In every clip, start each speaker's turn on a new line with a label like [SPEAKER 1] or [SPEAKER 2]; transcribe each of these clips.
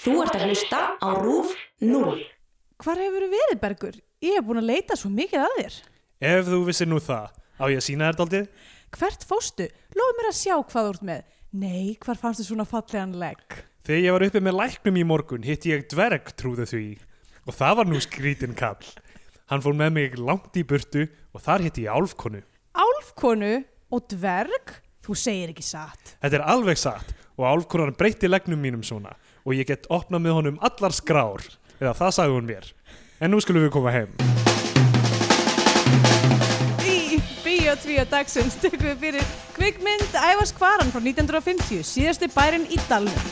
[SPEAKER 1] Þú ert að hlusta á RÚF 0.
[SPEAKER 2] Hvar hefur verið, Bergur? Ég hef búin að leita svo mikið að þér.
[SPEAKER 3] Ef þú vissir nú það, á ég að sína þér daldið?
[SPEAKER 2] Hvert fóstu? Lóðu mér að sjá hvað þú ert með. Nei, hvar fannst þú svona fallegan legg?
[SPEAKER 3] Þegar ég var uppi með læknum í morgun hitti ég dverg trúðu því og það var nú skrítin kall. Hann fór með mig langt í burtu og þar hitti ég álfkonu.
[SPEAKER 2] Álfkonu og dverg? Þú segir ekki satt.
[SPEAKER 3] Þetta er alveg satt og álfkonan breytti læknum mínum svona og ég get opnað með honum allar skrár eða það sagði hún mér. En nú skulum við koma heim.
[SPEAKER 2] Í Bíotvíó dagsins tökum við fyrir kvikmynd Ævars Kvaran frá 1950, síðasti bærin í Dalnum.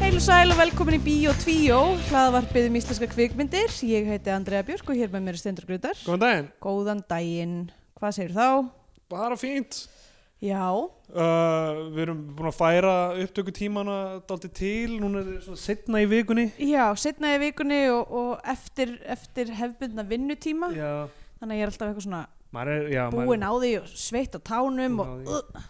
[SPEAKER 2] Heil og sæl og velkomin í Bíotvíó, hlaðavarpið um íslenska kvikmyndir. Ég heiti Andrea Björk og hér með mér er Stendur Grutar.
[SPEAKER 3] Góðan daginn.
[SPEAKER 2] Góðan daginn, hvað segir þá?
[SPEAKER 3] Bara fínt.
[SPEAKER 2] Já,
[SPEAKER 3] Uh, við erum búin að færa upptöku tímana daldið til. Núna er þetta setna í vikunni.
[SPEAKER 2] já, setna í vikunni og, og eftir, eftir hefbundna vinnutíma,
[SPEAKER 3] Já.
[SPEAKER 2] þannig að ég er alltaf eitthvað svona
[SPEAKER 3] Maður er, já, maður-
[SPEAKER 2] búin á því og sveitt á tánum og uh,
[SPEAKER 3] Búin á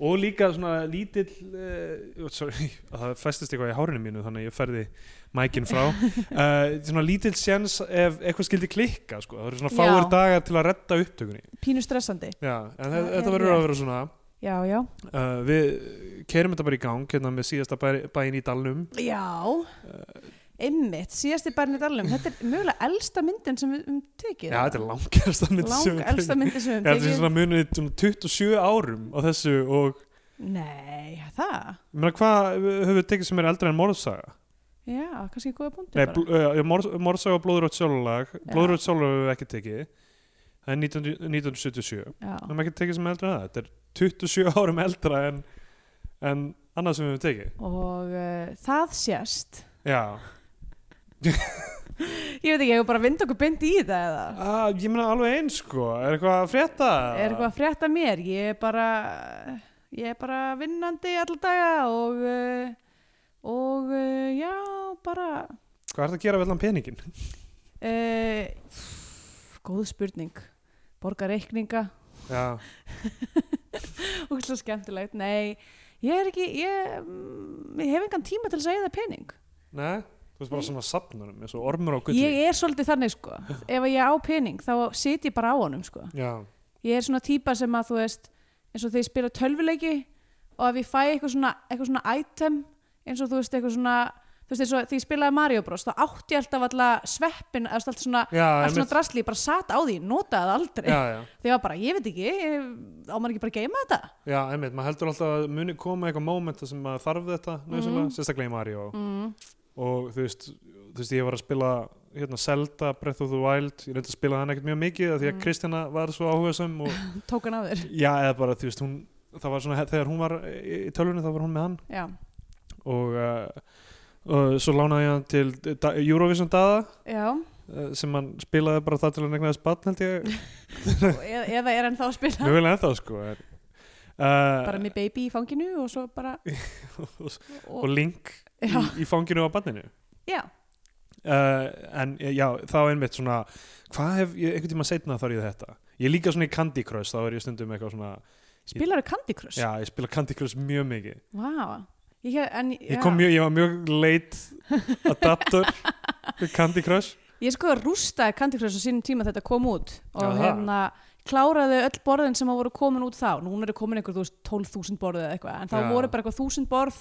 [SPEAKER 3] og líka svona lítill uh, sorry, það festist eitthvað í hárinu mínu þannig að ég ferði mækin frá uh, svona lítill séns ef eitthvað skildi klikka sko. það eru svona fáir
[SPEAKER 2] Já.
[SPEAKER 3] dagar til að redda upptökunni
[SPEAKER 2] uh, pínu stressandi.
[SPEAKER 3] já, en
[SPEAKER 2] Það
[SPEAKER 3] það,
[SPEAKER 2] er
[SPEAKER 3] þetta verður
[SPEAKER 2] rétt.
[SPEAKER 3] að vera svona
[SPEAKER 2] Já, já.
[SPEAKER 3] uh, við kerum þetta bara í gang hérna með síðasta bæ, bæin í Dalnum
[SPEAKER 2] Já, ymmit, síðasti barnið dalum, þetta er mögulega elsta myndin sem við um tekið.
[SPEAKER 3] já, þetta er langelsta mynd
[SPEAKER 2] lang
[SPEAKER 3] sem við
[SPEAKER 2] elsta
[SPEAKER 3] tökum.
[SPEAKER 2] myndin sem við
[SPEAKER 3] Já,
[SPEAKER 2] um
[SPEAKER 3] þetta er
[SPEAKER 2] tekið.
[SPEAKER 3] svona munið um 27 árum á þessu og
[SPEAKER 2] Nei, það,
[SPEAKER 3] ég meina, hvað eh, höfum við tekið sem er eldra en morðsaga?
[SPEAKER 2] já, kannski góða punktu
[SPEAKER 3] Nei, bl- uh, morð- morðsaga og blóðrödd sjálflag blóðrödd sjálflag hefur við ekki tekið það er 19, 1977 við
[SPEAKER 2] Já,
[SPEAKER 3] hefum ekki tekið sem eldra en það þetta er 27 árum eldra en, en annað sem við hefum tekið
[SPEAKER 2] og uh, það sést,
[SPEAKER 3] já,
[SPEAKER 2] ég veit ekki, ég hef bara vind okkur beint í þetta eða?
[SPEAKER 3] ah, ég meina alveg eins sko er eitthvað að frétta?
[SPEAKER 2] er eitthvað að frétta mér ég er bara ég er bara vinnandi alla daga og eh, og eh, já, bara
[SPEAKER 3] hvað er þetta að gera við allan peningin?
[SPEAKER 2] e, góð spurning borga reikninga
[SPEAKER 3] já,
[SPEAKER 2] og svo skemmtilegt, nei ég er ekki, ég, mm, ég hef engan tíma til þess að segja það pening
[SPEAKER 3] nei þú veist bara svona safnarum, eins og ormur á gulli
[SPEAKER 2] ég er svolítið þannig sko, ef að ég á pening þá sit ég bara á honum sko
[SPEAKER 3] já,
[SPEAKER 2] ég er svona típa sem að þú veist eins og þegar ég spila tölvuleiki og ef ég fæ eitthvað svona, eitthvað svona item eins og þú veist eitthvað svona þú veist eins og þegar ég spilaði Mario Bros þá átti ég alltaf alltaf sveppin allt svona,
[SPEAKER 3] já,
[SPEAKER 2] allt svona
[SPEAKER 3] einmitt.
[SPEAKER 2] drasli, ég bara sat á því notaði það aldrei,
[SPEAKER 3] já, já,
[SPEAKER 2] þegar ég var bara ég veit ekki, ég, á maður ekki bara að geima þetta
[SPEAKER 3] já, einmitt, maður heldur alltaf að muni koma eitthvað moment þar sem maður þarf þetta mm.
[SPEAKER 2] Mhm.
[SPEAKER 3] sérstaklega í Mario
[SPEAKER 2] mm.
[SPEAKER 3] og þú veist, þú veist ég var að spila hérna Zelda Breath of the Wild ég reyndi að spila hann ekkert mjög mikið af því að
[SPEAKER 2] Mm.
[SPEAKER 3] Kristina var svo áhugasum og
[SPEAKER 2] tók hann á þér
[SPEAKER 3] já eða bara þú veist hún það var svona þegar hún var í í tölvunni þá var hún með hann
[SPEAKER 2] já,
[SPEAKER 3] og uh, uh, svo lánaði ég hann til da Eurovision daða
[SPEAKER 2] já,
[SPEAKER 3] uh, sem hann spilaði bara það til að negna þess bann held ég
[SPEAKER 2] Og eð, eða er hann þá að spila
[SPEAKER 3] mjög vel ennþá sko er,
[SPEAKER 2] bara
[SPEAKER 3] uh,
[SPEAKER 2] með baby í fanginu og svo bara
[SPEAKER 3] og
[SPEAKER 2] og,
[SPEAKER 3] link í,
[SPEAKER 2] já,
[SPEAKER 3] í fanginu á banninu
[SPEAKER 2] já,
[SPEAKER 3] uh, en eh, já, þá einmitt svona hvað hef ég einhvern tíma setna þarf ég þetta ég er líka svona í Candy Crush þá er ég stundum eitthvað svona
[SPEAKER 2] spilar þú Candy Crush
[SPEAKER 3] já, ég spila Candy Crush mjög mikið
[SPEAKER 2] Vá. Ég, hef- en,
[SPEAKER 3] ég, kom
[SPEAKER 2] já.
[SPEAKER 3] mjög, ég var mjög late adapter við Candy Crush
[SPEAKER 2] Ég sko rústaði Candy Crush á sínum tíma þetta kom út og
[SPEAKER 3] Já, það.
[SPEAKER 2] hérna kláraði öll borðin sem að voru komin út þá núna eru komin einhver, þú veist, 12.000 borð eða eitthvað en þá
[SPEAKER 3] Já.
[SPEAKER 2] voru bara eitthvað 1000 borð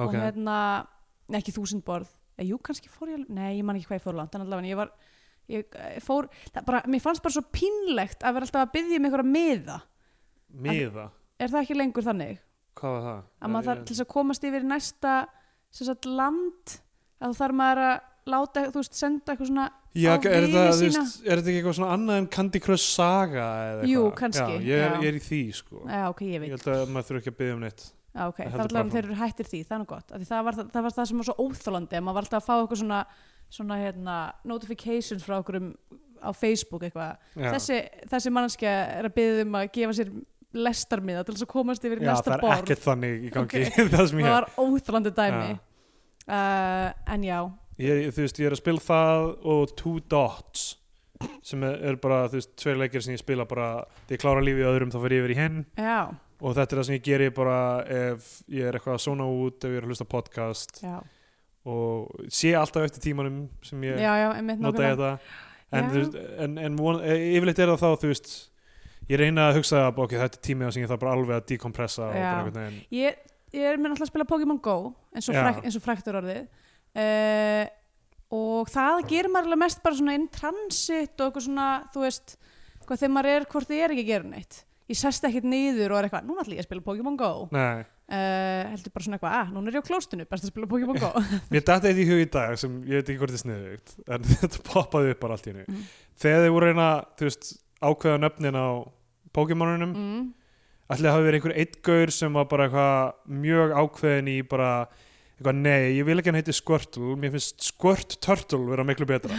[SPEAKER 2] og
[SPEAKER 3] ok,
[SPEAKER 2] hérna, nei, ekki 1000 borð eða jú, kannski fór ég, alveg- nei, ég man ekki hvað ég fór langt en allavega, ég var ég eh, fór, það bara, mér fannst bara svo pínlegt að vera alltaf að byggja um einhverja miða
[SPEAKER 3] miða,
[SPEAKER 2] er það ekki lengur þannig?
[SPEAKER 3] hvað var það? Eh,
[SPEAKER 2] að maður þarf til þess að komast yfir í næsta sem sagt, land að þarf maður að láta, þú veist, senda eitthvað svona
[SPEAKER 3] já,
[SPEAKER 2] á
[SPEAKER 3] er
[SPEAKER 2] vini
[SPEAKER 3] þetta, þú
[SPEAKER 2] sína.
[SPEAKER 3] veist, er þetta ekki eitthvað svona annað en Candy Crush saga eða eitthvað?
[SPEAKER 2] Jú, kannski,
[SPEAKER 3] já, ég, er,
[SPEAKER 2] já.
[SPEAKER 3] ég er í því sko
[SPEAKER 2] Já, ok, ég
[SPEAKER 3] ég
[SPEAKER 2] veit.
[SPEAKER 3] held að maður þurfi ekki að byggja um neitt
[SPEAKER 2] Já, ok,
[SPEAKER 3] heldur
[SPEAKER 2] það er allavega
[SPEAKER 3] bara
[SPEAKER 2] þeir eru hættir því, það er nú gott. Af því Það var það, það var það sem var svo óþólandi að maður var alltaf að fá eitthvað svona, svona hérna, notifications frá okkur um, á Facebook eitthvað.
[SPEAKER 3] já.
[SPEAKER 2] Þessi, þessi mannskja er að byggja um að gefa sér lestarmiða til þess að komast yfir í
[SPEAKER 3] já, það
[SPEAKER 2] næsta
[SPEAKER 3] er
[SPEAKER 2] borð.
[SPEAKER 3] ekkert þannig í gangi
[SPEAKER 2] Ok.
[SPEAKER 3] það sem
[SPEAKER 2] Það
[SPEAKER 3] ég
[SPEAKER 2] var óþólandi dæmi.
[SPEAKER 3] Já.
[SPEAKER 2] Uh, en já,
[SPEAKER 3] ég, þú veist, ég er að spila það og Two Dots sem er, er bara, þú veist, tveir leikir sem ég spila bara, þegar ég klára lífið í öðrum þá fer ég yfir í henn
[SPEAKER 2] já,
[SPEAKER 3] og þetta er það sem ég geri bara ef ég er eitthvað að sóna út ef ég er að hlusta á podcast
[SPEAKER 2] já,
[SPEAKER 3] og sé alltaf eftir tímanum sem ég
[SPEAKER 2] já, já, einmitt
[SPEAKER 3] nota ég
[SPEAKER 2] nákvæmlega
[SPEAKER 3] þetta en,
[SPEAKER 2] Já.
[SPEAKER 3] þú veist, en, en von, e, yfirleitt er það þá þú veist ég reyna að hugsa að ok, þetta er tími sem ég þarf bara alveg að dekompressa og bara
[SPEAKER 2] Já.
[SPEAKER 3] einhvern veginn
[SPEAKER 2] ég, ég er með náttúrulega að spila Pokémon Go eins og,
[SPEAKER 3] Já.
[SPEAKER 2] fræk, eins og fræktur orðið uh, og það gerir maður alveg mest bara svona in transit og eitthvað svona, þú veist hvað þegar maður er, hvort þið er ekki að gera neitt ég sest ekkert niður og er eitthvað núna ætla ég að spila Pokémon Go uh,
[SPEAKER 3] Nei,
[SPEAKER 2] heldur bara svona eitthvað, að, núna er ég á klóstinu best að spila Pokémon Go
[SPEAKER 3] mér datt eitt í hug í dag sem ég veit ekki hvort þið sniðugt en þetta poppaði upp bara allt í hennu
[SPEAKER 2] Mm.
[SPEAKER 3] þegar þið voru að reyna, þú veist, ákveða nöfnin á Pokémonunum
[SPEAKER 2] mm,
[SPEAKER 3] ætli það hafi verið einhver eitt gaur sem var bara eitthvað mjög ákveðin í bara eitthvað nei, ég vil ekki að hann heiti Squirtle mér finnst Squirt Turtle vera miklu betra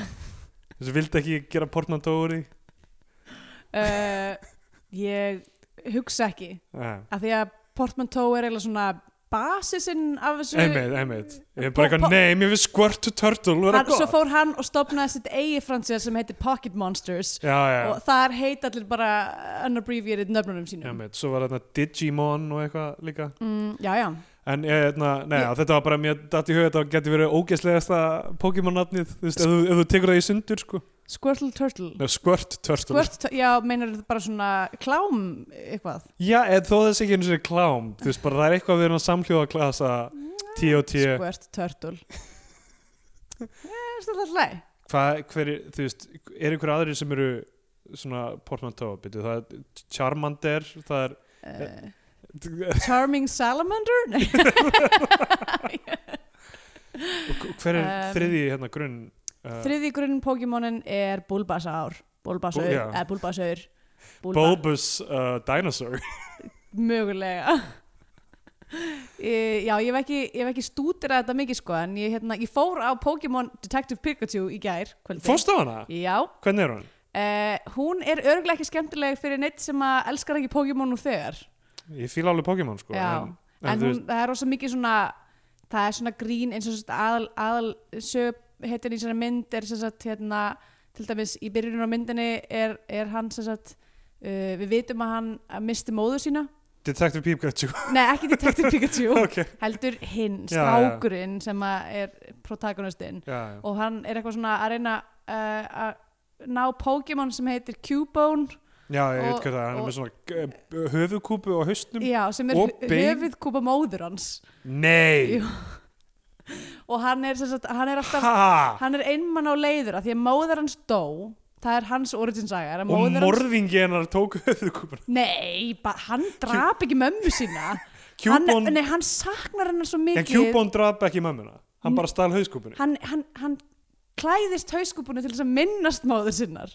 [SPEAKER 3] þessi vildi ekki gera portnantó úr því
[SPEAKER 2] uh, ég hugsa ekki
[SPEAKER 3] Nei.
[SPEAKER 2] að því að Portmanteau er eiginlega svona basisinn af þessu
[SPEAKER 3] einmitt, einmitt ég er
[SPEAKER 2] Po-
[SPEAKER 3] bara
[SPEAKER 2] po-
[SPEAKER 3] eitthvað nei, mér finnst Squirt Turtle vera
[SPEAKER 2] Hann, svo
[SPEAKER 3] gott
[SPEAKER 2] fór hann og stopnaði sitt eigi fransið sem heitir Pocket Monsters
[SPEAKER 3] já, já,
[SPEAKER 2] og þar heit allir bara unabbreviated nöfnunum sínum
[SPEAKER 3] einmitt svo var þarna Digimon og eitthvað líka
[SPEAKER 2] mm, já, já,
[SPEAKER 3] en ég, na, nei,
[SPEAKER 2] Ég-
[SPEAKER 3] þetta var bara mér datt í hug þetta geti verið ógeðslegasta Pokémon-nafnið þú veist, ef, þú- ef þú tekur það í sundur sko
[SPEAKER 2] Squirtle Turtle
[SPEAKER 3] nei, Squirt Turtle
[SPEAKER 2] Squirt, já, meinar þetta bara svona klám eitthvað
[SPEAKER 3] Já, eða þó þessi ekki einu sinni klám þú veist bara það er eitthvað við erum að samhljóða klasa T og T
[SPEAKER 2] Squirt Turtle ég er alltaf hlæ
[SPEAKER 3] Hvað, hver, er- þú veist, er einhver aðrir sem eru svona portmantóa byrju, það er Charmander það er
[SPEAKER 2] uh,
[SPEAKER 3] og
[SPEAKER 2] Charming Salamander Nei.
[SPEAKER 3] k- hver er
[SPEAKER 2] Um,
[SPEAKER 3] þriði hérna grunn uh,
[SPEAKER 2] þriði grunn Pokémonin er Bulbasaur Bulbasaur,
[SPEAKER 3] Bú- já.
[SPEAKER 2] eða Bulbasaur Bulba-
[SPEAKER 3] Bulbous uh, Dinosaur
[SPEAKER 2] mögulega e, já, ég hef ekki, ég hef ekki stútirað þetta mikið sko en ég, hérna, ég fór á Pokémon Detective Pikachu í gær kvöldi.
[SPEAKER 3] Fórstu á hana?
[SPEAKER 2] Já,
[SPEAKER 3] Hvernig er hún?
[SPEAKER 2] e, hún er örgulega ekki skemmtileg fyrir neitt sem að elskar ekki Pokémon úr þegar
[SPEAKER 3] Ég fíla alveg Pokémon sko
[SPEAKER 2] Já,
[SPEAKER 3] en,
[SPEAKER 2] en,
[SPEAKER 3] en, þú
[SPEAKER 2] hún,
[SPEAKER 3] veist,
[SPEAKER 2] það er rosa mikið svona það er svona grín eins og svona aðal, aðal sög, heitin í svona mynd er svona hérna, til dæmis í byrjunum á myndinni er, er hann svona uh, við vitum að hann misti móður sína
[SPEAKER 3] Detective Pikachu
[SPEAKER 2] Nei, ekki Detective Pikachu
[SPEAKER 3] Ok,
[SPEAKER 2] heldur hinn,
[SPEAKER 3] Já, já, já.
[SPEAKER 2] strákurinn sem að er protagonistinn
[SPEAKER 3] já, já.
[SPEAKER 2] og hann er eitthvað svona að reyna uh, að ná Pokémon sem heitir Cubone
[SPEAKER 3] já, ég veit
[SPEAKER 2] og-
[SPEAKER 3] hvað það er hann er
[SPEAKER 2] og-
[SPEAKER 3] með svona uh, höfukúpu og hausnum
[SPEAKER 2] já, sem er
[SPEAKER 3] Og bein.
[SPEAKER 2] höfið kúpa móður hans
[SPEAKER 3] Nei,
[SPEAKER 2] Jú. og hann er, sem sagt, hann er alltaf
[SPEAKER 3] hæ
[SPEAKER 2] hann er einmann á leiður af því að móður hans dó það er hans origin saga er að
[SPEAKER 3] og
[SPEAKER 2] móðir hans-
[SPEAKER 3] morðingi hennar tók höfðukúpuna
[SPEAKER 2] Nei, ba- hann drap ekki mömmu sína hann,
[SPEAKER 3] Kjúbón,
[SPEAKER 2] Nei, hann saknar hennar svo
[SPEAKER 3] en
[SPEAKER 2] mikið
[SPEAKER 3] Kjúbón draf ekki mömmuna hann bara stal höfðskúpunni
[SPEAKER 2] hann, hann, hann klæðist hauskúpunni til þess að minnast móður sinnar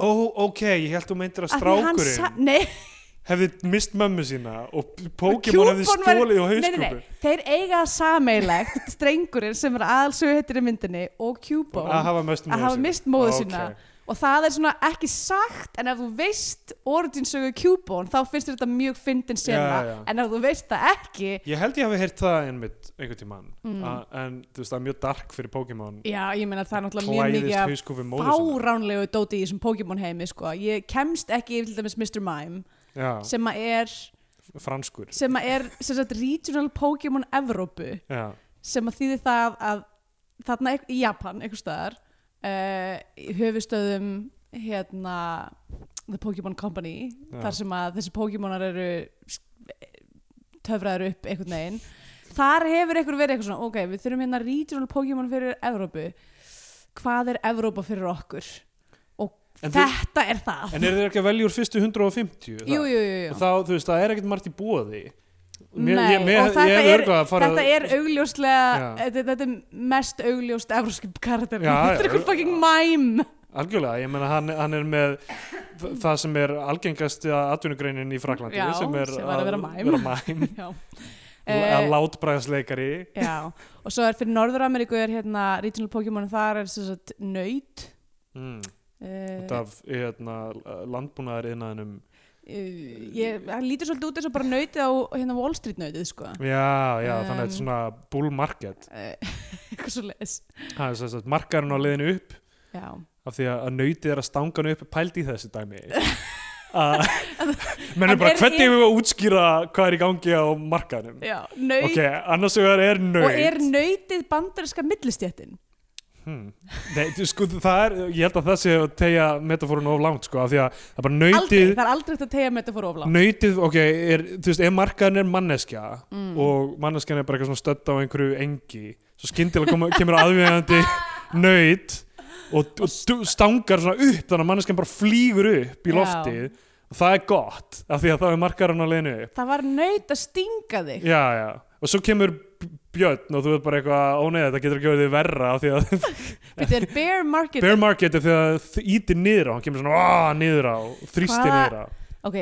[SPEAKER 3] ó, ok, ég held þú meintir að
[SPEAKER 2] Af því að hann
[SPEAKER 3] strákurinn
[SPEAKER 2] sa- Nei,
[SPEAKER 3] hefði mist mömmu sína og p- Pokémon
[SPEAKER 2] Kjúbon
[SPEAKER 3] hefði
[SPEAKER 2] var
[SPEAKER 3] stólið á
[SPEAKER 2] nei, nei, nei,
[SPEAKER 3] höfðskúpu
[SPEAKER 2] Þeir eiga það sameilegt Þetta er Strengurinn sem er aðalsögu heitir í myndinni Og Kjúbón
[SPEAKER 3] að hafa mist
[SPEAKER 2] að
[SPEAKER 3] móður
[SPEAKER 2] hafa
[SPEAKER 3] sína.
[SPEAKER 2] mist móður
[SPEAKER 3] Ó,
[SPEAKER 2] sína
[SPEAKER 3] ok.
[SPEAKER 2] Og það er svona ekki sagt En ef þú veist orðinsögu Kjúbón Þá finnst þér þetta mjög fyndin sena
[SPEAKER 3] Já, já.
[SPEAKER 2] En ef þú veist það ekki
[SPEAKER 3] ég held ég hafi heyrt það einmitt einhvern tímann mm. en þú veist það er mjög dark fyrir Pokémon
[SPEAKER 2] Já, ég meina það er náttúrulega mjög
[SPEAKER 3] klæðist
[SPEAKER 2] mikið af
[SPEAKER 3] höfðskúpu móður sína
[SPEAKER 2] Fáránlegu dóti í þessum Pokémon heimi sko. Ég kemst ekki yfir til dæmis Mr. Mime
[SPEAKER 3] já,
[SPEAKER 2] sem að er
[SPEAKER 3] franskur
[SPEAKER 2] sem að er sem sagt, regional Pokémon Evrópu
[SPEAKER 3] já,
[SPEAKER 2] sem að þýðir það að þarna eitth- í Japan, einhvers staðar uh, í höfustöðum hérna The Pokémon Company
[SPEAKER 3] Já.
[SPEAKER 2] þar sem að þessi Pokémonar eru s- töfraður upp einhvern veginn þar hefur einhver verið eitthvað svona ok, við þurfum hérna regional Pokémon fyrir Evrópu hvað er Evrópa fyrir okkur og
[SPEAKER 3] En þú-
[SPEAKER 2] þetta er það
[SPEAKER 3] en eru þeir ekki að velja úr fyrstu 150
[SPEAKER 2] jú, jú, jú, jú.
[SPEAKER 3] og þá, þú veist, það er ekkert margt í bóði
[SPEAKER 2] Nei, og þetta
[SPEAKER 3] hefði
[SPEAKER 2] er,
[SPEAKER 3] örugglega að fara-
[SPEAKER 2] þetta er augljóslega,
[SPEAKER 3] Já.
[SPEAKER 2] þetta, þetta er mest augljóst evróski karakter,
[SPEAKER 3] Já,
[SPEAKER 2] þetta er
[SPEAKER 3] já.
[SPEAKER 2] eitthvað fucking mæm.
[SPEAKER 3] Algjörlega, ég meina hann, hann er með þ- það sem er algengast að atvinnugreinin í Fraklandi
[SPEAKER 2] Já,
[SPEAKER 3] sem er
[SPEAKER 2] sem var að vera mæm.
[SPEAKER 3] mæm,
[SPEAKER 2] Já.
[SPEAKER 3] að
[SPEAKER 2] Eh,
[SPEAKER 3] látbræðsleikari
[SPEAKER 2] já, og svo er fyrir Norður-Ameríku er hérna regional Pokémon þar er sem sagt nöyt.
[SPEAKER 3] mm,
[SPEAKER 2] Uh,
[SPEAKER 3] út af hérna, landbúnaðar innaðinum
[SPEAKER 2] Uh, ég, það lítur svolítið út eins og bara nautið á hérna Wall Street nautið sko
[SPEAKER 3] Já, já,
[SPEAKER 2] Um,
[SPEAKER 3] þannig að þetta er svona bull market
[SPEAKER 2] Eh, eitthvað svo leiðis
[SPEAKER 3] Það er svona markarinn á leiðinu upp
[SPEAKER 2] já,
[SPEAKER 3] af því að, að nautið er að stanga hann upp pælt í þessu dæmi að mennum
[SPEAKER 2] hann
[SPEAKER 3] bara
[SPEAKER 2] er
[SPEAKER 3] hvernig
[SPEAKER 2] í-
[SPEAKER 3] við að útskýra hvað er í gangi á markanum
[SPEAKER 2] já, naut
[SPEAKER 3] ok, annars vegar er naut
[SPEAKER 2] og er nautið bandarinska millistjættin
[SPEAKER 3] hmm. Nei, þú- sko, það er, ég held að það sé að tegja metafórun of langt sko, af því að það er bara
[SPEAKER 2] aldrei,
[SPEAKER 3] nautið
[SPEAKER 2] það er aldrei þetta tegja með þetta fór ofla
[SPEAKER 3] nautið, ok, er, þú veist, ef markaðin er manneskja
[SPEAKER 2] Mm.
[SPEAKER 3] og manneskjan er bara eitthvað svona stödd á einhverju engi svo skyndilega koma, kemur aðvíðandi naut og, og du- stangar svona upp þannig að manneskjan bara flýgur upp í
[SPEAKER 2] Já.
[SPEAKER 3] loftið og það er gott af því að það er markaðurinn á leiðinu upp
[SPEAKER 2] það var naut að stinga þig
[SPEAKER 3] já, já, og svo kemur b- björn og þú veit bara eitthvað, ó nei, þetta getur ekki verið verra af því að
[SPEAKER 2] þetta er bear market
[SPEAKER 3] bear market er því að það ítir niður á hann kemur svona, á, niður á, þrýstir
[SPEAKER 2] Hvaða-
[SPEAKER 3] niður á
[SPEAKER 2] ok,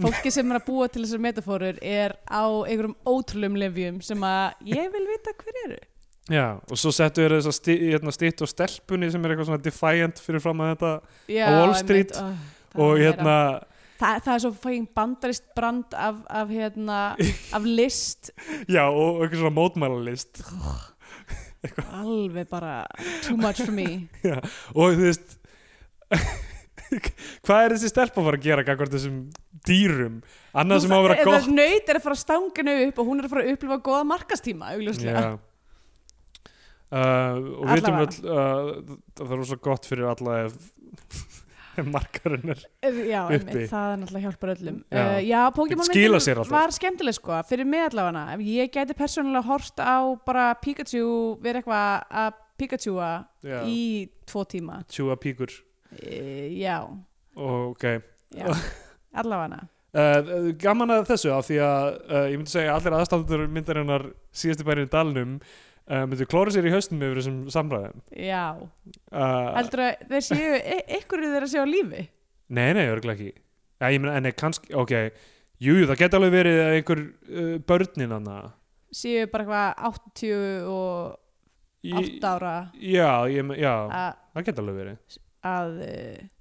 [SPEAKER 2] fólki sem er að búa til þessar metafórur er á einhverjum ótrúlum lefjum sem að ég vil vita hver eru
[SPEAKER 3] Já, og svo settu þér þess að hérna, stýtt á stelpunni sem er eitthvað svona defiant fyrir fram að þetta
[SPEAKER 2] já,
[SPEAKER 3] Á Wall
[SPEAKER 2] einmitt,
[SPEAKER 3] Street
[SPEAKER 2] ó, það
[SPEAKER 3] og
[SPEAKER 2] var meira.
[SPEAKER 3] hérna,
[SPEAKER 2] það, það er svo fæðing bandarist brand af, af, hérna, af list
[SPEAKER 3] já, og eitthvað svona mótmælalist
[SPEAKER 2] alveg bara too much for me
[SPEAKER 3] og þú veist hvað er þessi stelpa að fara að gera gagvart þessum dýrum annað sem á að vera
[SPEAKER 2] Þú-
[SPEAKER 3] gott
[SPEAKER 2] það nöyt er að fara að stanga henni upp og hún er að fara að upplifa góða markastíma augljóslega
[SPEAKER 3] Já. Uh, og vitum
[SPEAKER 2] Allavega.
[SPEAKER 3] öll uh, það er svo gott fyrir alla ef, ef markarinn er
[SPEAKER 2] já einmitt,
[SPEAKER 3] Uppi.
[SPEAKER 2] það er náttúrulega hjálpar öllum
[SPEAKER 3] Já.
[SPEAKER 2] já, uh, já Pokémon
[SPEAKER 3] Skila
[SPEAKER 2] myndin
[SPEAKER 3] sér alltaf.
[SPEAKER 2] var skemmtileg sko fyrir mig allavega Ef ég gæti persónulega hort á bara Pikachu verið eitthvað að Pikachua
[SPEAKER 3] Já.
[SPEAKER 2] í tvo tíma
[SPEAKER 3] tjúa píkur
[SPEAKER 2] uh, já,
[SPEAKER 3] og ok
[SPEAKER 2] já allavega
[SPEAKER 3] Uh, gaman að þessu af því að uh, ég myndi segja að allir aðstandur myndarinnar síðasti bærin í dalnum uh, myndi klóra sér í haustum yfir þessum samræðum
[SPEAKER 2] já,
[SPEAKER 3] uh,
[SPEAKER 2] heldur að þeir séu e ykkur eru þeir að séu á lífi
[SPEAKER 3] Nei, nei, örgulega ekki ja, ég myndi, en nei, kannski, ok Jú, jú, það geti alveg verið að einhver uh, börnin hana
[SPEAKER 2] séu bara eitthvað 80 og 8 ára Ah.
[SPEAKER 3] Já, ég, já,
[SPEAKER 2] að
[SPEAKER 3] það geti alveg verið
[SPEAKER 2] að uh,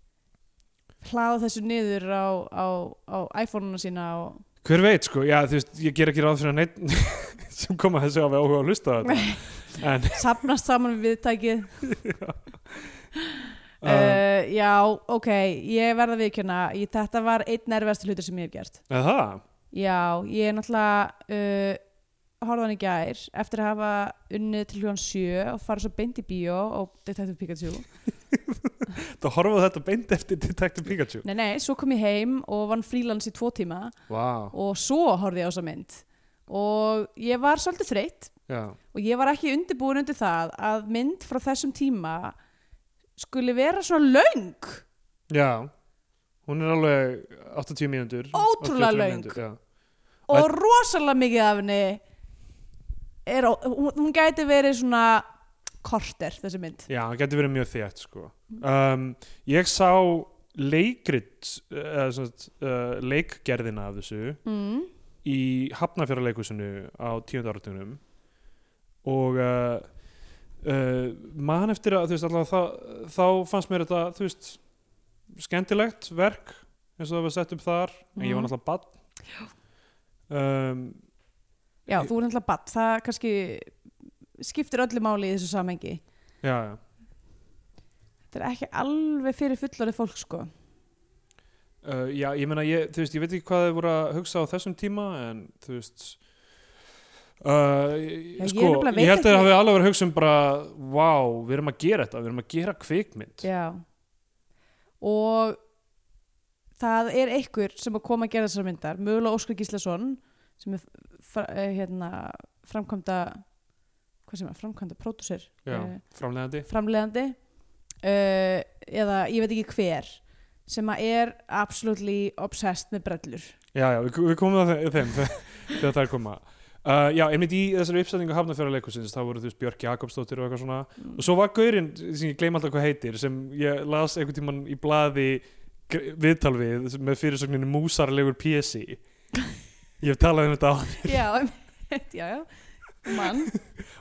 [SPEAKER 2] hlaða þessu niður á, á, á iPhone-una sína og
[SPEAKER 3] Hver veit, sko, já, þú veist, ég ger ekki ráð fyrir að neitt sem koma að þessu hafi áhuga á að hlusta á þetta En,
[SPEAKER 2] sapnast saman við viðtækið
[SPEAKER 3] uh,
[SPEAKER 2] uh, Já, ok, ég verða viðkjöna ég, þetta var einn nervast hlutur sem ég hef gert
[SPEAKER 3] eða það
[SPEAKER 2] Já, ég er náttúrulega uh, horfðan í gær eftir að hafa unnið til hljóðan sjö og fara svo beint í bíó og Detective Pikachu
[SPEAKER 3] Það horfaðu þetta beint eftir Detective Pikachu
[SPEAKER 2] Nei, nei, svo kom ég heim og vann frílans í tvo tíma
[SPEAKER 3] Vá,
[SPEAKER 2] og svo horfði ég á þessa mynd og ég var svolítið þreytt
[SPEAKER 3] já
[SPEAKER 2] og ég var ekki undirbúin undir það að mynd frá þessum tíma skuli vera svona löng
[SPEAKER 3] Já, hún er alveg 80 mínútur
[SPEAKER 2] Ótrúlega
[SPEAKER 3] 83
[SPEAKER 2] löng.
[SPEAKER 3] mínútur, já.
[SPEAKER 2] og rosalega mikið af henni er, á- hún, hún gæti verið svona korter þessi mynd
[SPEAKER 3] Já, hann getur verið mjög þétt sko. um, Ég sá leikrit uh, sagt, uh, leikgerðina af þessu
[SPEAKER 2] mm.
[SPEAKER 3] í Hafnafjörðarleikusinu á 10. áratunum og uh, uh, man eftir að þú veist, allavega, þá, þá fannst mér þetta þú veist, skemmtilegt verk eins og það var sett upp þar en ég
[SPEAKER 2] Mhm.
[SPEAKER 3] var náttúrulega bann um,
[SPEAKER 2] já, þú er náttúrulega badd það kannski skiptir öllu máli í þessu samengi
[SPEAKER 3] Já, já
[SPEAKER 2] þetta er ekki alveg fyrir fullorðið fólk sko
[SPEAKER 3] Uh, já, ég meina, ég, þú veist, ég veit ekki hvað þið voru að hugsa á þessum tíma en þú veist uh,
[SPEAKER 2] Já, ég
[SPEAKER 3] sko,
[SPEAKER 2] nefnilega
[SPEAKER 3] ég,
[SPEAKER 2] veit
[SPEAKER 3] held að það
[SPEAKER 2] ekki-
[SPEAKER 3] hafi alveg verið að hugsa um bara wow, við erum að gera þetta, við erum að gera kvikmynd
[SPEAKER 2] já og það er einhver sem að koma að gera þessar myndar mögulega Óskar Gíslason sem er fra, eh, hérna, framkvæmda hvað sem er, framkvæmda pródúsir
[SPEAKER 3] Já,
[SPEAKER 2] eh,
[SPEAKER 3] framlegandi
[SPEAKER 2] framleiðandi uh, eða ég veit ekki hver sem að er absolutely obsessed með brellur
[SPEAKER 3] Já, já, við, við komum að þe- þeim þegar þegar þær koma uh, Já, einmitt í þessari uppsetningu hafnafjörðarleikusins þá voru þú veist Björk Jakobsdóttir og eitthvað svona og svo var gaurinn, sem ég gleym alltaf hvað heitir sem ég las einhvern tímann í blaði gr- viðtal við sem- með fyrirsögninu músarlegur PSI ég hef talað um þetta á
[SPEAKER 2] já, einmitt, já, já mann,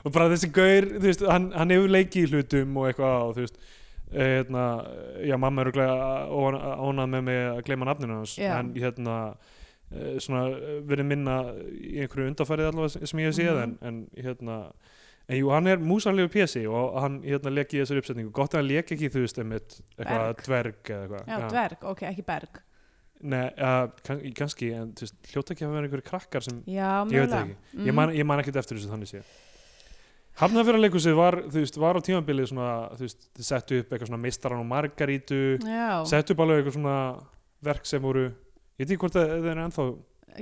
[SPEAKER 3] og bara þessi gaur, þú veist, hann, hann hefur leikið í hlutum og eitthvað og þú veist eh, hérna, já mamma er örugglega ánað með mig að gleyma nafninu hans
[SPEAKER 2] Já.
[SPEAKER 3] en hérna eh, svona eh, verið minna í einhverju undarfærið allavega sem- sem ég hef séð
[SPEAKER 2] Mhm.
[SPEAKER 3] en, en hérna en jú, hann er músanlegu pési og hann hérna leik í þessari uppsetningu gott að hann leik ekki þú veist einmitt eitthvað dverg eða
[SPEAKER 2] já,
[SPEAKER 3] eitthvað
[SPEAKER 2] dverg, ok, ekki berg
[SPEAKER 3] Nei, uh, kann, kannski, en þú veist, hljóta ekki að vera einhverju krakkar sem,
[SPEAKER 2] já,
[SPEAKER 3] ég veit það ekki ég man, ég man ekkert eftir þessu þannig sé Hafnafjörðarleikusið var, þú veist, var á tímabilið svona, þú veist, þið settu upp eitthvað svona meistaran og margarítu
[SPEAKER 2] Mm. já,
[SPEAKER 3] settu upp alveg eitthvað svona verk sem voru ég veit ekki hvort að þeir eru ennþá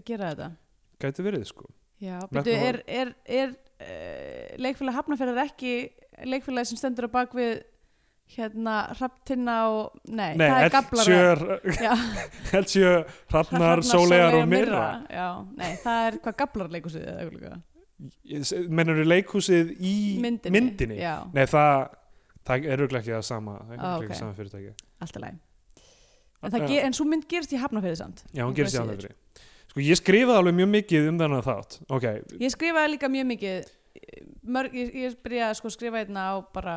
[SPEAKER 2] gera þetta
[SPEAKER 3] gæti verið, sko
[SPEAKER 2] Já,
[SPEAKER 3] Merkum
[SPEAKER 2] betur, er,
[SPEAKER 3] orð.
[SPEAKER 2] er, er uh, leikfélag Hafnarferðar ekki leikfélag sem stendur á bak við hérna Hraftinna og nei, það er gablar
[SPEAKER 3] Eldsjör,
[SPEAKER 2] Já.
[SPEAKER 3] Eldsjör, Hrafnar, Sólegar og Myrra
[SPEAKER 2] Já, nei, það er hvað gablar leikusið eða eitthvað líka.
[SPEAKER 3] mennur eru leikusið í myndinni,
[SPEAKER 2] Já,
[SPEAKER 3] Nei, það, það er auðvitað ekki það sama það er
[SPEAKER 2] Ah,
[SPEAKER 3] auðvitað
[SPEAKER 2] ok.
[SPEAKER 3] ekki sama fyrirtæki
[SPEAKER 2] allt í lagi En, það
[SPEAKER 3] Já.
[SPEAKER 2] ge, en svo mynd gerist í Hafnarferði samt
[SPEAKER 3] Já, hún
[SPEAKER 2] Engu
[SPEAKER 3] gerir
[SPEAKER 2] að
[SPEAKER 3] sér
[SPEAKER 2] síður.
[SPEAKER 3] alveg fyrir. Sko, ég skrifaði alveg mjög mikið um þennan þátt. Ok,
[SPEAKER 2] Ég skrifaði líka mjög mikið eh, mörg, ég, ég byrjaði sko að skrifa hérna á bara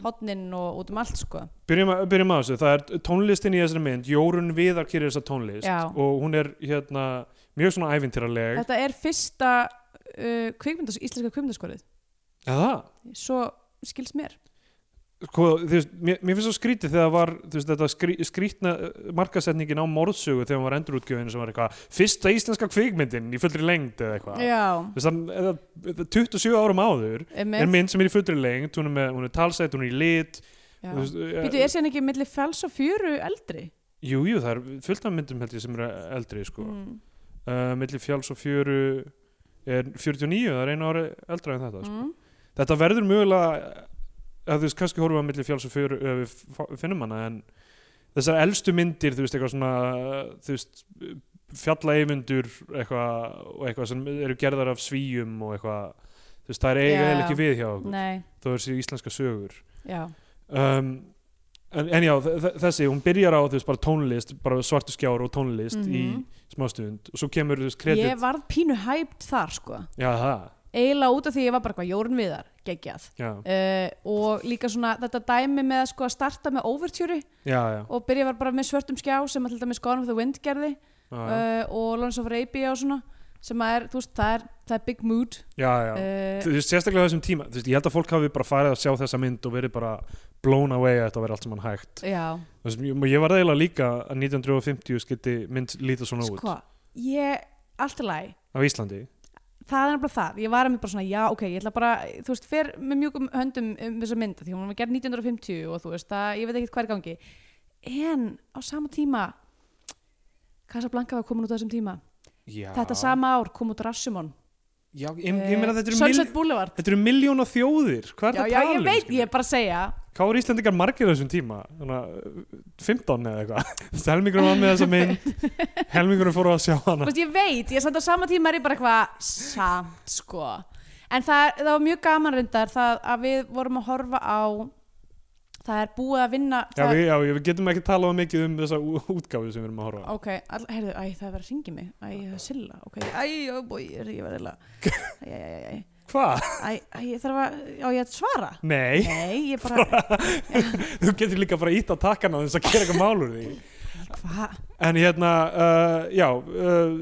[SPEAKER 2] hotnin og út um allt sko
[SPEAKER 3] byrjum, að- byrjum á þessu. Það er tónlistin í þessari mynd, Jórun Viðar kyrir þessa tónlist
[SPEAKER 2] Já.
[SPEAKER 3] og hún er hérna mjög svona æfintýraleg.
[SPEAKER 2] Þetta er fyrsta uh, kvikmyndas, íslenska kvikmyndaskorið
[SPEAKER 3] Ja, það.
[SPEAKER 2] svo skilst mér
[SPEAKER 3] Sko, þú veist, mér, mér finnst svo skrítið þegar var, þú veist, þetta skrý, skrítna markasetningin á morðsögu þegar hún var endurútgjöfin sem var eitthvað fyrsta íslenska kvikmyndin í fullri lengd eða eitthvað.
[SPEAKER 2] já,
[SPEAKER 3] Þú veist, það- eða- eða 27 árum áður er mynd sem er í fullri lengd, hún er, með, hún er talsætt, hún er í lit. þú
[SPEAKER 2] býtu,
[SPEAKER 3] eh,
[SPEAKER 2] er sér ekki milli fels og fjöru eldri
[SPEAKER 3] Jú, jú, það er fullt af myndum held ég sem eru eldri sko. mm.
[SPEAKER 2] mm.
[SPEAKER 3] milli fjáls og fjöru er 49, það er einu ári eldra en þetta sko.
[SPEAKER 2] Mm.
[SPEAKER 3] þetta verður mögulega að þú veist, kannski horfum við að milli fjáls og fjöru ef við f- f- finnum hana en þessar elstu myndir, þú veist, eitthvað svona þú veist, fjalla eymundur eitthvað, og eitthvað sem eru gerðar af svíjum og eitthvað þú veist, það er eiga
[SPEAKER 2] Já,
[SPEAKER 3] eða ekki við hjá okkur
[SPEAKER 2] nei,
[SPEAKER 3] þó er sér íslenska sögur
[SPEAKER 2] já,
[SPEAKER 3] um, en, en já, þ- þ- þessi hún byrjar á þú veist bara tónlist bara svartu skjár og tónlist
[SPEAKER 2] Mhm.
[SPEAKER 3] í smástund og svo kemur þú veist
[SPEAKER 2] ég
[SPEAKER 3] kredit
[SPEAKER 2] varð pínu hæpt þar sko,
[SPEAKER 3] já, það,
[SPEAKER 2] eiginlega út af því ég var bara hvað jórn viðar, geggjað
[SPEAKER 3] já,
[SPEAKER 2] uh, og líka svona þetta dæmi með að sko að starta með overtjúri
[SPEAKER 3] já, já,
[SPEAKER 2] og byrja var bara með svörtum skjá sem að til dæmis Gone with the Wind gerði
[SPEAKER 3] já, já,
[SPEAKER 2] uh, og Lawrence of Arabia og svona sem að er, þú veist, það er, það er big mood
[SPEAKER 3] já, já.
[SPEAKER 2] uh,
[SPEAKER 3] Þú veist, sérstaklega á þessum tíma, þú veist, ég held að fólk hafi bara farið að sjá þessa mynd og verið bara blown away að þetta verið allt sem hann hægt
[SPEAKER 2] já,
[SPEAKER 3] Þú veist, ég, ég var eiginlega líka að 1950 skildi mynd líta svona út
[SPEAKER 2] sko ég, allt í lagi
[SPEAKER 3] á Íslandi
[SPEAKER 2] það er nefnilega það, ég var með bara svona já ok, ég ætla bara, þú veist, fer með mjögum höndum um þessa mynda, því hún var gerð 1950 og þú veist, það, ég veit ekkert hver gangi en á sama tíma Casablanca var komin út á þessum tíma
[SPEAKER 3] já.
[SPEAKER 2] þetta sama ár kom út Rashomon Eh,
[SPEAKER 3] já, ég, ég meina þetta eru,
[SPEAKER 2] Sunset
[SPEAKER 3] mil,
[SPEAKER 2] Boulevard
[SPEAKER 3] þetta eru miljóna þjóðir hvað
[SPEAKER 2] já, já,
[SPEAKER 3] er það að tala
[SPEAKER 2] ég
[SPEAKER 3] um,
[SPEAKER 2] veit,
[SPEAKER 3] skilur?
[SPEAKER 2] ég er bara að segja
[SPEAKER 3] Hvað voru Íslandingar margir á þessum tíma? Þannig að 15 eða eitthvað. Þessi helmingurum var með þessa mynd, helmingurum fóru að sjá
[SPEAKER 2] Þú
[SPEAKER 3] hana.
[SPEAKER 2] veist, ég veit, ég samt á sama tíma er ég bara eitthvað samt, sko en það, það var mjög gaman reyndar það að við vorum að horfa á það er búið að vinna
[SPEAKER 3] Já,
[SPEAKER 2] það,
[SPEAKER 3] við, já, við getum ekki talað mikið um þessa ú- útgáfu sem við erum að horfa. á.
[SPEAKER 2] Ok, all, heyrðu, æ, það er verið að ringi mig Æ, það er silla, ok Æ, ó, bói, ég er- ég verið að Æ, æ, æ, æ,
[SPEAKER 3] Hvað?
[SPEAKER 2] æ, æ, ég þarf að Já, ég að svara
[SPEAKER 3] Nei,
[SPEAKER 2] Nei, ég bara,
[SPEAKER 3] þú getur líka bara ítt á takkana þess að gera eitthvað mál úr því.
[SPEAKER 2] hvað?
[SPEAKER 3] En hérna, uh, já, uh,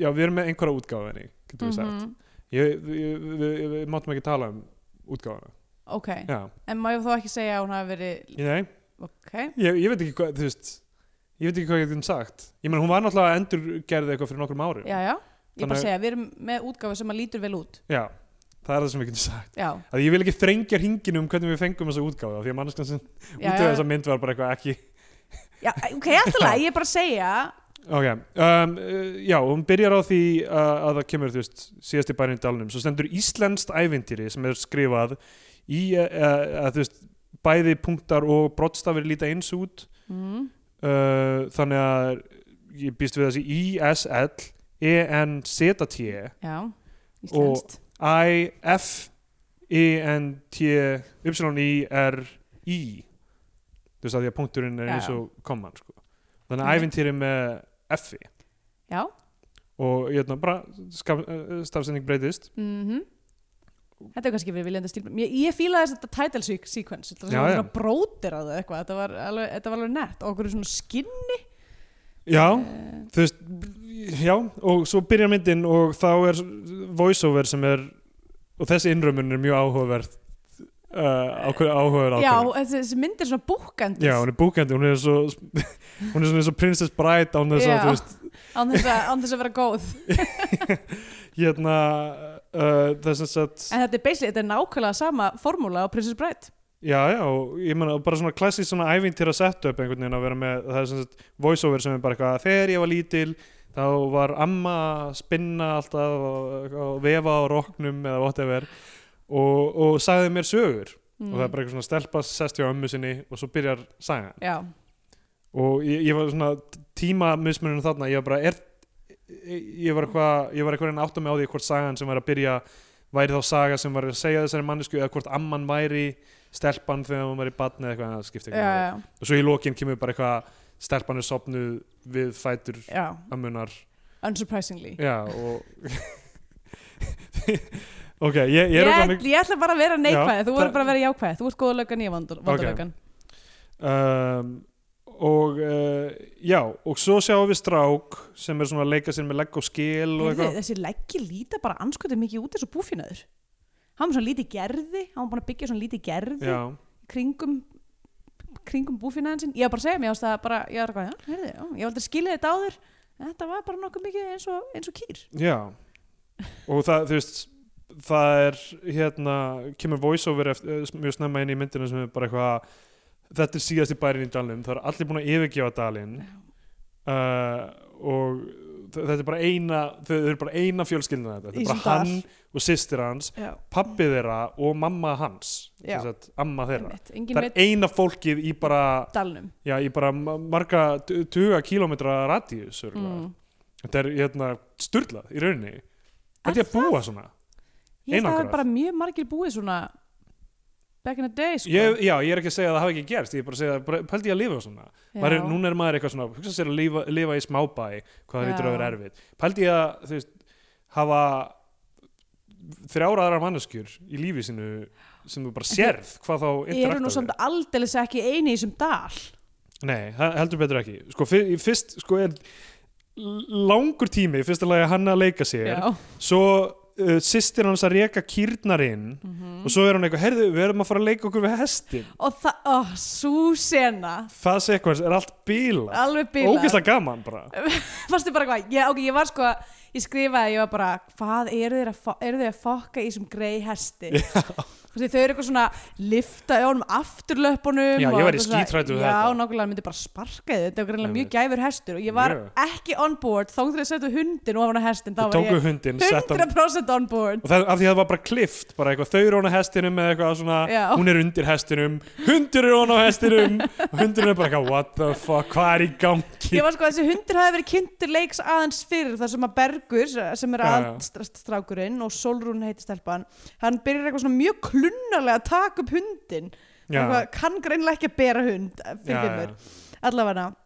[SPEAKER 3] já, við erum með einhverja útgáfu henni, getum við sagt.
[SPEAKER 2] Mhm.
[SPEAKER 3] ég, ég, við, við, við máttum ekki tala um útgáfana.
[SPEAKER 2] Ok,
[SPEAKER 3] Já,
[SPEAKER 2] en má ég þó ekki segja að hún hafi verið
[SPEAKER 3] nei,
[SPEAKER 2] Ok,
[SPEAKER 3] ég, ég veit ekki hvað, þú veist, ég veit ekki hvað ég getum sagt. Ég menn, hún var náttúrulega endurgerði eitthvað fyrir nokkrum árum.
[SPEAKER 2] já, já Ég bara
[SPEAKER 3] Þannig-
[SPEAKER 2] segja, við erum með útgáfu sem að lítur vel út
[SPEAKER 3] Já, það er það sem við getum sagt.
[SPEAKER 2] Já,
[SPEAKER 3] Að ég vil ekki þrengja hringinu um hvernig við fengum þessa útgáfa því að mannskan sem
[SPEAKER 2] já,
[SPEAKER 3] útöðu
[SPEAKER 2] já,
[SPEAKER 3] þessa mynd var bara eitthvað ekki
[SPEAKER 2] já Ok, alltaf lega, ég er bara að segja
[SPEAKER 3] Ok, um, uh, já, hún byrjar á því uh, að það kemur, þú veist, síðast í bærinu í dalnum svo stendur Íslenskt ævintýri sem er skrifað í, uh, uh, þú veist, bæði punktar og brottstafir líta eins út
[SPEAKER 2] mm,
[SPEAKER 3] uh, þannig að ég býst við þessi ISL ENZT
[SPEAKER 2] Já, íslenskt
[SPEAKER 3] IF ENT YIRI þú veist að því að punkturinn er
[SPEAKER 2] Já,
[SPEAKER 3] eins
[SPEAKER 2] já.
[SPEAKER 3] og komman sko. þannig
[SPEAKER 2] Ok.
[SPEAKER 3] að æfintýri með F-i
[SPEAKER 2] Já,
[SPEAKER 3] og hérna bara stafsending eh, breytist
[SPEAKER 2] mhm Þetta er kannski verið viljandi stíl Ég, ég fílaði þess að þetta title se- sequence Þetta var
[SPEAKER 3] Já,
[SPEAKER 2] svona
[SPEAKER 3] já.
[SPEAKER 2] svona brótir á það eitthvað Þetta var alveg, þetta var alveg nett og okkur er svona skinn
[SPEAKER 3] já,
[SPEAKER 2] Eh,
[SPEAKER 3] þú veist já, og svo byrjar myndin og þá er voiceover sem er og þessi innrömmun er mjög áhugaverð uh, ákveð, áhugaverð
[SPEAKER 2] Já,
[SPEAKER 3] ákveðin.
[SPEAKER 2] þessi, þessi mynd er svona búkandi
[SPEAKER 3] já, hún er búkandi, hún er svo hún er svona eins og Princess Bride án þess að,
[SPEAKER 2] Já.
[SPEAKER 3] þú veist,
[SPEAKER 2] án, þess að, án þess að vera góð
[SPEAKER 3] hérna uh, þess að,
[SPEAKER 2] En þetta er basically, þetta er nákvæmlega sama formúla á Princess Bride
[SPEAKER 3] já, já og ég meina, og bara svona klassísk svona ævintýra setup einhvern veginn að vera með, það er sem sagt voiceover sem er bara eitthvað, þegar ég var lítil þá var amma að spinna alltaf og, og vefa á rocknum eða whatever og, og sagði mér sögur
[SPEAKER 2] mm.
[SPEAKER 3] og það er bara eitthvað svona stelpa sest hjá ömmu sinni og svo byrjar sagan
[SPEAKER 2] Já,
[SPEAKER 3] og ég, ég var svona tímamismunum þarna, ég var bara er, ég var eitthvað ég var eitthvað að reyna að átta mig á því hvort sagan sem var að byrja væri þá saga sem var að segja þessari mannesku eða hvort amman væri stelpan þegar hún var í batni eða eitthvað en það skipti
[SPEAKER 2] já,
[SPEAKER 3] ekki máli.
[SPEAKER 2] já,
[SPEAKER 3] og svo í lokin kemur bara eitthvað stelpan er sopnuð við fætur
[SPEAKER 2] já
[SPEAKER 3] ammunar
[SPEAKER 2] Unsurprisingly
[SPEAKER 3] já og ok, ég, ég
[SPEAKER 2] Ég, ég,
[SPEAKER 3] er örugglega mikið-
[SPEAKER 2] ætla bara að vera neikvæð,
[SPEAKER 3] Já,
[SPEAKER 2] þú voru
[SPEAKER 3] það-
[SPEAKER 2] bara að vera jákvæð Þú ert góða löggan, ég vandur, vandur
[SPEAKER 3] Ok. um, og uh, já, og svo sjáum við strák sem er svona að leika sér með legg og skil og
[SPEAKER 2] Heyrðu,
[SPEAKER 3] eitthvað,
[SPEAKER 2] þessi leggji líta bara anskotið mikið út eins og búfinaður hann var svona lítið gerði hann var búin að byggja svona lítið gerði
[SPEAKER 3] já
[SPEAKER 2] kringum kringum búfinaðin sinn, ég var bara að segja mér ást að bara, ég var eitthvað, já, heyrðu, já, ég var aldrei skilja þetta áður þetta var bara nokkuð mikið eins og, eins og kýr
[SPEAKER 3] já, og það, þú veist það er, hérna kemur voiceover eftir, eh, mjög snemma inn í myndina sem er bara eitthvað þetta er síðasti bærin í dalnum, það er allir búin að yfirgefa dalinn uh, og þ- þetta er bara eina þau þau eru bara eina fjölskyldina þetta, þetta
[SPEAKER 2] Í
[SPEAKER 3] er
[SPEAKER 2] þessum
[SPEAKER 3] bara
[SPEAKER 2] dal.
[SPEAKER 3] hann og systir hans
[SPEAKER 2] já,
[SPEAKER 3] pappi þeirra og mamma hans
[SPEAKER 2] Já.
[SPEAKER 3] sem sagt, amma þeirra
[SPEAKER 2] einmitt, engin
[SPEAKER 3] það
[SPEAKER 2] veit
[SPEAKER 3] er eina fólkið í bara,
[SPEAKER 2] dalnum
[SPEAKER 3] já, í bara ma- marga tu- tuga kílómetra radíus mm.
[SPEAKER 2] mm.
[SPEAKER 3] þetta er hérna, sturlað í rauninni
[SPEAKER 2] Er
[SPEAKER 3] hvernig að búa svona
[SPEAKER 2] ég held að það
[SPEAKER 3] Einangrað.
[SPEAKER 2] er bara mjög margir búið svona back in the day sko.
[SPEAKER 3] ég, já, ég er ekki að segja að það hafi ekki gerst ég er bara að segja, bara, pældi ég að lifa svona
[SPEAKER 2] Já.
[SPEAKER 3] maður, er- núna er maður eitthvað svona, hugsa sér að lifa, lifa í smábæ hvað það
[SPEAKER 2] Já.
[SPEAKER 3] lítur að vera erfitt pældi ég að, þú veist, hafa þrjára aðrar manneskjur í lífi sinu sem þú bara sérð hvað þá
[SPEAKER 2] eru nú
[SPEAKER 3] interaktar
[SPEAKER 2] samt aldeilis ekki eini í þessum dal
[SPEAKER 3] Nei, það heldur betur ekki sko, fyr- í fyrst sko, er l- langur tími, í fyrsta lagi hann að leika sér
[SPEAKER 2] já,
[SPEAKER 3] svo uh, sýstir hans að reka kýrnarinn
[SPEAKER 2] Mhm.
[SPEAKER 3] og svo er hann eitthvað, heyrðu, við erum að fara að leika okkur við hestin
[SPEAKER 2] og það, ó, sú sena
[SPEAKER 3] það sé eitthvað, er allt bíla
[SPEAKER 2] alveg bílað
[SPEAKER 3] ógeðslega gaman bara
[SPEAKER 2] fannst þið bara hvað, ég, ok, ég var sko ég skrifaði, ég var bara, hvað eru þeir að, fo- eru þeir að fokka í þessum grei hesti Þú veist, þau eru eitthvað svona lifta önum afturlöpunum
[SPEAKER 3] Já,
[SPEAKER 2] og
[SPEAKER 3] ég væri
[SPEAKER 2] eitthvað svona-
[SPEAKER 3] skíthræddur við
[SPEAKER 2] já,
[SPEAKER 3] þetta.
[SPEAKER 2] nákvæmlega myndi bara sparka þið, þetta var greinlega mjög
[SPEAKER 3] Einmitt.
[SPEAKER 2] gæfur hestur og ég var
[SPEAKER 3] Mjög.
[SPEAKER 2] ekki on board þá þegar þið settu hundin ofan á hestin þá
[SPEAKER 3] þau
[SPEAKER 2] var
[SPEAKER 3] tóku
[SPEAKER 2] ég
[SPEAKER 3] hundin, sett hann
[SPEAKER 2] 100% on board
[SPEAKER 3] og það, af því að það var bara klift, bara eitthvað þau eru hann á hestinum eða eitthvað svona,
[SPEAKER 2] Já.
[SPEAKER 3] hún er undir hestinum hundur eru hann á hestinum og hundur er bara eitthvað, what the fuck, hvað er í gangi
[SPEAKER 2] Ég var sko að þessi hundur hafi verið kynntur leiks aðeins fyrir þar sem að Bergur sem er
[SPEAKER 3] Já, já.
[SPEAKER 2] aðstrákurinn og Solrún heitir stelpan hann byrjar eitthvað svona mjög klunnalega að taka upp hundin
[SPEAKER 3] Já.
[SPEAKER 2] eitthvað, kann greinlega ekki að bera hund
[SPEAKER 3] Já,
[SPEAKER 2] fyrir
[SPEAKER 3] já.
[SPEAKER 2] fimmur, allavega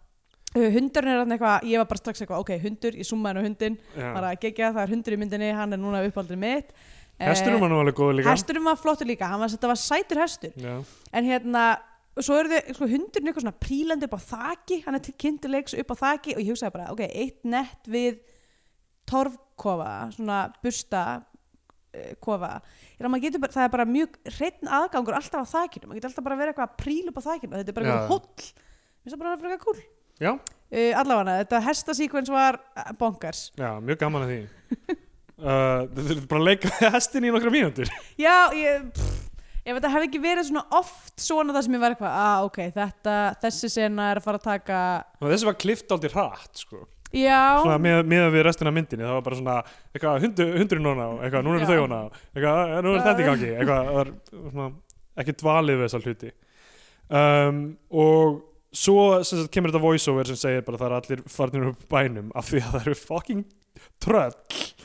[SPEAKER 2] Uh, hundurinn er hann eitthvað, ég var bara strax eitthvað ok, hundur, ég summa hann á hundin
[SPEAKER 3] Já.
[SPEAKER 2] bara gegja, það er hundur í myndinni, hann er núna uppaldrið mitt Eh,
[SPEAKER 3] hestinum var nú alveg góð líka
[SPEAKER 2] Hesturinn var flottur líka, hann var, þetta var sætur hestur
[SPEAKER 3] Já.
[SPEAKER 2] en hérna svo eru þau, sko hundurinn er eitthvað svona prílandi upp á þaki hann er til kindilegs upp á þaki og ég hugsaði bara, ok, eitt nett við torfkofa, svona busta eh, kofa er að maður getur bara, það er bara mjög hreitn aðgangur alltaf á þakinu, maður getur alltaf bara að vera eitthvað að príla upp á þakinu, þetta er bara
[SPEAKER 3] Já.
[SPEAKER 2] eitthvað hóll mér finnst það bara að vera eitthvað kúl
[SPEAKER 3] Já.
[SPEAKER 2] uh, allavega, þetta hestasíkvens var eh, bonkers
[SPEAKER 3] Já, mjög gaman að því uh, Þau þurfum bara að leika hestin í nokkra mínútur
[SPEAKER 2] Já, ég, pff, ef þetta hefði ekki verið svona oft svona það sem ég var eitthvað, ah, ok, þetta, þessi sena er að fara að taka,
[SPEAKER 3] og þessi var klift aldrei hratt sko.
[SPEAKER 2] já,
[SPEAKER 3] svona með, með við restina af myndinni það var bara svona, eitthvað, hundu, hundurinn hona á, eitthvað, núna eru
[SPEAKER 2] Já.
[SPEAKER 3] þau hona á, eitthvað, "Eh, nú er þetta í gangi eitthvað, það var svona, ekki dvalið við þessar hluti um, og svo sem sagt, kemur þetta voiceover sem segir bara það er allir farnir upp bænum af því að það eru fucking tröll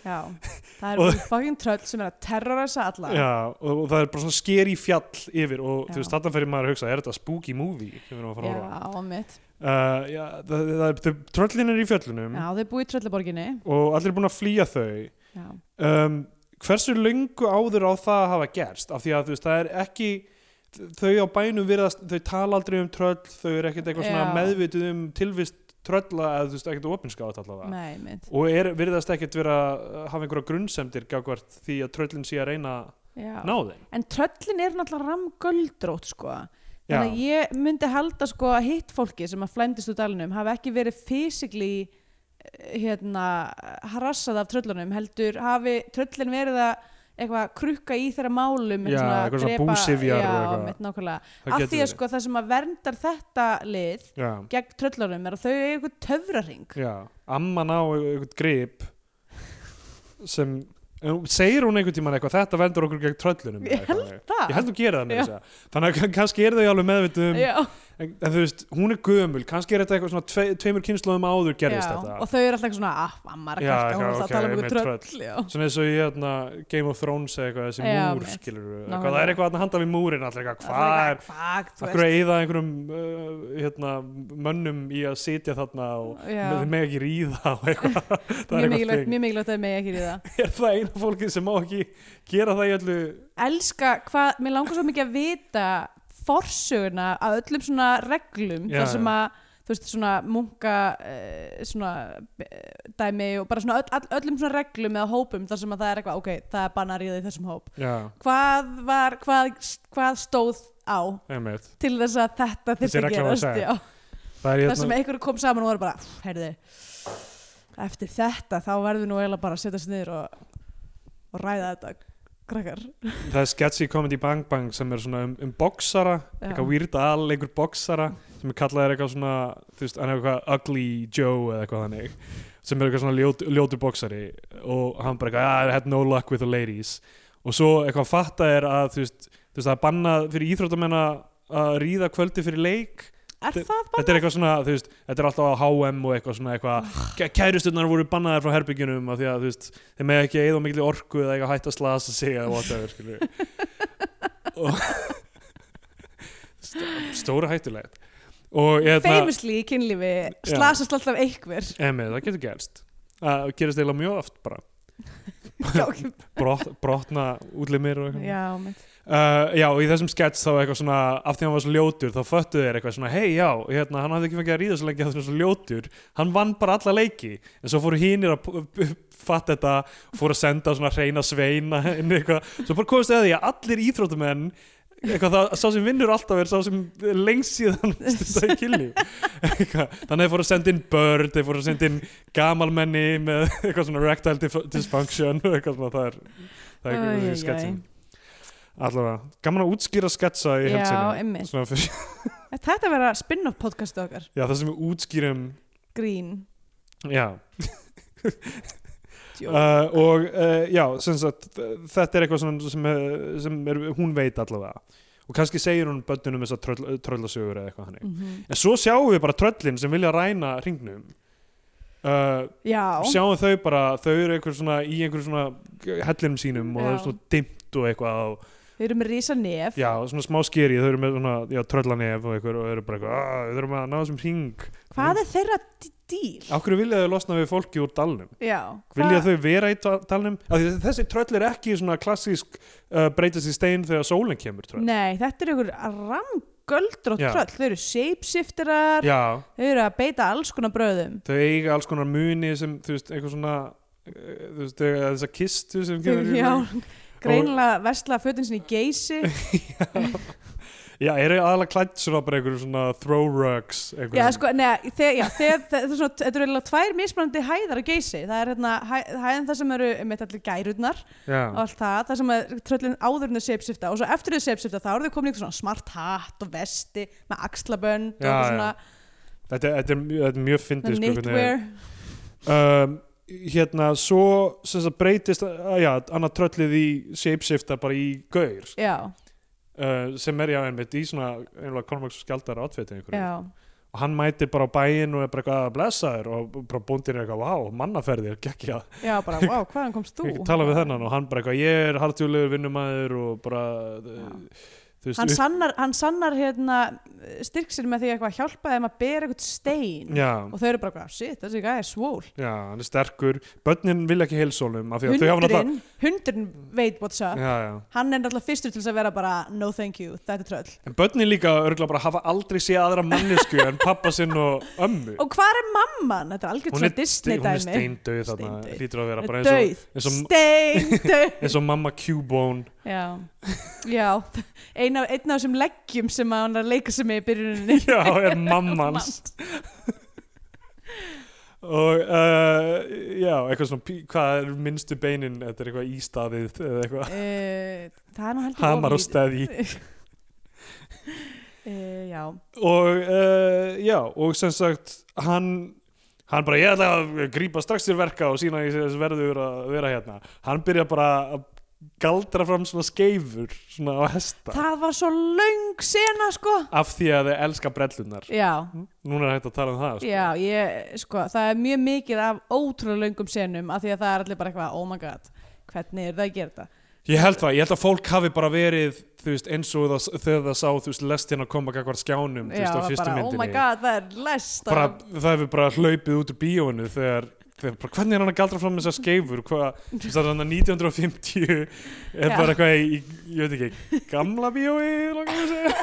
[SPEAKER 2] já, það er
[SPEAKER 3] Og-
[SPEAKER 2] bara fucking tröll sem er að terrorisa alla.
[SPEAKER 3] Já, og, og það er bara svona skeri fjall yfir og
[SPEAKER 2] Já.
[SPEAKER 3] þú veist, þarna fyrir maður að hugsa er þetta spooky movie sem við erum að fara að horfa á?
[SPEAKER 2] Já, mitt.
[SPEAKER 3] uh, já, það, það, er- þau- tröllin er í fjöllunum
[SPEAKER 2] Já, þau búið í tröllaborginni.
[SPEAKER 3] og allir er búin að flýja þau
[SPEAKER 2] Já.
[SPEAKER 3] um, hversu löngu áður á það að hafa gerst af því að þú veist, það er ekki þau á bænum virðast, þau tala aldrei um tröll þau eru ekkert eitthvað svona
[SPEAKER 2] Já.
[SPEAKER 3] meðvituð um tilvist trölla eða þú veist, ekkert opinskátt allavega
[SPEAKER 2] Nei, mitt.
[SPEAKER 3] og er, virðast ekkert vera að hafa einhverja grunnsemdir gagvart því að tröllin sé að reyna að
[SPEAKER 2] Já.
[SPEAKER 3] ná þeim
[SPEAKER 2] En tröllin er náttúrulega ramgöldrótt sko.
[SPEAKER 3] Já,
[SPEAKER 2] Þannig að ég myndi halda sko að hitt fólki sem að flæmdist úr dalinum hafi ekki verið physically eh, hérna harassað af tröllunum heldur hafi tröllin verið að eitthvað krukka í þeirra málum
[SPEAKER 3] Já, eitthvað svona búsifjar og
[SPEAKER 2] já,
[SPEAKER 3] eitthvað.
[SPEAKER 2] mitt nákvæmlega
[SPEAKER 3] það
[SPEAKER 2] af
[SPEAKER 3] getur
[SPEAKER 2] því að
[SPEAKER 3] verið.
[SPEAKER 2] sko það sem að verndar þetta lið
[SPEAKER 3] Já,
[SPEAKER 2] gegn tröllunum er að þau eru eitthvað töfraring
[SPEAKER 3] já, amman á einhvern grip sem en segir hún einhvern tímann eitthvað þetta vendur okkur gegn tröllunum eða
[SPEAKER 2] Ég
[SPEAKER 3] eitthvað þannig.
[SPEAKER 2] það.
[SPEAKER 3] ég held þú gera það með
[SPEAKER 2] Já.
[SPEAKER 3] þess að þannig að kannski er þau alveg meðvituð um
[SPEAKER 2] já,
[SPEAKER 3] en, en þú veist, hún er gömul kannski er þetta eitthvað svona tve, tveimur kynnslóðum áður gerðist
[SPEAKER 2] já.
[SPEAKER 3] þetta
[SPEAKER 2] og þau eru alltaf eitthvað svona ah, amma er að
[SPEAKER 3] Já,
[SPEAKER 2] krakka, hún er
[SPEAKER 3] já,
[SPEAKER 2] alltaf
[SPEAKER 3] ok,
[SPEAKER 2] að tala um
[SPEAKER 3] með
[SPEAKER 2] eitthvað tröll, já.
[SPEAKER 3] svona eins og í hérna, Game of Thrones eða eitthvað, þessi
[SPEAKER 2] Já,
[SPEAKER 3] múr
[SPEAKER 2] mitt.
[SPEAKER 3] skilur
[SPEAKER 2] Nákvæmlega.
[SPEAKER 3] eitthvað, það er eitthvað að handa við múrin allir eitthvað, hvað
[SPEAKER 2] Alltaf
[SPEAKER 3] er
[SPEAKER 2] eitthvað, fuck, þú
[SPEAKER 3] Akkur að eyða einhverjum uh, hérna, mönnum í að sitja þarna og
[SPEAKER 2] Já.
[SPEAKER 3] með, með ekki ríða og eitthvað,
[SPEAKER 2] mjög
[SPEAKER 3] það er eitthvað
[SPEAKER 2] mikilvægt,
[SPEAKER 3] þing
[SPEAKER 2] mjög mikilvægt að mig ekki í það
[SPEAKER 3] er það eina fólkið sem má ekki gera það í öllu
[SPEAKER 2] elska hvað, mér langar svo mikið að vita forsöguna að öllum svona reglum
[SPEAKER 3] Já,
[SPEAKER 2] þar sem
[SPEAKER 3] já.
[SPEAKER 2] að þú veist svona munka uh, svona uh, dæmi og bara svona öll, all, öllum svona reglum eða hópum þar sem að það er eitthvað, ok, það er bannar í það í þessum hóp
[SPEAKER 3] já,
[SPEAKER 2] hvað var, hvað, hvað stóð á
[SPEAKER 3] einmitt
[SPEAKER 2] til þess að þetta
[SPEAKER 3] Þessi
[SPEAKER 2] þyrfti að
[SPEAKER 3] regla var
[SPEAKER 2] gerast
[SPEAKER 3] sett.
[SPEAKER 2] já,
[SPEAKER 3] það er
[SPEAKER 2] þar sem
[SPEAKER 3] hérna,
[SPEAKER 2] einhverju kom saman og voru bara, heyrðu eftir þetta þá verður nú eiginlega bara að setja sér niður og, og ræða þetta krakkar
[SPEAKER 3] það er sketchy comedy bang bang sem er svona um, um boksara
[SPEAKER 2] Já.
[SPEAKER 3] eitthvað Weird Al, einhver boksara sem er kallaðir eitthvað svona, þú veist, hann er eitthvað Ugly Joe eða eitthvað þannig sem er eitthvað svona ljót, ljótur boksari og hann bara eitthvað, "Ah, I had no luck with the ladies og svo eitthvað fatta er að þú veist, þú veist, það er bannað fyrir íþróttamenn að að ríða kvöldi fyrir leik
[SPEAKER 2] er það bara
[SPEAKER 3] þetta er eitthvað svona, þú veist, þetta er alltaf á HM og eitthvað svona eitthvað, kæ- kærusturnar voru bannaðar frá herbyggjunum af því að, þú veist, þeir með ekki eða mikil orku eða eitthvað hætt að slasa sig eða whatever, skilju og Stó- stóra hættulegt og hérna, ég hefna,
[SPEAKER 2] famously í kynlífi
[SPEAKER 3] Já.
[SPEAKER 2] slasast alltaf einhver
[SPEAKER 3] emi, það getur gerst það gerist eiginlega mjög oft bara
[SPEAKER 2] Já, ok.
[SPEAKER 3] brot, brotna útlimir og eitthvað
[SPEAKER 2] já, mitt.
[SPEAKER 3] Uh, já, og í þessum skets þá var eitthvað svona af því hann var svo ljótur, þá föttu þeir eitthvað svona hei, já, hérna, hann hafði ekki fengið að ríða svo lengi að hann var svo ljótur, hann vann bara alla leiki en svo fóru hínir að p- p- fatta þetta, fóru að senda svona hreina sveina inn í eitthvað, svo bara komist þau að því að allir íþrótumenn eitthvað það, sá sem vinnur alltaf er sá sem er lengst síðan stundar í kynlíf Eitthvað, þannig að þeir fóru að senda inn börn þeir fóru að senda inn gamalmenni með eitthvað svona rectal dif- dysfunction og eitthvað svona, það er, það er
[SPEAKER 2] Æ,
[SPEAKER 3] eitthvað
[SPEAKER 2] æ, æ.
[SPEAKER 3] þessi sketsin allavega, gaman að útskýra sketsa í
[SPEAKER 2] já,
[SPEAKER 3] helsinu
[SPEAKER 2] einmitt
[SPEAKER 3] Svona fyrir-
[SPEAKER 2] þetta ætti að vera spin-off podcastu okkar
[SPEAKER 3] já, það sem við útskýrum
[SPEAKER 2] grín
[SPEAKER 3] já,
[SPEAKER 2] Jó.
[SPEAKER 3] uh, og uh, já, sem sagt þ- þetta er eitthvað svona sem, eh, sem er, hún veit allavega og kannski segir hún bönnunum þess að tröll, tröllasögur eða eitthvað hannig
[SPEAKER 2] Mhm.
[SPEAKER 3] en svo sjáum við bara tröllin sem vilja ræna hringnum uh,
[SPEAKER 2] já,
[SPEAKER 3] sjáum þau bara, þau eru einhver svona í einhver svona hellinum sínum og
[SPEAKER 2] Já.
[SPEAKER 3] þau eru svona dimmt og eitthvað og
[SPEAKER 2] við erum með rísa nef
[SPEAKER 3] Já, svona smá skeri, þau eru með svona, já, tröllanef og einhver og eru bara eitthvað, "Ah, við þurfum að ná þessum hring.
[SPEAKER 2] hvað er þeirra d- díl?
[SPEAKER 3] Af hverju vilja þau losna við fólki úr dalnum?
[SPEAKER 2] já,
[SPEAKER 3] Vilja þau vera í dal- dalnum? Af því að þessi tröll er ekki svona klassísk uh, breytast í stein þegar sólinn kemur tröll.
[SPEAKER 2] nei, þetta eru einhver ramgöldrótt
[SPEAKER 3] Já.
[SPEAKER 2] tröll þau eru shapeshifterar
[SPEAKER 3] Já,
[SPEAKER 2] þau eru að beita alls konar bröðum
[SPEAKER 3] þau eiga alls konar muni sem, þú veist, eitthvað svona, eh, þú veist, þau eiga þessa kistu sem kemur. í-
[SPEAKER 2] já, greinilega vesla fötin sinni í geysi
[SPEAKER 3] Já, eru aðalega klætt svona bara einhverjum svona throw rugs, einhverjum.
[SPEAKER 2] Já, sko, neða, þegar, já, þegar, þetta er svona, þetta eru eiginlega tvær mismunandi hæðar að geysi. Það er hérna, hæ, hæðin það sem eru, mitt allir gærurnar
[SPEAKER 3] Já.
[SPEAKER 2] og allt það, það sem er tröllin áðurinu seipsifta og svo eftir þau seipsifta þá eru þau komin í eitthvað svona smart hatt og vesti með axlabönd og
[SPEAKER 3] Já,
[SPEAKER 2] eitthvað svona
[SPEAKER 3] Þetta, þetta, er, mjög- þetta er mjög fyndið, sko, hvernig-
[SPEAKER 2] knitwear.
[SPEAKER 3] um, hérna svo sem það breytist að, já, annað tröllið í shapeshifta bara í gaur
[SPEAKER 2] Já,
[SPEAKER 3] uh, sem er já einmitt í svona einlega Kormáks og Skjaldar átfitið
[SPEAKER 2] já,
[SPEAKER 3] einhverju og hann mætir bara á bæinn og er bara eitthvað að blessaður og bara bóndin er eitthvað, vá, mannaferðir gekkja,
[SPEAKER 2] já, bara, wow, hvaðan komst þú?
[SPEAKER 3] ekki tala við þennan og hann bara eitthvað, ég er hartjúlegur vinnumæður og bara,
[SPEAKER 2] Já.
[SPEAKER 3] uh, þú veist,
[SPEAKER 2] Hann sannar, hann sannar hérna styrksir með því eitthvað að hjálpa þeim að bera eitthvað stein
[SPEAKER 3] já,
[SPEAKER 2] og þau eru bara eitthvað, shit, þessi gæði er svól
[SPEAKER 3] já, hann er sterkur börnin vilja ekki heilsólum af því að þau hafa náttúrulega
[SPEAKER 2] hundurinn, hundurinn veit what's up
[SPEAKER 3] já, já.
[SPEAKER 2] hann er náttúrulega fyrstur til þess að vera bara no thank you, þetta er tröll
[SPEAKER 3] en börnin líka örgulega bara hafa aldrei séð aðra mannesku en pappa sinn og ömmu
[SPEAKER 2] og hvað er mamman? Þetta er algjörð
[SPEAKER 3] hún
[SPEAKER 2] svona
[SPEAKER 3] er,
[SPEAKER 2] Disney
[SPEAKER 3] ste- hún er
[SPEAKER 2] dæmi
[SPEAKER 3] steindauð þarna
[SPEAKER 2] Steindauð.
[SPEAKER 3] hlýtur að vera
[SPEAKER 2] Hún
[SPEAKER 3] bara
[SPEAKER 2] er
[SPEAKER 3] eins og,
[SPEAKER 2] dauð,
[SPEAKER 3] eins og,
[SPEAKER 2] steindauð
[SPEAKER 3] eins og mamma Q-Bone
[SPEAKER 2] já, já einn af, einn af þessum leggjum sem að hann er að leika sem er í byrjuninni
[SPEAKER 3] já, er mammans og uh, já, eitthvað svona pí- hvað er minnstu beinin, þetta er eitthvað ístaðið eða eitthvað
[SPEAKER 2] Eh, það er nú heldur
[SPEAKER 3] hamar og stæði
[SPEAKER 2] uh, já,
[SPEAKER 3] og uh, já, og sem sagt hann, hann bara, ég ætla að grípa strax til verka og sína ég þess verður að vera hérna, hann byrja bara að galdra fram svona skeifur svona á hesta
[SPEAKER 2] það var svo löng sena sko
[SPEAKER 3] af því að þau elska brellunar
[SPEAKER 2] já,
[SPEAKER 3] núna er hægt að tala um það sko.
[SPEAKER 2] já, ég sko það er mjög mikið af ótrúlega löngum senum af því að það er allir bara eitthvað, oh my god hvernig er það að gera þetta
[SPEAKER 3] Ég held það, ég held að fólk hafi bara verið þú veist, eins og það, þegar það sá þú veist, lestin að koma kakvar skjánum
[SPEAKER 2] já,
[SPEAKER 3] þú veist, á
[SPEAKER 2] það
[SPEAKER 3] fyrstu
[SPEAKER 2] bara, oh my
[SPEAKER 3] myndinni
[SPEAKER 2] god, það er lest
[SPEAKER 3] bara, það hefur bara hlaupið út úr bíóinu þegar, þegar bara, hvernig er hann að galdra fram þessar skeifur hvað, þú veist, það er hann að 1950 er
[SPEAKER 2] Já.
[SPEAKER 3] bara eitthvað í, í- ég veit ekki, gamla bíói langar að segja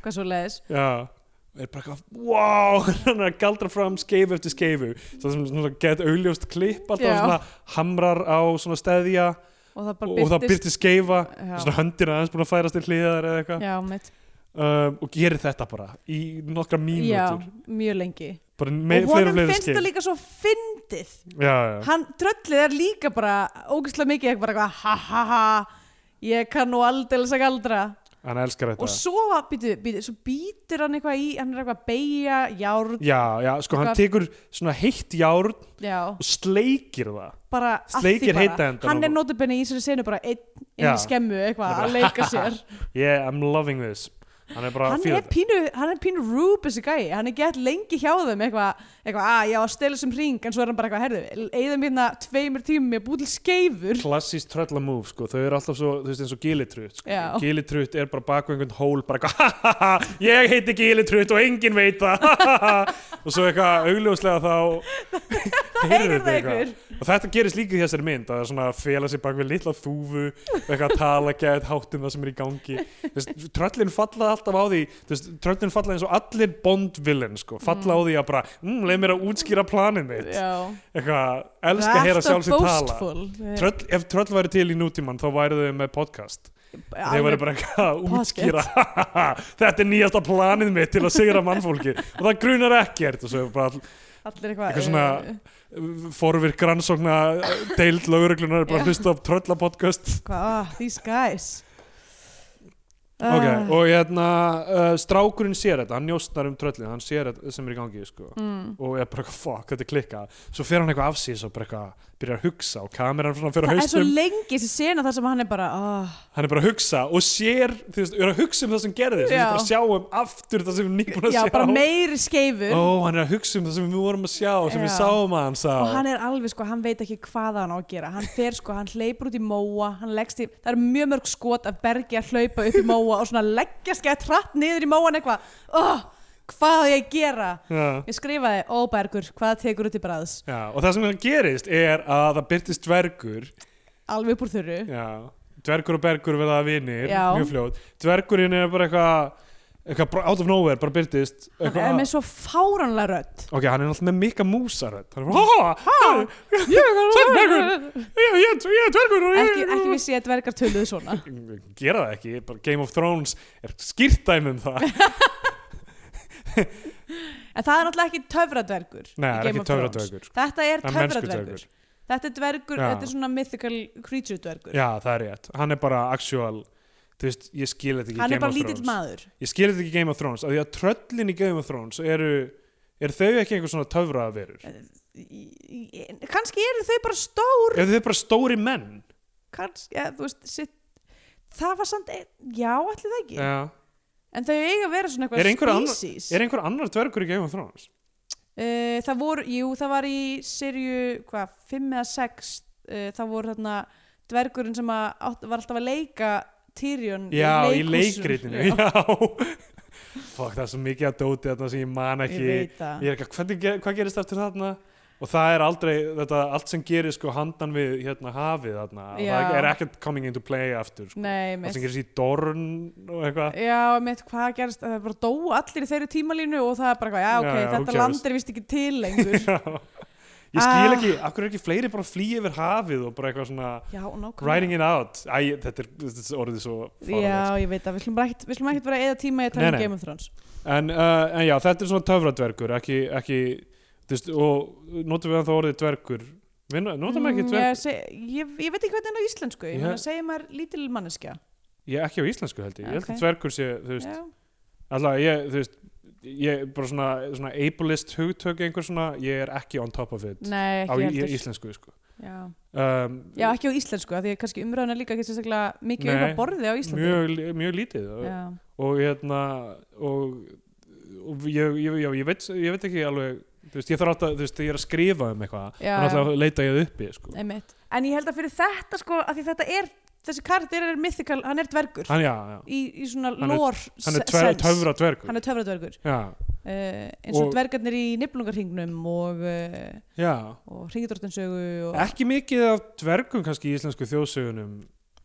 [SPEAKER 2] hvað svo leðis
[SPEAKER 3] Já er bara eitthvað, wow, hann er að galdra fram skeifu eftir skeifu svo sem svona get augljóst klipp alltaf
[SPEAKER 2] Já.
[SPEAKER 3] svona hamrar á svona steðja
[SPEAKER 2] og það bara
[SPEAKER 3] og, og það byrti skeifa
[SPEAKER 2] Já.
[SPEAKER 3] svona höndina aðeins búin að færast til hliðar eða eitthvað
[SPEAKER 2] já, mitt,
[SPEAKER 3] um, og gerir þetta bara í nokkra
[SPEAKER 2] já,
[SPEAKER 3] mínútur
[SPEAKER 2] mjög lengi
[SPEAKER 3] bara me,
[SPEAKER 2] og
[SPEAKER 3] fleiri og
[SPEAKER 2] honum
[SPEAKER 3] fleiri
[SPEAKER 2] finnst
[SPEAKER 3] skeið
[SPEAKER 2] það líka svo fyndið
[SPEAKER 3] já, já.
[SPEAKER 2] hann, tröllið er líka bara ógeðslega mikið eitthvað bara eitthvað, ha ha ha ég kann nú aldeilis að galdra
[SPEAKER 3] hann elskar þetta
[SPEAKER 2] og svo, býtu, býtu, svo býtur hann eitthvað í hann er eitthvað að beigja, járn
[SPEAKER 3] já, já, sko hann
[SPEAKER 2] Hvað-
[SPEAKER 3] tekur svona heitt járn
[SPEAKER 2] já,
[SPEAKER 3] og sleikir það
[SPEAKER 2] bara að því
[SPEAKER 3] Sleikir
[SPEAKER 2] bara.
[SPEAKER 3] heita endan
[SPEAKER 2] hann
[SPEAKER 3] og-
[SPEAKER 2] er notabenni í þessari senu bara einn inn
[SPEAKER 3] Já.
[SPEAKER 2] í skemmu eitthvað að leika sér
[SPEAKER 3] yeah, I'm loving this hann er bara
[SPEAKER 2] hann
[SPEAKER 3] að fíla
[SPEAKER 2] er, pínu, hann er pínu rúb þessi gæi, hann er gett lengi hjá þeim eitthvað, eitthvað að já, að stela sem ring en svo er hann bara eitthvað, herðu, eigðum hérna tveimur tímum ég að búið til skeifur
[SPEAKER 3] klassíst tröllamove sko, þau eru alltaf svo, þú veist eins og gilitrut sko.
[SPEAKER 2] Já.
[SPEAKER 3] gilitrut er bara baku einhvern hól bara eitthvað, ha ha ha, ég heiti gilitrut og enginn veit það ha, ha, ha. og svo eitthvað augljóslega þá
[SPEAKER 2] heyrir
[SPEAKER 3] þetta
[SPEAKER 2] það
[SPEAKER 3] og þetta gerist líka í þessari mynd að það er svona að fela sig bak við litla þúfu eitthvað að tala gæðið hátt um það sem er í gangi Þú veist, tröllin falla alltaf á því þú veist, tröllin falla eins og allir bondvillin sko, falla á því að bara mm, leið mér að útskýra planin mitt
[SPEAKER 2] já,
[SPEAKER 3] eitthvað, elska að heyra sjálf sér tala
[SPEAKER 2] tala
[SPEAKER 3] Tröll, ef tröll væri til í nútíman þá væri þau með podcast þeir væri bara eitthvað að
[SPEAKER 2] Podcast.
[SPEAKER 3] útskýra þetta er nýjasta planið mitt til að sigra mannfólki og það grunar ekkert og svo er bara
[SPEAKER 2] allir eitthvað,
[SPEAKER 3] eitthvað svona-
[SPEAKER 2] eh,
[SPEAKER 3] all- forvirk rannsókna deild lögreglunar er bara að hlusta á tröllapodcast
[SPEAKER 2] eitthvað, ah, these guys
[SPEAKER 3] ok,
[SPEAKER 2] Ah,
[SPEAKER 3] og hérna uh, strákurinn sér þetta, hann njóstnar um tröllin hann sér þetta sem er í gangi sko.
[SPEAKER 2] mm.
[SPEAKER 3] og er bara eitthvað, fuck, þetta er klikkað svo fer hann eitthvað af síðan og bara eitthvað byrjar að hugsa og kameran svona fyrir
[SPEAKER 2] það
[SPEAKER 3] að
[SPEAKER 2] er svo
[SPEAKER 3] haustum
[SPEAKER 2] lengi þessi sena þar sem hann er bara oh,
[SPEAKER 3] hann er bara að hugsa og sér þú veist, er að hugsa um það sem gerðist þú
[SPEAKER 2] Já.
[SPEAKER 3] veist, bara sjáum aftur það sem við erum nýbúin að
[SPEAKER 2] já,
[SPEAKER 3] sjá
[SPEAKER 2] bara meiri skeifur
[SPEAKER 3] ó, hann er að hugsa um það sem við vorum að sjá sem við
[SPEAKER 2] Já.
[SPEAKER 3] sáum að hann sá
[SPEAKER 2] og hann er alveg sko, hann veit ekki hvað hann á að gera hann fer sko, hann hleypur út í móa hann leggst í, það eru mjög mörg skot af bergi að hlaupa upp í móa og svona leggja skætt hratt niður í móan eitthvað oh, hvað á ég að gera
[SPEAKER 3] já.
[SPEAKER 2] ég skrifaði, ó bergur, hvað tekur út í bræðs
[SPEAKER 3] Já, og það sem hann gerist er að það byrtist dvergur
[SPEAKER 2] alveg upp úr þurru
[SPEAKER 3] já, dvergur og bergur verða vinir
[SPEAKER 2] Já.
[SPEAKER 3] mjög fljót, dvergurinn er bara eitthvað eitthvað bara out of nowhere, bara byrtist
[SPEAKER 2] hann er með svo fáránlega rödd
[SPEAKER 3] ok, hann er alltaf með mikka músarödd hann er bara, "Ha, Sæll, Bergur. ég, ég, ég er dvergur og ég
[SPEAKER 2] ekki, ekki vissi ég að dvergar töluðu svona
[SPEAKER 3] gera það ekki, bara Game of Thrones er skýrt dæmi um það
[SPEAKER 2] en það er náttúrulega ekki töfradvergur
[SPEAKER 3] Nei, það
[SPEAKER 2] í
[SPEAKER 3] er
[SPEAKER 2] Game
[SPEAKER 3] ekki
[SPEAKER 2] of Thrones.
[SPEAKER 3] töfradvergur, sko.
[SPEAKER 2] þetta er
[SPEAKER 3] Það er
[SPEAKER 2] töfradvergur
[SPEAKER 3] mennskudvergur.
[SPEAKER 2] þetta er dvergur,
[SPEAKER 3] Já.
[SPEAKER 2] þetta er svona mythical creature dvergur
[SPEAKER 3] Já, það er rétt, hann er bara actual þú veist, ég skil þetta ekki í
[SPEAKER 2] hann er
[SPEAKER 3] Game
[SPEAKER 2] bara
[SPEAKER 3] of
[SPEAKER 2] lítill
[SPEAKER 3] Thrones
[SPEAKER 2] maður
[SPEAKER 3] Ég skil þetta ekki í Game of Thrones af því að tröllin í Game of Thrones eru eru þau ekki einhver svona töfraverur
[SPEAKER 2] Í- í- kannski eru þau bara stór
[SPEAKER 3] eru þau bara stóri menn
[SPEAKER 2] kannski, ja, þú veist, sitt, það var samt ein, já, allir það ekki
[SPEAKER 3] Já.
[SPEAKER 2] en þau eiga að vera svona
[SPEAKER 3] Er
[SPEAKER 2] eitthvað
[SPEAKER 3] einhver annar-
[SPEAKER 2] species
[SPEAKER 3] er einhver annar dvergur í Game of Thrones
[SPEAKER 2] uh, það voru, jú, það var í serju, hvað, fimm eða sex uh, það voru þarna dvergurinn sem að, átt, var alltaf að leika Tyrion
[SPEAKER 3] Já, í
[SPEAKER 2] leikhúsum.
[SPEAKER 3] leikritinu Já, fuck, það er svo mikið að dóti þarna sem ég man
[SPEAKER 4] ég
[SPEAKER 3] ekki
[SPEAKER 4] veit það
[SPEAKER 3] ég er ekki, hvernig, ge- hvað gerist eftir þarna og það er aldrei, þetta, allt sem gerir sko handan við hérna hafið þarna og það
[SPEAKER 2] Já.
[SPEAKER 3] er ekkert coming into play aftur sko.
[SPEAKER 2] Nei,
[SPEAKER 3] allt
[SPEAKER 2] mitt
[SPEAKER 3] sem gerist í Dorn og eitthvað
[SPEAKER 2] Já, mitt, hvað gerst, það er bara dó allir í þeirri tímalínu og það er bara, eitthvað, já, ok,
[SPEAKER 3] Já, já, who
[SPEAKER 2] þetta
[SPEAKER 3] cares?
[SPEAKER 2] land er vist ekki til lengur
[SPEAKER 3] Já. ég skil
[SPEAKER 2] Ah.
[SPEAKER 3] ekki, af hverju er ekki fleiri bara að flýja yfir hafið og bara eitthvað svona
[SPEAKER 2] Já, nákvæmlega
[SPEAKER 3] riding it out Æ, þetta er þetta er orðið svo fáránlegt. sko.
[SPEAKER 2] Já, ég veit það, við slum ekkert, við slum ekkert vera eða tíma í að
[SPEAKER 3] Nei,
[SPEAKER 2] tala um
[SPEAKER 3] nei.
[SPEAKER 2] Game of Thrones
[SPEAKER 3] en, uh, en já, þetta er svona töfradvergur ekki, ekki þú veist, og notum við að það orðið dvergur við no- notum ekki
[SPEAKER 2] Mm,
[SPEAKER 3] dvergur
[SPEAKER 2] ég, seg, ég, ég veit ekki hvað þetta er á íslensku ég
[SPEAKER 3] Ég-
[SPEAKER 2] meina, segir maður lítil manneskja
[SPEAKER 3] ég, ekki á íslensku held ég, ég held
[SPEAKER 2] Ok.
[SPEAKER 3] að dvergur sé þú veist,
[SPEAKER 2] Já,
[SPEAKER 3] Alltaf, ég, þú veist, ég er bara svona, svona ableist hugtök einhver svona, ég er ekki on top of it
[SPEAKER 2] Nei,
[SPEAKER 3] á
[SPEAKER 2] ekki
[SPEAKER 3] í, í,
[SPEAKER 2] heldur
[SPEAKER 3] íslensku, sko.
[SPEAKER 2] já.
[SPEAKER 3] Um,
[SPEAKER 2] já, ekki á íslensku, af því að kannski umræðuna líka ekki sérstaklega mikið
[SPEAKER 3] Nei,
[SPEAKER 2] upp á borði á Íslandi
[SPEAKER 3] mjög, li- mjög lítið og,
[SPEAKER 2] Já,
[SPEAKER 3] og hérna, og, og ég, ég, já, ég, veit, ég veit ekki alveg, þú veist, ég þarf alltaf, þú veist, ég er að skrifa um eitthvað,
[SPEAKER 2] Já,
[SPEAKER 3] þannig að leita ég það uppi, sko.
[SPEAKER 2] einmitt En ég held að fyrir þetta, sko, af því þetta er þessi karakter er mythical, hann er dvergur
[SPEAKER 3] Hann, já, já,
[SPEAKER 2] í, í svona
[SPEAKER 3] Hann er-
[SPEAKER 2] lór
[SPEAKER 3] hann er tver, töfra dvergur.
[SPEAKER 2] Hann er töfradvergur
[SPEAKER 3] Já,
[SPEAKER 2] uh, eins og,
[SPEAKER 3] Og-
[SPEAKER 2] dvergarnir í niflungarhingnum og, uh,
[SPEAKER 3] já.
[SPEAKER 2] og hringdórtinsögu og...
[SPEAKER 3] Ekki mikið af dvergum kannski í íslensku þjóðsögunum,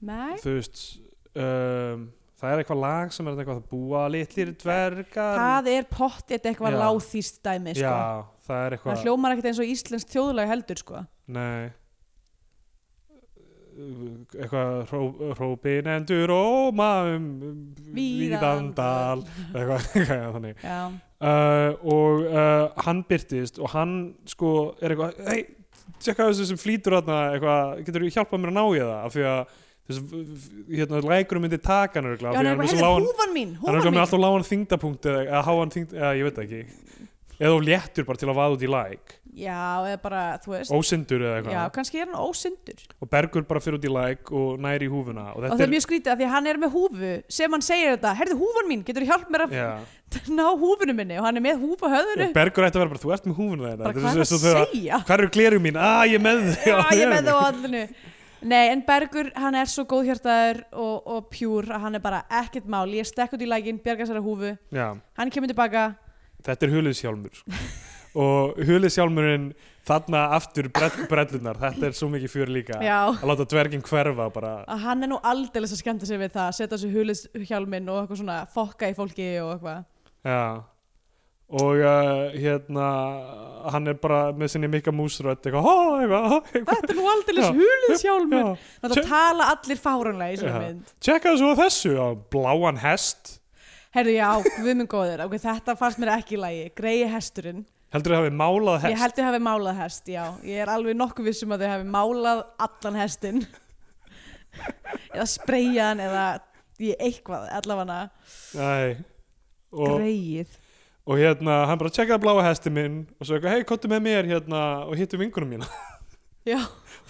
[SPEAKER 2] Nei,
[SPEAKER 3] þú veist um, það er eitthvað lag sem er eitthvað að búa litlir dvergar
[SPEAKER 2] það er pottið eitthvað
[SPEAKER 3] Já.
[SPEAKER 2] láþýst dæmi sko.
[SPEAKER 3] já, það
[SPEAKER 2] það
[SPEAKER 3] er eitthvað
[SPEAKER 2] hljómar ekkert eins og íslensk þjóðulega heldur sko.
[SPEAKER 3] nei eitthvað hró, hrópin endur óma um um,
[SPEAKER 2] Víðan
[SPEAKER 3] víðan dal eitthvað, eitthvað þannig
[SPEAKER 2] Já,
[SPEAKER 3] uh, og uh, hann byrtist og hann sko er eitthvað hei, tjekka þessu sem flýtur þarna eitthvað, getur þú hjálpað mér að ná í það af því að þessu, hérna, lækurum myndi taka hann örugglega,
[SPEAKER 2] já
[SPEAKER 3] af
[SPEAKER 2] hann er
[SPEAKER 3] því hann
[SPEAKER 2] bara,
[SPEAKER 3] svo
[SPEAKER 2] heyrðu,
[SPEAKER 3] lágan-
[SPEAKER 2] húfan mín,
[SPEAKER 3] hann er
[SPEAKER 2] húfan
[SPEAKER 3] ekki með
[SPEAKER 2] mín
[SPEAKER 3] alltaf lágan þyngdapunkt eða, eða háan þyngd, eða ég veit það ekki eða of léttur bara til að vaða út í læk
[SPEAKER 2] Já, eða bara, þú veist
[SPEAKER 3] ósindur eða
[SPEAKER 2] Já,
[SPEAKER 3] eitthvað
[SPEAKER 2] kannski er hann ósyndur
[SPEAKER 3] og bergur bara fyrir út í læk og næri í húfuna og
[SPEAKER 2] og
[SPEAKER 3] þetta
[SPEAKER 2] það er mjög skrítið af því að hann er með húfu sem hann segir þetta, heyrðu húfan mín, getur þú hjálp mér að
[SPEAKER 3] já,
[SPEAKER 2] ná húfunum minni og hann er með húfu á höfðinu
[SPEAKER 3] og bergur ætti að vera bara þú ert með húfuna
[SPEAKER 2] bara
[SPEAKER 3] þeirna
[SPEAKER 2] hvað er það að segja
[SPEAKER 3] hvað eru glerum mín, að ah, ég er með þau
[SPEAKER 2] Já,
[SPEAKER 3] á
[SPEAKER 2] ég er með
[SPEAKER 3] hliðinni."
[SPEAKER 2] það á allinu Nei, en Bergur, hann er svo góðhjartaður og, og pjúr að hann er bara ekkert mál Ég stekk út í lægin, bjarga sér að húfu
[SPEAKER 3] já,
[SPEAKER 2] Hann kemur tilbaka
[SPEAKER 3] þetta er huliðsjálmur sko. og huliðsjálmurinn þarna aftur brell, brellunar þetta er svo mikið fjör líka
[SPEAKER 2] Já,
[SPEAKER 3] að láta dvergin hverfa bara
[SPEAKER 2] að hann er nú aldeilis að skemmta sér við það Setja sér hulishjálmin og eitthvað svona fokka í fólki og eitthvað
[SPEAKER 3] Já og uh, hérna hann er bara með sinni mikka músrödd eitthvað, "Hó", eitthvað, "Hó", eitthvað
[SPEAKER 2] Þetta er nú aldeilis
[SPEAKER 3] Já.
[SPEAKER 2] hulishjálmin
[SPEAKER 3] já.
[SPEAKER 2] Þetta tala allir fáránlega í svona
[SPEAKER 3] Já.
[SPEAKER 2] mynd
[SPEAKER 3] tjekka þessu á þessu á bláan hest
[SPEAKER 2] Herðu, já, guðminn góður okay, Þetta fannst mér ekki í lagi, greiði hesturinn
[SPEAKER 3] heldur þið að hafi málað hest
[SPEAKER 2] Ég held ég hafi málað hest, já. Ég er alveg nokkuð vissum að þau hafi málað allan hestin. eða spreyjan eða ég eitthvað, allavega
[SPEAKER 3] Æ, og,
[SPEAKER 2] greið.
[SPEAKER 3] og hérna hann bara tjekkaði bláa hesti minn og svo eitthvað hei kottu með mér hérna og hittu vingunum mína
[SPEAKER 2] Já,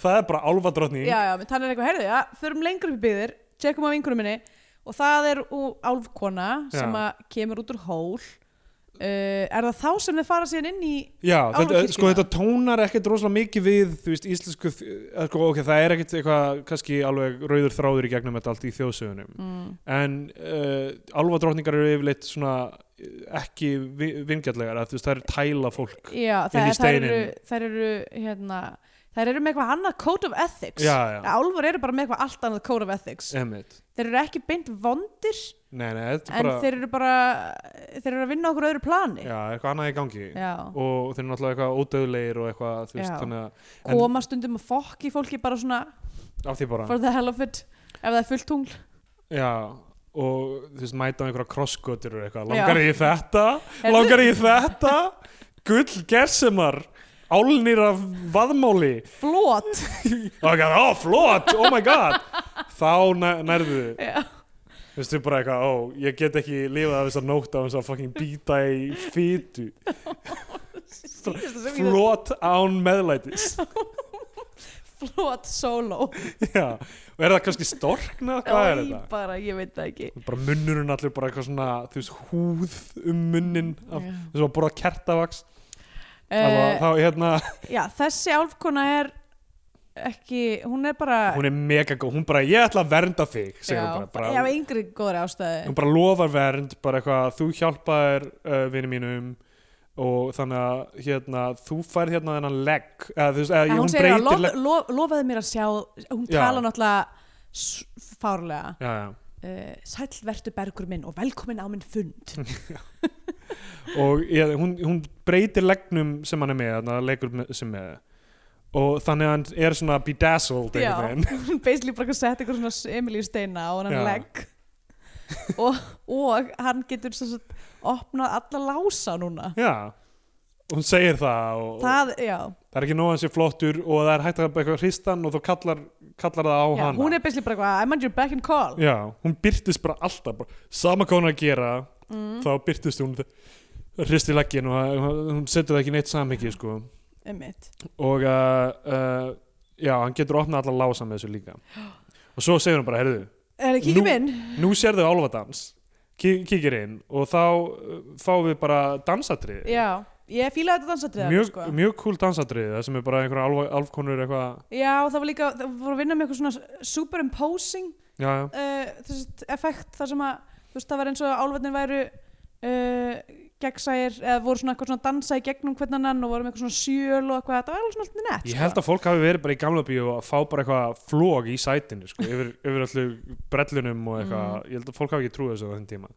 [SPEAKER 3] það er bara álfadrottning
[SPEAKER 2] já, já, menn þannig er eitthvað, herðu, já, förum lengur upp í byðir, tjekkum á vingurum minni og það er ú- álfkona sem
[SPEAKER 3] Já.
[SPEAKER 2] að kemur út úr hól. Uh, er það þá sem þau fara síðan inn í,
[SPEAKER 3] Já, þetta,
[SPEAKER 2] Álfakirkjuna.
[SPEAKER 3] sko, þetta tónar ekkert rosalega mikið við þú veist, íslensku, eh, sko, ok, það er ekkert eitthvað kannski alveg rauður þráður í gegnum þetta allt í þjóðsögunum
[SPEAKER 2] mm,
[SPEAKER 3] en uh, alvadrótningar eru yfirleitt svona eh, ekki vingjallegar, þú veist, það er tæla fólk
[SPEAKER 2] já, það,
[SPEAKER 3] Inn í
[SPEAKER 2] þær eru,
[SPEAKER 3] steininn.
[SPEAKER 2] þær eru, hérna, þær eru með eitthvað annað code of ethics.
[SPEAKER 3] Já, já,
[SPEAKER 2] Álfur eru bara með eitthvað allt annað code of ethics.
[SPEAKER 3] emmitt
[SPEAKER 2] þeir eru ekki beint vondir
[SPEAKER 3] Nei, nei, þetta er
[SPEAKER 2] en
[SPEAKER 3] bara
[SPEAKER 2] þeir eru bara þeir eru að vinna á okkur öðru plani
[SPEAKER 3] Já, eitthvað annað í gangi
[SPEAKER 2] Já.
[SPEAKER 3] og þeir eru náttúrulega eitthvað ódöðlegir og eitthvað, þú veist,
[SPEAKER 2] Já.
[SPEAKER 3] þannig að En-
[SPEAKER 2] koma stundum að fokki fólki bara svona
[SPEAKER 3] af því bara,
[SPEAKER 2] for the hell of it ef það er fullt tungl
[SPEAKER 3] já og þú veist, mæta á einhverja krossgötur og
[SPEAKER 2] Já.
[SPEAKER 3] eitthvað, langar ég í þetta langar ég í þetta gull gersemar álnir af vaðmáli
[SPEAKER 2] flót
[SPEAKER 3] og það er, ó, flott, oh my god þá næ- nærðu
[SPEAKER 2] Já.
[SPEAKER 3] Þú veist, þau bara eitthvað, ó, ég get ekki lifað af þess að nóta á þess að fucking býta í fytu, flott án meðlætis.
[SPEAKER 2] flót solo
[SPEAKER 3] Já, og er það kannski storknað? Hvað er
[SPEAKER 2] Æ,
[SPEAKER 3] þetta?
[SPEAKER 2] bara, ég veit það ekki
[SPEAKER 3] Bara munnurinn allir bara eitthvað svona, þú veist, húð um munnin af
[SPEAKER 2] Já.
[SPEAKER 3] þess að borða kertavaks.
[SPEAKER 2] Eh,
[SPEAKER 3] Þá, hérna,
[SPEAKER 2] já, þessi álfkona er ekki, hún er bara
[SPEAKER 3] hún er mega góð, hún bara ég ætla að vernda þig segir
[SPEAKER 2] já,
[SPEAKER 3] hún bara,
[SPEAKER 2] já,
[SPEAKER 3] bara
[SPEAKER 2] af yngri góðri ástæði
[SPEAKER 3] hún bara lofar vernd bara eitthvað, þú hjálpaðir uh, vinni mínum og þannig að hérna, þú færð hérna þennan legg eða, þú veist, eða,
[SPEAKER 2] En
[SPEAKER 3] ég-
[SPEAKER 2] hún
[SPEAKER 3] hún
[SPEAKER 2] segir að
[SPEAKER 3] breytir
[SPEAKER 2] lof,
[SPEAKER 3] legg
[SPEAKER 2] lof, lofaði mér að sjá hún
[SPEAKER 3] Já.
[SPEAKER 2] tala náttúrulega s- fárlega
[SPEAKER 3] já, já.
[SPEAKER 2] uh, sæll vertu bergur minn og velkomin á minn fund
[SPEAKER 3] og ég, hún, hún breytir leggnum sem hann er með, þannig að leikur með, sem með og þannig að hann er svona bedazzled
[SPEAKER 2] Já.
[SPEAKER 3] einhvern veginn
[SPEAKER 2] hún basically bara sett eitthvað svona Emilíu steina á hann
[SPEAKER 3] Já.
[SPEAKER 2] legg og, og hann getur svo svo opnað alla lása núna
[SPEAKER 3] já, hún segir það og það,
[SPEAKER 2] það, já,
[SPEAKER 3] er ekki nóg hans er flottur og það er hægt að eitthvað hristan og þú kallar, kallar það á
[SPEAKER 2] já
[SPEAKER 3] hana
[SPEAKER 2] hún er basically bara eitthvað I'm on your back and call
[SPEAKER 3] já, hún byrtist bara alltaf bara, sama hvað hún er að gera
[SPEAKER 2] Mm.
[SPEAKER 3] þá byrtist hún hristi leggin og það- hún setur það ekki í neitt samhengi sko
[SPEAKER 2] einmitt
[SPEAKER 3] og uh, uh, já, hann getur opnað alla lása með þessu líka og svo segir hún bara, heyrðu
[SPEAKER 2] er það kíkjum
[SPEAKER 3] Nú-
[SPEAKER 2] inn?
[SPEAKER 3] nú sérðu álfadans Kí- kíkir inn og þá uh, fáum við bara dansatrið
[SPEAKER 2] já, ég fílaði þetta dansatriða
[SPEAKER 3] mjög,
[SPEAKER 2] sko.
[SPEAKER 3] mjög cool dansatrið það sem er bara einhverja álfa, álfkonur eitthvað
[SPEAKER 2] já, það var líka, það voru að vinna með eitthvað svona superimposing
[SPEAKER 3] já, já,
[SPEAKER 2] uh, þessi effekt þar sem að þú veist það var eins og álfarnir væru uh, gegnsægir eða voru svona eitthvað svona dansa í gegnum hvern annan og voru með eitthvað svona sjöl og eitthvað það var alveg svona alltaf nett sko.
[SPEAKER 3] ég held að fólk hafi verið bara í gamla bíu að fá bara eitthvað flog í sætinu sko, yfir, yfir allu brellunum og eitthvað,
[SPEAKER 2] Mm.
[SPEAKER 3] ég held að fólk hafi ekki trúið þessu á þenn tíma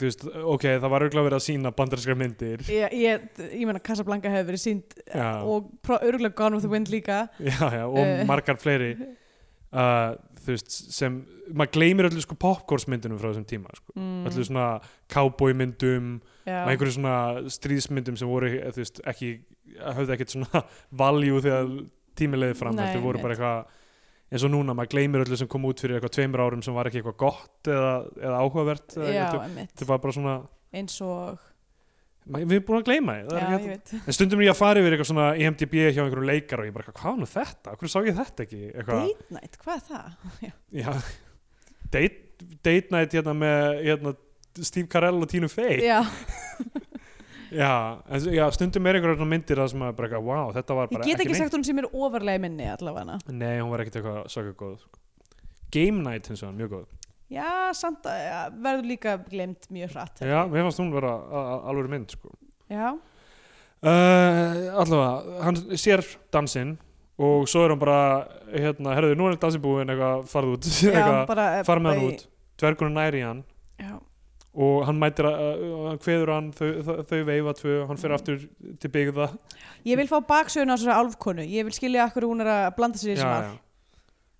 [SPEAKER 3] þú veist, ok, það var örgulega verið að sína bandarinskar myndir
[SPEAKER 2] ég, ég, ég meina Casablanca hefur verið sínd
[SPEAKER 3] já,
[SPEAKER 2] og öruglega Gone with the Wind líka
[SPEAKER 3] já, já, og
[SPEAKER 2] Eh.
[SPEAKER 3] margar fleiri uh, þú veist, sem maður gleymir öllu sko popcornsmyndunum frá þessum tíma sko.
[SPEAKER 2] mm,
[SPEAKER 3] öllu svona cowboymyndum
[SPEAKER 2] já.
[SPEAKER 3] og einhverju svona stríðsmyndum sem voru eh, þú veist, ekki, höfðu ekkert svona value þegar tímilegði fram
[SPEAKER 2] Nei,
[SPEAKER 3] þetta voru bara
[SPEAKER 2] einmitt.
[SPEAKER 3] eitthvað eins og núna, maður gleymir öllu sem kom út fyrir eitthvað tveimur árum sem var ekki eitthvað gott eða, eða áhugavert eða
[SPEAKER 2] já,
[SPEAKER 3] eitthvað.
[SPEAKER 2] einmitt,
[SPEAKER 3] þetta var bara svona,
[SPEAKER 2] eins og
[SPEAKER 3] ma- við erum búin að gleyma því, það
[SPEAKER 2] já,
[SPEAKER 3] er
[SPEAKER 2] ég
[SPEAKER 3] ekki
[SPEAKER 2] veit
[SPEAKER 3] hægt en stundum er ég að fara yfir eitthvað svona IMDB hjá einhverju leikar og ég bara, eitthvað, hvað var nú þetta? Hvernig sá ég þetta ekki? Eitthvað,
[SPEAKER 2] Date Night, hvað er það?
[SPEAKER 3] já, date, date night hérna með hérna, Steve Carell og Tina Fey
[SPEAKER 2] Já,
[SPEAKER 3] Já, en, s- já stundum er einhverjar svona myndir það sem maður bara eitthvað, wow, þetta var
[SPEAKER 2] ég
[SPEAKER 3] bara
[SPEAKER 2] get ekki
[SPEAKER 3] neitt.
[SPEAKER 2] sagt hún sem er ofarlega minni allavega
[SPEAKER 3] Nei, hún var ekkert eitthvað sökja góð sko. Game Night hins vegar, mjög góð
[SPEAKER 2] Já, samt að ja, verður líka glemt mjög hratt
[SPEAKER 3] Já, mér fannst hún vera a- a- alvöru mynd sko.
[SPEAKER 2] já.
[SPEAKER 3] uh, Allavega, hann sér dansinn og svo er hann bara hérna, herðu, nú er dansinn búinn eitthvað, farð út
[SPEAKER 2] Já,
[SPEAKER 3] eitthvað,
[SPEAKER 2] bara,
[SPEAKER 3] far
[SPEAKER 2] bara
[SPEAKER 3] með
[SPEAKER 2] í-
[SPEAKER 3] hann út dvergunum næri hann
[SPEAKER 2] já,
[SPEAKER 3] og hann mætir að, uh, hann kveður hann þau, þau, þau veifa tvö, hann
[SPEAKER 2] Mm.
[SPEAKER 3] fer aftur til byggða
[SPEAKER 2] Ég vil fá baksögun á þessari álfkonu Ég vil skilja akkur hún er að blanda sér í sem all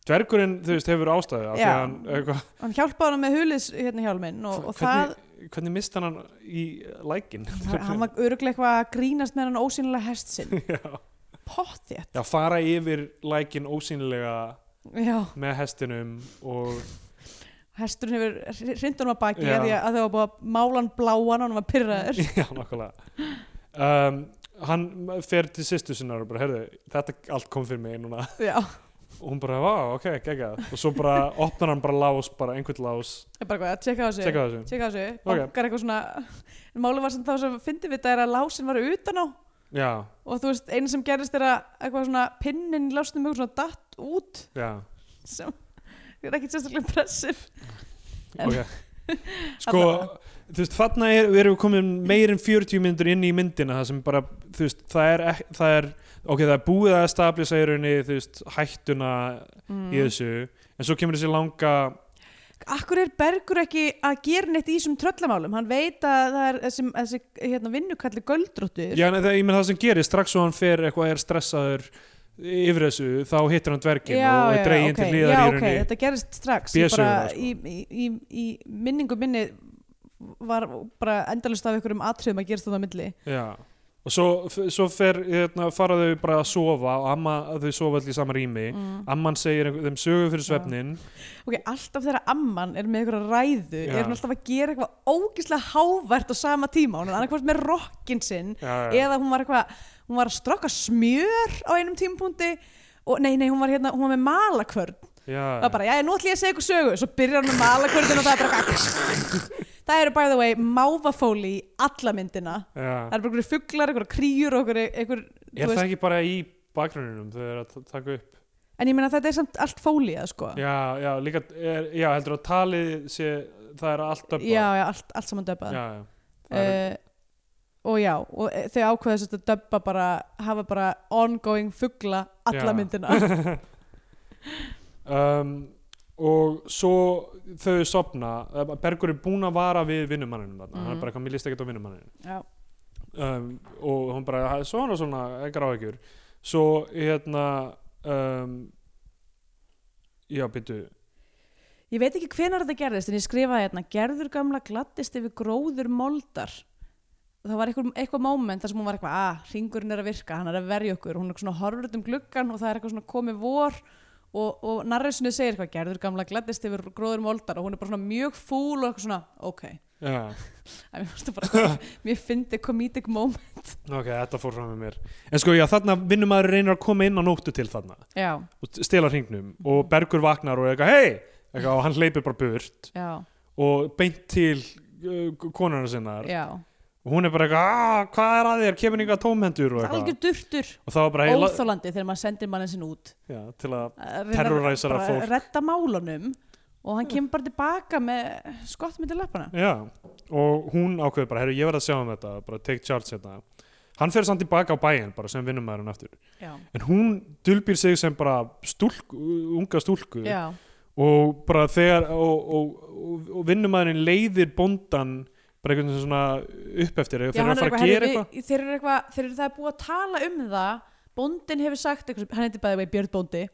[SPEAKER 3] Dvergurinn, þú veist, hefur ástæðu af því
[SPEAKER 2] Já.
[SPEAKER 3] að hann, eitthvað,
[SPEAKER 2] Hann hjálpaði hana með hulis hérna hjálminn og, og það,
[SPEAKER 3] hvernig, hvernig mist hann hann í lækin
[SPEAKER 2] hann var öruglega eitthvað að grínast með hann ósýnilega hest sinn
[SPEAKER 3] já.
[SPEAKER 2] Pottið
[SPEAKER 3] já, fara yfir lækin ósýnilega
[SPEAKER 2] Já,
[SPEAKER 3] með hestinum og
[SPEAKER 2] hesturinn hefur hrindur hann að baki
[SPEAKER 3] Já.
[SPEAKER 2] af því að að þau var búið að mála hann bláan og hann var pyrraður
[SPEAKER 3] já, nákvæmlega um, hann fer til sýstu sinnar og bara, heyrðu, þetta allt kom fyrir mig núna
[SPEAKER 2] Já,
[SPEAKER 3] og hún bara, vá, ok, gegga og svo bara opnar hann bara lás, bara einhvern lás
[SPEAKER 2] það er bara hvað, tjekka á þessu
[SPEAKER 3] tjekka á þessu,
[SPEAKER 2] Tjekka á þessu,
[SPEAKER 3] Ok.
[SPEAKER 2] bankar eitthvað svona Máli var sem þá sem fyndi við þetta er að lásin var utan á
[SPEAKER 3] já,
[SPEAKER 2] og þú veist, eina sem gerist er að eitthvað svona pinnin í lásnum eitthvað svona datt út
[SPEAKER 3] já
[SPEAKER 2] sem er ekkit sérstaklega impressiv
[SPEAKER 3] ok sko, þú veist, þarna er, við erum komin meir en 40 myndur inn í myndina það sem bara, þú veist, það er, ek- það er ok, það er búið að establisa í rauninni, þú veist, hættuna
[SPEAKER 2] Mm.
[SPEAKER 3] í þessu, en svo kemur þessi langa
[SPEAKER 2] Akkur er Bergur ekki að gera neitt í þessum tröllamálum hann veit að það er þessi, þessi hérna, vinnukalli göldróttur
[SPEAKER 3] já, en það, ég menn það sem gerir, strax svo hann fer eitthvað er stressaður yfir þessu þá hittir hann dvergin og er dregin til
[SPEAKER 2] já,
[SPEAKER 3] hliðar í
[SPEAKER 2] ok,
[SPEAKER 3] rauninni
[SPEAKER 2] þetta gerist strax
[SPEAKER 3] B-söguna,
[SPEAKER 2] ég bara,
[SPEAKER 3] sko.
[SPEAKER 2] í, í, í, í minningu minni var bara endalist af einhverjum atriðum að gerast þetta á milli
[SPEAKER 3] já. og svo, svo fer, hérna, fara þau bara að sofa og amma, þau sofa allir í sama rými amman segir einhver- þeim sögu fyrir
[SPEAKER 2] Mm. Já.
[SPEAKER 3] svefnin
[SPEAKER 2] ok, alltaf þegar amman er með einhverja ræðu
[SPEAKER 3] Já.
[SPEAKER 2] er hún alltaf að gera eitthvað ógislega hávært á sama tíma, hún er annarkvæmst með rokkin sinn
[SPEAKER 3] já,
[SPEAKER 2] eða hún var eitthvað hún var að strokka smjör á einum tímpúndi og nei, nei, hún var hérna, hún var með malakvörn
[SPEAKER 3] já,
[SPEAKER 2] það var bara, já, nú ætlum ég að segja ykkur sögu svo byrjar hann með malakvörðin og það er bara eitthvað. það eru by the way máfafóli í alla myndina
[SPEAKER 3] já.
[SPEAKER 2] það eru bara einhverju fuglar, einhverju kríur og einhverju, einhverju
[SPEAKER 3] Er það ekki bara í bakgrunninum þegar það er að taka upp
[SPEAKER 2] en ég meina þetta er samt allt fólíað sko
[SPEAKER 3] já, já, líka, er, já, heldur að talið sé, það er allt döbbað
[SPEAKER 2] já, já, allt, allt saman döbbað
[SPEAKER 3] já, já. Það er,
[SPEAKER 2] uh, og já, og eh, þau ákveðast að döbba bara, hafa bara ongoing fugla alla
[SPEAKER 3] Já.
[SPEAKER 2] myndina
[SPEAKER 3] um, og svo þau sopna eh, Bergur er búin að vara við vinnumanninum þarna, hann
[SPEAKER 2] Mhm.
[SPEAKER 3] er bara eitthvað, mér líst ekkert á vinnumanninu
[SPEAKER 2] já,
[SPEAKER 3] um, og hann bara, "Ha, svona svona, ekkert áhyggjur svo hérna um, já, byttu
[SPEAKER 2] ég veit ekki hvenar þetta gerðist en ég skrifaði hérna, gerður gamla glattist yfir gróður moldar það var eitthvað, eitthvað moment þar sem hún var eitthvað að, ringurinn er að virka, hann er að verja okkur hún er eitthvað svona horfur út um gluggan og það er eitthvað svona komið vor og, og narrisinu segir eitthvað, gerður gamla glattist yfir gróður moldar og hún er bara svona mjög fúl og eitthvað svona, ok,
[SPEAKER 3] já
[SPEAKER 2] en mér finnst það bara mér finnst þetta comedic moment
[SPEAKER 3] Ok, þetta fór fram með mér. En sko, já, þarna vinnum maður reynir að koma inn á nóttu til þarna
[SPEAKER 2] já,
[SPEAKER 3] og stela hringnum og
[SPEAKER 2] Mhm.
[SPEAKER 3] Bergur vaknar og er eitthvað, hei! Eitthvað, og hann hleypir bara burt
[SPEAKER 2] já,
[SPEAKER 3] og beint til uh, konuna sinnar
[SPEAKER 2] já
[SPEAKER 3] og hún er bara eitthvað, "Ah, hvað er að þér, kemur ykkar tómhendur og eitthvað.
[SPEAKER 2] algjör durtur
[SPEAKER 3] Og það var bara heila,
[SPEAKER 2] óþólandi þegar maður sendir mannin sinn út
[SPEAKER 3] já, til að,
[SPEAKER 2] Að reyna-
[SPEAKER 3] Terrorizera
[SPEAKER 2] bara
[SPEAKER 3] fólk.
[SPEAKER 2] redda málunum og hann kemur bara tilbaka með skott myndi lappana
[SPEAKER 3] já, og hún ákveður bara, herru, ég verð að sjá um þetta, bara take charge hérna. Hann fer samt tilbaka á bæinn bara sem vinnum maðurinn aftur.
[SPEAKER 2] já,
[SPEAKER 3] En hún dulbýr sig sem bara stúlku, unga stúlku
[SPEAKER 2] já,
[SPEAKER 3] og bara þegar og, og, og, og vinnumæðurinn leiðir bondan bara einhvern veginn svona upp eftir þegar
[SPEAKER 2] já
[SPEAKER 3] þeir eru
[SPEAKER 2] hann
[SPEAKER 3] að
[SPEAKER 2] er
[SPEAKER 3] fara
[SPEAKER 2] eitthvað,
[SPEAKER 3] að gera
[SPEAKER 2] herri,
[SPEAKER 3] eitthvað
[SPEAKER 2] við- þeir eru eitthvað þeir eru það er búið að tala um það bóndin hefur sagt eitthvað, hann heitir bæði Björn Bóndi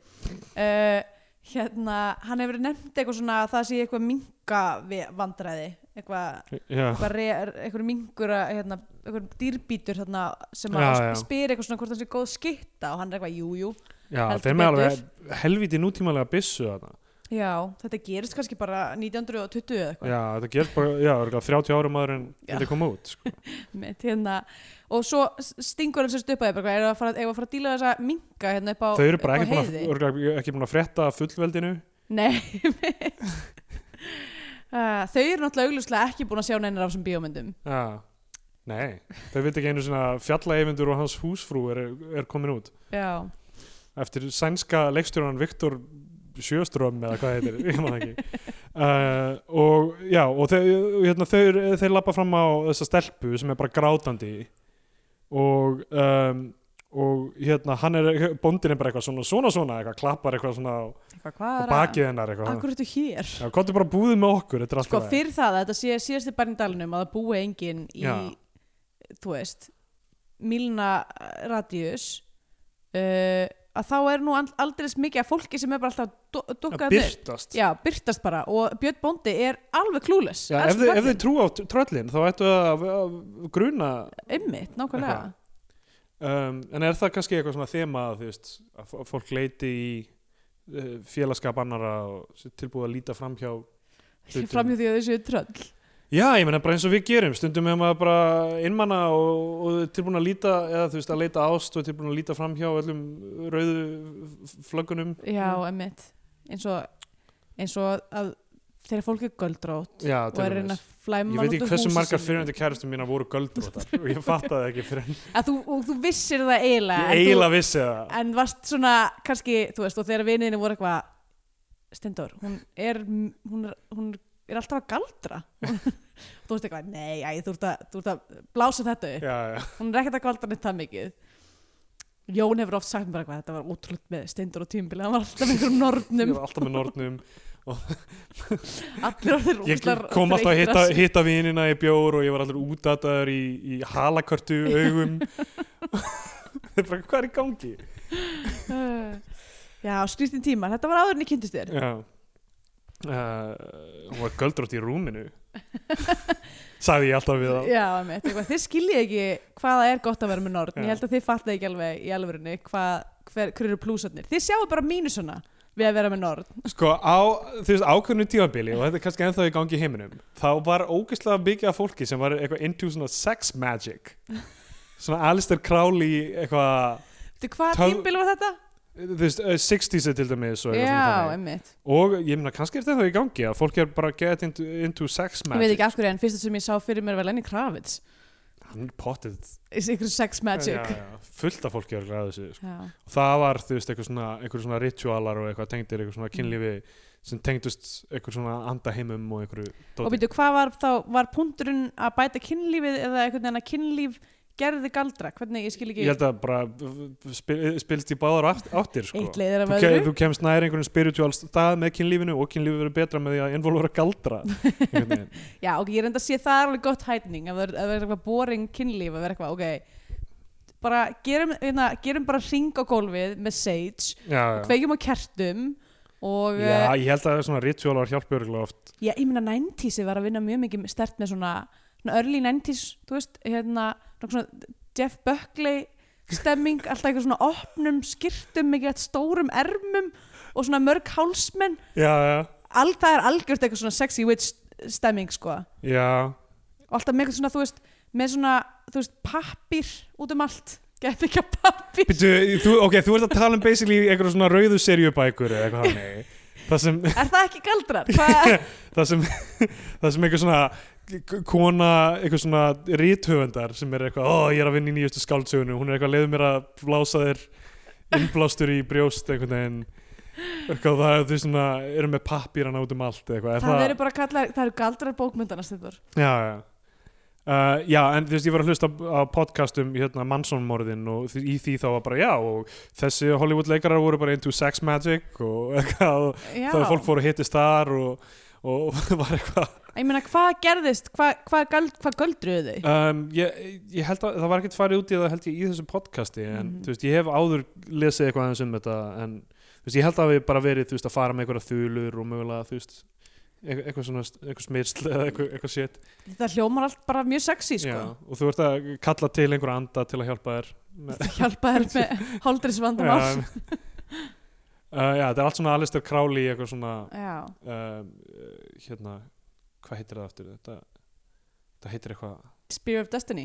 [SPEAKER 2] uh, hérna, hann hefur nefnt eitthvað svona að það sé eitthvað minka vandræði eitthvað
[SPEAKER 3] já,
[SPEAKER 2] eitthvað re- einhver mingur að, hérna, einhver dýrbítur þarna, sem að
[SPEAKER 3] Já,
[SPEAKER 2] sp-
[SPEAKER 3] já.
[SPEAKER 2] spyr eitthvað svona hvort það sé góð skitta og hann er eitthvað jújú jú.
[SPEAKER 3] já
[SPEAKER 2] Heldur
[SPEAKER 3] þeir með
[SPEAKER 2] betur.
[SPEAKER 3] alveg helviti nútímalega byssu þarna
[SPEAKER 2] já, þetta gerist kannski bara 1920 eða eitthvað
[SPEAKER 3] já, þetta gerð bara, já, örugglega 30 árum maður en
[SPEAKER 2] Já.
[SPEAKER 3] þetta koma út sko.
[SPEAKER 2] Mitt, hérna. og svo s- stingur hann sér stupaði bara, eitthvað, eigum við að fara- eigum við að fara að díla við þessa minga hérna upp á,
[SPEAKER 3] þau eru bara
[SPEAKER 2] upp á
[SPEAKER 3] ekki búin, að,
[SPEAKER 2] heiði
[SPEAKER 3] örugglega ekki búin að frétta af fullveldinu
[SPEAKER 2] Nei, mitt. uh, þau eru náttúrulega augljuslega ekki búin að sjá neinar af þessum bíómyndum
[SPEAKER 3] já, nei þau veit ekki einu svona fjallaeyfindur og hans húsfrú er, er komin út
[SPEAKER 2] já,
[SPEAKER 3] eftir sænska leikstjóran Viktor Sjöström eða hvað heitir, ég maður það ekki uh, og já og þau, hérna, þau, eru- þau lappa fram á þessa stelpu sem er bara grátandi og um, og hérna hann er bóndin er bara eitthvað svona svona svona eitthvað klappar eitthvað svona á,
[SPEAKER 2] eitthvað, hvað
[SPEAKER 3] á
[SPEAKER 2] er
[SPEAKER 3] bakið hennar
[SPEAKER 2] að
[SPEAKER 3] eitthvað
[SPEAKER 2] hverju ertu hér
[SPEAKER 3] já, hvað er bara búið með okkur þetta er
[SPEAKER 2] sko
[SPEAKER 3] alltaf
[SPEAKER 2] fyrir það að þetta sé síðasti barn í dalinum að það búi enginn í
[SPEAKER 3] Já.
[SPEAKER 2] þú veist milna radius uh, að þá er nú al- aldrei eins mikið að fólki sem er bara alltaf að dukka
[SPEAKER 3] að byrtast já,
[SPEAKER 2] já, byrtast bara og Björn Bóndi er alveg klúles
[SPEAKER 3] ef, þau, ef þau trú á tröllin þá ættu að, að gruna
[SPEAKER 2] ymmit, nákvæmlega
[SPEAKER 3] Eitthvað. Um, en er það kannski eitthvað svona þema að, þú veist, að fó- fólk leiti í uh, félagskap annara og sé tilbúið að líta fram hjá Hlutum.
[SPEAKER 2] framhjóð því að þessu er tröll
[SPEAKER 3] Já, ég meina bara eins og við gerum stundum hefur maður bara innmanna og, og tilbúin að líta eða þú veist að leita ást og tilbúin að líta fram hjá öllum rauðu f- flöggunum
[SPEAKER 2] já,
[SPEAKER 3] Mm.
[SPEAKER 2] ymmit, eins og eins og að þegar fólk er göldrótt
[SPEAKER 3] Já,
[SPEAKER 2] og er að reyna
[SPEAKER 3] tilbúin
[SPEAKER 2] að flæma
[SPEAKER 3] Ég veit ekki
[SPEAKER 2] út úr
[SPEAKER 3] hversu
[SPEAKER 2] húsi
[SPEAKER 3] margar
[SPEAKER 2] sínu.
[SPEAKER 3] fyrirhandi kærastum mína voru göldrótar og ég fattaði ekki fyrir henni
[SPEAKER 2] að þú, og þú vissir það eiginlega
[SPEAKER 3] Ég
[SPEAKER 2] en þú-
[SPEAKER 3] eiginlega vissi það
[SPEAKER 2] en varst svona kannski, þú veist, og þegar viniðinu voru eitthvað Stendur, hún er hún er, hún er alltaf að galdra þú veist eitthvað, nei, æ, þú, ert að, þú ert að blása þetta upp,
[SPEAKER 3] Já, já,
[SPEAKER 2] hún er ekkert að galdra neitt það mikið Jón hefur oft sagt mér bara eitthvað, þetta var ótrúlega með Stendur og tímbili, hann var alltaf með einhverjum
[SPEAKER 3] ég
[SPEAKER 2] nornum
[SPEAKER 3] var alltaf með nornum
[SPEAKER 2] allir orðir
[SPEAKER 3] Ég
[SPEAKER 2] ógeðslega
[SPEAKER 3] kom alltaf að
[SPEAKER 2] þreyttir
[SPEAKER 3] hitta,
[SPEAKER 2] þessu.
[SPEAKER 3] hitta vinina í bjór og ég var allur útataður í, í halakörtu augum Þetta er bara, Hvað er í gangi?
[SPEAKER 2] Já, skrýttin tíma, þetta var áður en ég kynntist þér
[SPEAKER 3] Já Uh, hún var göldrótt í rúminu sagði ég alltaf við það
[SPEAKER 2] Já, einmitt, eitthvað, þið skiljið ekki hvað það er gott að vera með norn
[SPEAKER 3] Já.
[SPEAKER 2] ég held að þið fatta ekki alveg í alvörunni hvað, hver, hver eru plúsarnir, þið sjáu bara mínusuna við að vera með norn
[SPEAKER 3] sko á, þú veist ákveðnu tímabili og þetta er kannski ennþá í gangi í heiminum þá var ógeðslega mikið af fólki sem var eitthvað into svona sex magic svona Alistair Crowley eitthvað,
[SPEAKER 2] Þú, hvað
[SPEAKER 3] Töl-
[SPEAKER 2] Töl... tímbil var þetta?
[SPEAKER 3] þú veist, eh, 60s til dæmis og, eitthvað svona
[SPEAKER 2] Já,
[SPEAKER 3] þannig.
[SPEAKER 2] einmitt,
[SPEAKER 3] og ég meina kannski er þetta í gangi að fólki er bara get into, into sex
[SPEAKER 2] ég veit
[SPEAKER 3] magic
[SPEAKER 2] ekki af hverju en fyrsta sem ég sá fyrir mér var Lenny Kravitz
[SPEAKER 3] hann pottið
[SPEAKER 2] Is ykkur sex magic
[SPEAKER 3] já, já, fullt af fólki er að þessu sko.
[SPEAKER 2] Já.
[SPEAKER 3] og það var þú veist eitthvað svona, eitthvað svona ritualar og eitthvað tengdir eitthvað svona kynlífi sem tengdust eitthvað svona andaheimum og einhverju
[SPEAKER 2] Og
[SPEAKER 3] dóti
[SPEAKER 2] býtu, hvað var þá, var punkturinn að bæta kynlífið eða einhvern veginn að kynlíf gerði galdra, hvernig ég skil ekki
[SPEAKER 3] ég held að bara uh, spil, spilst í báðar átt- áttir sko.
[SPEAKER 2] eitt leiðir af
[SPEAKER 3] þú, ke
[SPEAKER 2] öðru
[SPEAKER 3] þú kemst nær einhvern spiritual stað með kynlífinu og kynlífi verður betra með því að involvera galdra einhvern veginn.
[SPEAKER 2] Já, ok, ég reynda að sé það er alveg gott hætning að vera eitthvað boring kynlíf að vera eitthvað, ok bara gerum, einna, gerum bara ring á gólfið með sage,
[SPEAKER 3] já, já.
[SPEAKER 2] kveikjum á kertum og eh,
[SPEAKER 3] já, ég held að svona ritualar hjálpi örgulega oft
[SPEAKER 2] Já, ég meina 90s var að vinna mjög mikið stert með svona, svona early 90s, þú veist, hérna, svona Jeff Buckley stemming, alltaf eitthvað svona opnum skirtum, mikið rétt stórum ermum og svona mörg hálsmenn,
[SPEAKER 3] já, já,
[SPEAKER 2] all, það er algjört eitthvað svona sexy witch stemming, sko.
[SPEAKER 3] já,
[SPEAKER 2] Og alltaf með eitthvað svona, þú veist, með svona, þú veist, pappir út um allt, gett ekki að pappir.
[SPEAKER 3] Bittu, þú, ok, þú ert að tala um basically einhverjum svona rauðu serjubækur eða eitthvað hannig það sem,
[SPEAKER 2] Er það ekki galdrar? Hvað?
[SPEAKER 3] það sem, það sem einhver svona k- kona, einhver svona ríthöfundar sem er eitthvað, ó, ég er að vinna í nýjustu skáldsögunu hún er eitthvað, leiðu mér að blása þér innblástur í brjóst einhvern veginn eitthvað, það er þau svona, eru með pappírana út um allt eða eitthvað, er
[SPEAKER 2] það eru bara kallar, það eru galdrar bókmyndana, Stefur.
[SPEAKER 3] já, já Uh, já, en þú veist, ég var að hlusta á podcast um hérna, Manson-morðin og því- í því þá var bara já og þessi Hollywood-leikarar voru bara into sex magic og eitthvað, og
[SPEAKER 2] Já.
[SPEAKER 3] það fólk fóru að hittist þar og, og var eitthvað
[SPEAKER 2] Ég meina, hvað gerðist? Hvað hva, gald, hva göldruðu þau?
[SPEAKER 3] um, ég, ég held að það var ekkert farið út í það held ég í þessu podcasti en
[SPEAKER 2] Mhm.
[SPEAKER 3] þú veist, ég hef áður lesið eitthvað aðeins um þetta en þú veist, ég held að við bara verið þú veist, að fara með einhverja þulur og mögulega þú veist, eitthvað, eitthvað svona, eitthvað smirsl eða eitthvað, eitthvað shit
[SPEAKER 2] Þetta hljómar allt bara mjög sexy, sko.
[SPEAKER 3] Já, og þú ert að kalla til einhverja anda til að hjálpa þér með-
[SPEAKER 2] Hjálpa þér með holdrisvandamál.
[SPEAKER 3] Já, en- Uh, já, þetta er allt svona Alistair Crowley í eitthvað svona
[SPEAKER 2] Já. Já.
[SPEAKER 3] um, uh, hérna, hvað heitir það aftur þetta, þetta heitir eitthvað
[SPEAKER 2] Spear of Destiny.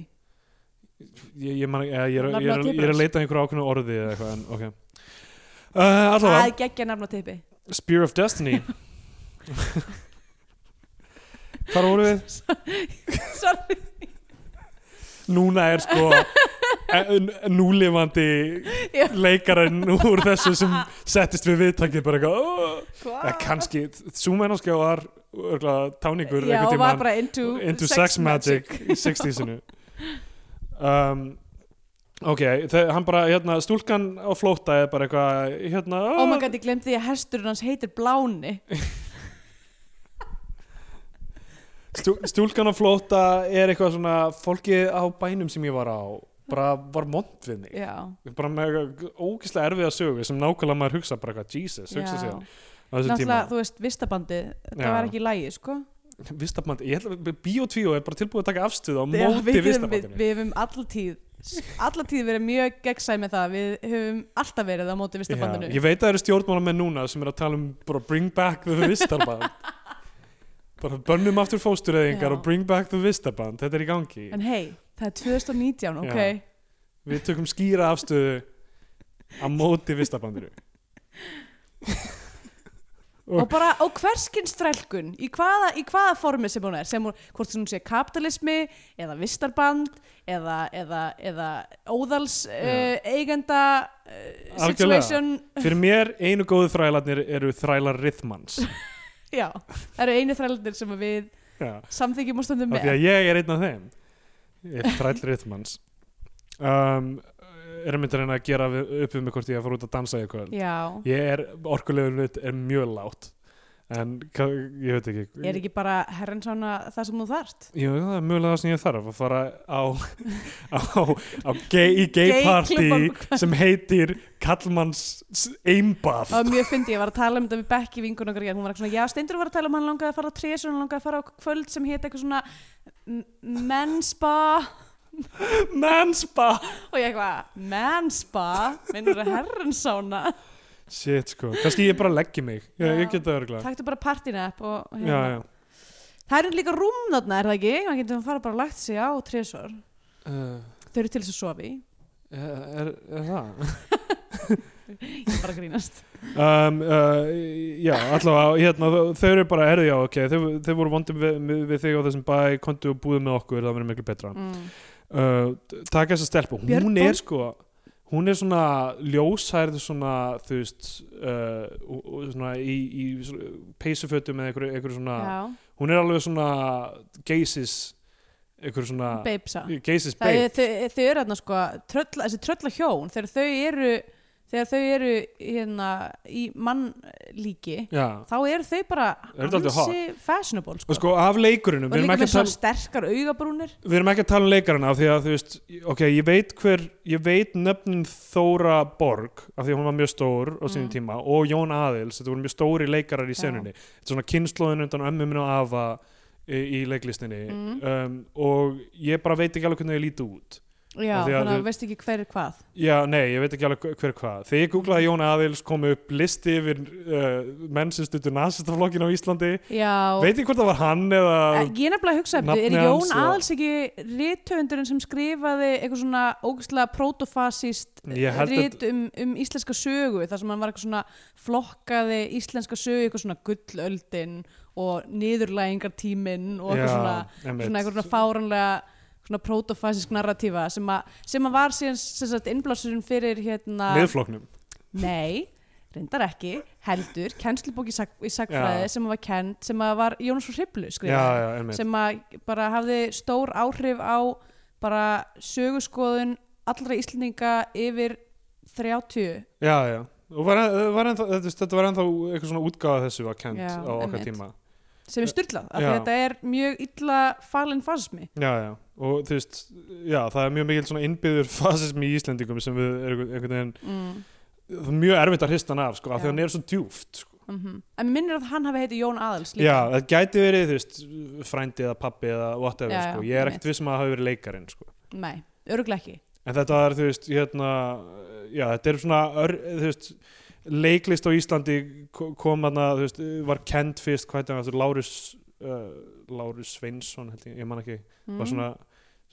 [SPEAKER 3] ég, ég, man, eh, ég, ég, er- ég, er-
[SPEAKER 2] Nafn á
[SPEAKER 3] ég er að leita að einhverju ákveðnu orði eða eitthvað en ok uh,
[SPEAKER 2] Það
[SPEAKER 3] allavega,
[SPEAKER 2] er geggja nafn á teipi.
[SPEAKER 3] Spear of Destiny hvar voru við?
[SPEAKER 2] Sorry.
[SPEAKER 3] núna er sko en- en- núlifandi
[SPEAKER 2] Já.
[SPEAKER 3] leikarinn úr þessu sem settist við viðtakið bara eitthvað "Ó."
[SPEAKER 2] Hvað?
[SPEAKER 3] eða kannski, sú mennarskja var örgulega táningur
[SPEAKER 2] Já, og
[SPEAKER 3] einhvern
[SPEAKER 2] var
[SPEAKER 3] tímann
[SPEAKER 2] bara into,
[SPEAKER 3] into sex, magic, í 60-sinu um, ok, þe- hann bara hérna, stúlkan á flóta er bara eitthvað hérna,
[SPEAKER 2] Oh my god, ég glemt því að hesturinn hans heitir Bláni.
[SPEAKER 3] stú, stúlkan á flóta er eitthvað svona fólki á bænum sem ég var á bara var mond við mig
[SPEAKER 2] Já.
[SPEAKER 3] bara með ógislega erfiða sögu sem nákvæmlega maður hugsa bara eitthvað, Jesus, hugsa
[SPEAKER 2] Já.
[SPEAKER 3] sér á þessum tíma
[SPEAKER 2] Náttúrulega, þú veist, vistabandið, það
[SPEAKER 3] Já.
[SPEAKER 2] var ekki í lægi, sko.
[SPEAKER 3] Vistabandi, ég held að Bíotvíó er bara tilbúið að taka afstöð á
[SPEAKER 2] Já, við
[SPEAKER 3] móti
[SPEAKER 2] höfum- Við,
[SPEAKER 3] Vistabandinu
[SPEAKER 2] við hefum allatíð allatíð verið mjög gegnsæð með það við höfum alltaf verið á móti vistabandinu
[SPEAKER 3] ég veit að það eru stjórnmála með núna sem er að tala um bara bring back the Vistaband bara bönnum aftur
[SPEAKER 2] Já.
[SPEAKER 3] fóstureyðingar og bring back the Vistaband þetta er í gangi,
[SPEAKER 2] En hei, það er 2019, ok?
[SPEAKER 3] við tökum skýra afstöðu á móti Vistabandinu
[SPEAKER 2] Og bara, og hverskins þrælkun, í hvaða, í hvaða formi sem hún er, sem hún, hvort sem hún sé kapitalismi, eða vistarband, eða, eða, eða óðals uh, eigenda uh,
[SPEAKER 3] Algjörlega.
[SPEAKER 2] situation.
[SPEAKER 3] fyrir mér einu góðu þrælarnir eru þrælar Rithmans
[SPEAKER 2] Já, það eru einu þrælandir sem að við
[SPEAKER 3] já
[SPEAKER 2] samþykjum og stöndum
[SPEAKER 3] af því
[SPEAKER 2] með.
[SPEAKER 3] að ég er einn af þeim ég er þræll rithmans um, erum myndar en að gera við, upp við mig hvort ég að fara út að dansa í kvöld
[SPEAKER 2] Já,
[SPEAKER 3] ég er, orkulegur mitt er mjög látt en ka- ég veit ekki
[SPEAKER 2] er ekki bara herran svona það sem þú þarft?
[SPEAKER 3] Jú, það er mjögulega það sem ég þarf að fara á, á, á gay, í gay,
[SPEAKER 2] Gay
[SPEAKER 3] party
[SPEAKER 2] klubbann.
[SPEAKER 3] sem heitir Kallmanns Eimbað
[SPEAKER 2] Það var mjög fyndið, ég var að tala um þetta við Bekki vingun okkar í gær, hún var eitthvað svona, já, Steindur var að tala um hann langaði að fara á trés og hann langaði að fara á kvöld sem hétt eitthvað svona m- menspa
[SPEAKER 3] Mennspa
[SPEAKER 2] og ég eitthvað, menspa, minnur það herrensána
[SPEAKER 3] Shit sko, kannski ég bara leggi mig ég,
[SPEAKER 2] Já.
[SPEAKER 3] ég get það örgulega
[SPEAKER 2] taktu bara partynapp og hérna.
[SPEAKER 3] Já, já
[SPEAKER 2] það eru líka rúm þarna, er það ekki? Það getur að fara bara að lagt sig á trésor
[SPEAKER 3] uh,
[SPEAKER 2] þau eru til þess að sofa í,
[SPEAKER 3] er, er það?
[SPEAKER 2] ég er bara að grínast
[SPEAKER 3] um, uh, já, allavega hérna, þau- þau eru bara, herðu já, ok þau, þau voru vondum við, við, við þig á þessum bæ, kontu og búðu með okkur, það verður miklu betra
[SPEAKER 2] mm.
[SPEAKER 3] uh, taka þessa stelpu hún
[SPEAKER 2] Björn
[SPEAKER 3] er sko hún er svona ljóshærð svona þú veist uh, og- og svona í, í svona peysufötum eða einhverju, einhverju svona
[SPEAKER 2] já,
[SPEAKER 3] hún er alveg svona geisis einhverju svona
[SPEAKER 2] beibsa
[SPEAKER 3] geisis
[SPEAKER 2] Það
[SPEAKER 3] babe
[SPEAKER 2] er, þau, þau eru þarna sko tröll, þessi trölla hjón þegar þau eru þegar þau eru hérna í mannlíki
[SPEAKER 3] já
[SPEAKER 2] þá eru þau bara
[SPEAKER 3] Eru þetta aldrei hot?
[SPEAKER 2] fashionable sko.
[SPEAKER 3] og sko af leikurinum
[SPEAKER 2] og
[SPEAKER 3] við erum
[SPEAKER 2] líka
[SPEAKER 3] ekki
[SPEAKER 2] með
[SPEAKER 3] að tala
[SPEAKER 2] svona sterkar augabrúnir
[SPEAKER 3] við erum ekki að tala um leikarana af því að þú veist, ok, ég veit hver ég veit nöfnin Þóra Borg af því að hún var mjög stór á sínum
[SPEAKER 2] Mm.
[SPEAKER 3] tíma og Jón Aðils, þetta voru mjög stóri leikarar í
[SPEAKER 2] Já.
[SPEAKER 3] senunni, þetta er svona kynnslóðin undan ömmu minna og afa í, í leiklistinni
[SPEAKER 2] Mm.
[SPEAKER 3] um, og ég bara veit ekki alveg hvernig þau líti út
[SPEAKER 2] já,
[SPEAKER 3] Af því að
[SPEAKER 2] þannig að
[SPEAKER 3] þau-
[SPEAKER 2] þú veist ekki hver er hvað
[SPEAKER 3] Já, nei, ég veit ekki alveg hver hvað. Þegar ég
[SPEAKER 2] Mm.
[SPEAKER 3] googlaði Jón Aðils kom upp listi yfir uh, menn sem stuttur nasistaflokkin á Íslandi.
[SPEAKER 2] já,
[SPEAKER 3] Veit ekki hvort það var hann eða...
[SPEAKER 2] Eh, ég er nefnilega að hugsa eftir, er
[SPEAKER 3] nafni hans
[SPEAKER 2] Jón
[SPEAKER 3] og-
[SPEAKER 2] aðals ekki rithöfundurinn sem skrifaði eitthvað svona ógæslega prótofasist
[SPEAKER 3] Ég held að-
[SPEAKER 2] rit um, um íslenska sögu þar sem hann var eitthvað svona flokkaði íslenska sögu, eitthvað svona gullöldin og niðurlægingartíminn og eitthvað svona,
[SPEAKER 3] einmitt.
[SPEAKER 2] svona eitthvað svona fáranlega svona prótofasísk narratífa sem, að- sem að var síðan sem sagt, innblásurinn fyrir hérna
[SPEAKER 3] Miðflokknum.
[SPEAKER 2] Nei, reyndar ekki, heldur, kennslubók í, sak, í sakfræði
[SPEAKER 3] Já.
[SPEAKER 2] sem var kent, sem að var Jónas frá Hriblu
[SPEAKER 3] Já,
[SPEAKER 2] skrifaði,
[SPEAKER 3] já, einmitt.
[SPEAKER 2] sem að bara hafði stór áhrif á bara söguskoðun allra Íslendinga yfir 30.
[SPEAKER 3] Já, já. Og var, eh, var ennþá, þetta- þetta var ennþá eitthvað svona útgáða þessu var kent
[SPEAKER 2] Já,
[SPEAKER 3] á okkar
[SPEAKER 2] einmitt.
[SPEAKER 3] tíma.
[SPEAKER 2] sem er styrlað, af því
[SPEAKER 3] Eh,
[SPEAKER 2] að
[SPEAKER 3] Já.
[SPEAKER 2] þetta er mjög illa falin fasismi.
[SPEAKER 3] Já, já. Og þú veist, já, það er mjög mikil svona innbyður fasismi í Íslendingum sem við erum einhvern veginn,
[SPEAKER 2] Mm.
[SPEAKER 3] það er mjög erfitt að hrista hann af, sko, af því
[SPEAKER 2] Já.
[SPEAKER 3] hann er svo djúft, sko.
[SPEAKER 2] Mm En mér minnir að hann hafi heiti Jón Aðals líka.
[SPEAKER 3] Já, það gæti verið, þú veist, frændi eða pappi eða whatever,
[SPEAKER 2] Já, já,
[SPEAKER 3] sko. Ég er
[SPEAKER 2] einmitt.
[SPEAKER 3] ekkert vissum að það hafi verið leikarinn, sko.
[SPEAKER 2] Nei, öruglega ekki.
[SPEAKER 3] En þetta er, þú veist, hérna, já, þetta er svona, ör, þú veist, leiklist á Íslandi ko- kom hana, þú veist, var kent fyrst, hvað heitir hann, aftur, Lárus, uh, Lárus Sveinsson, held ég, ég man ekki,
[SPEAKER 2] Mm.
[SPEAKER 3] var svona,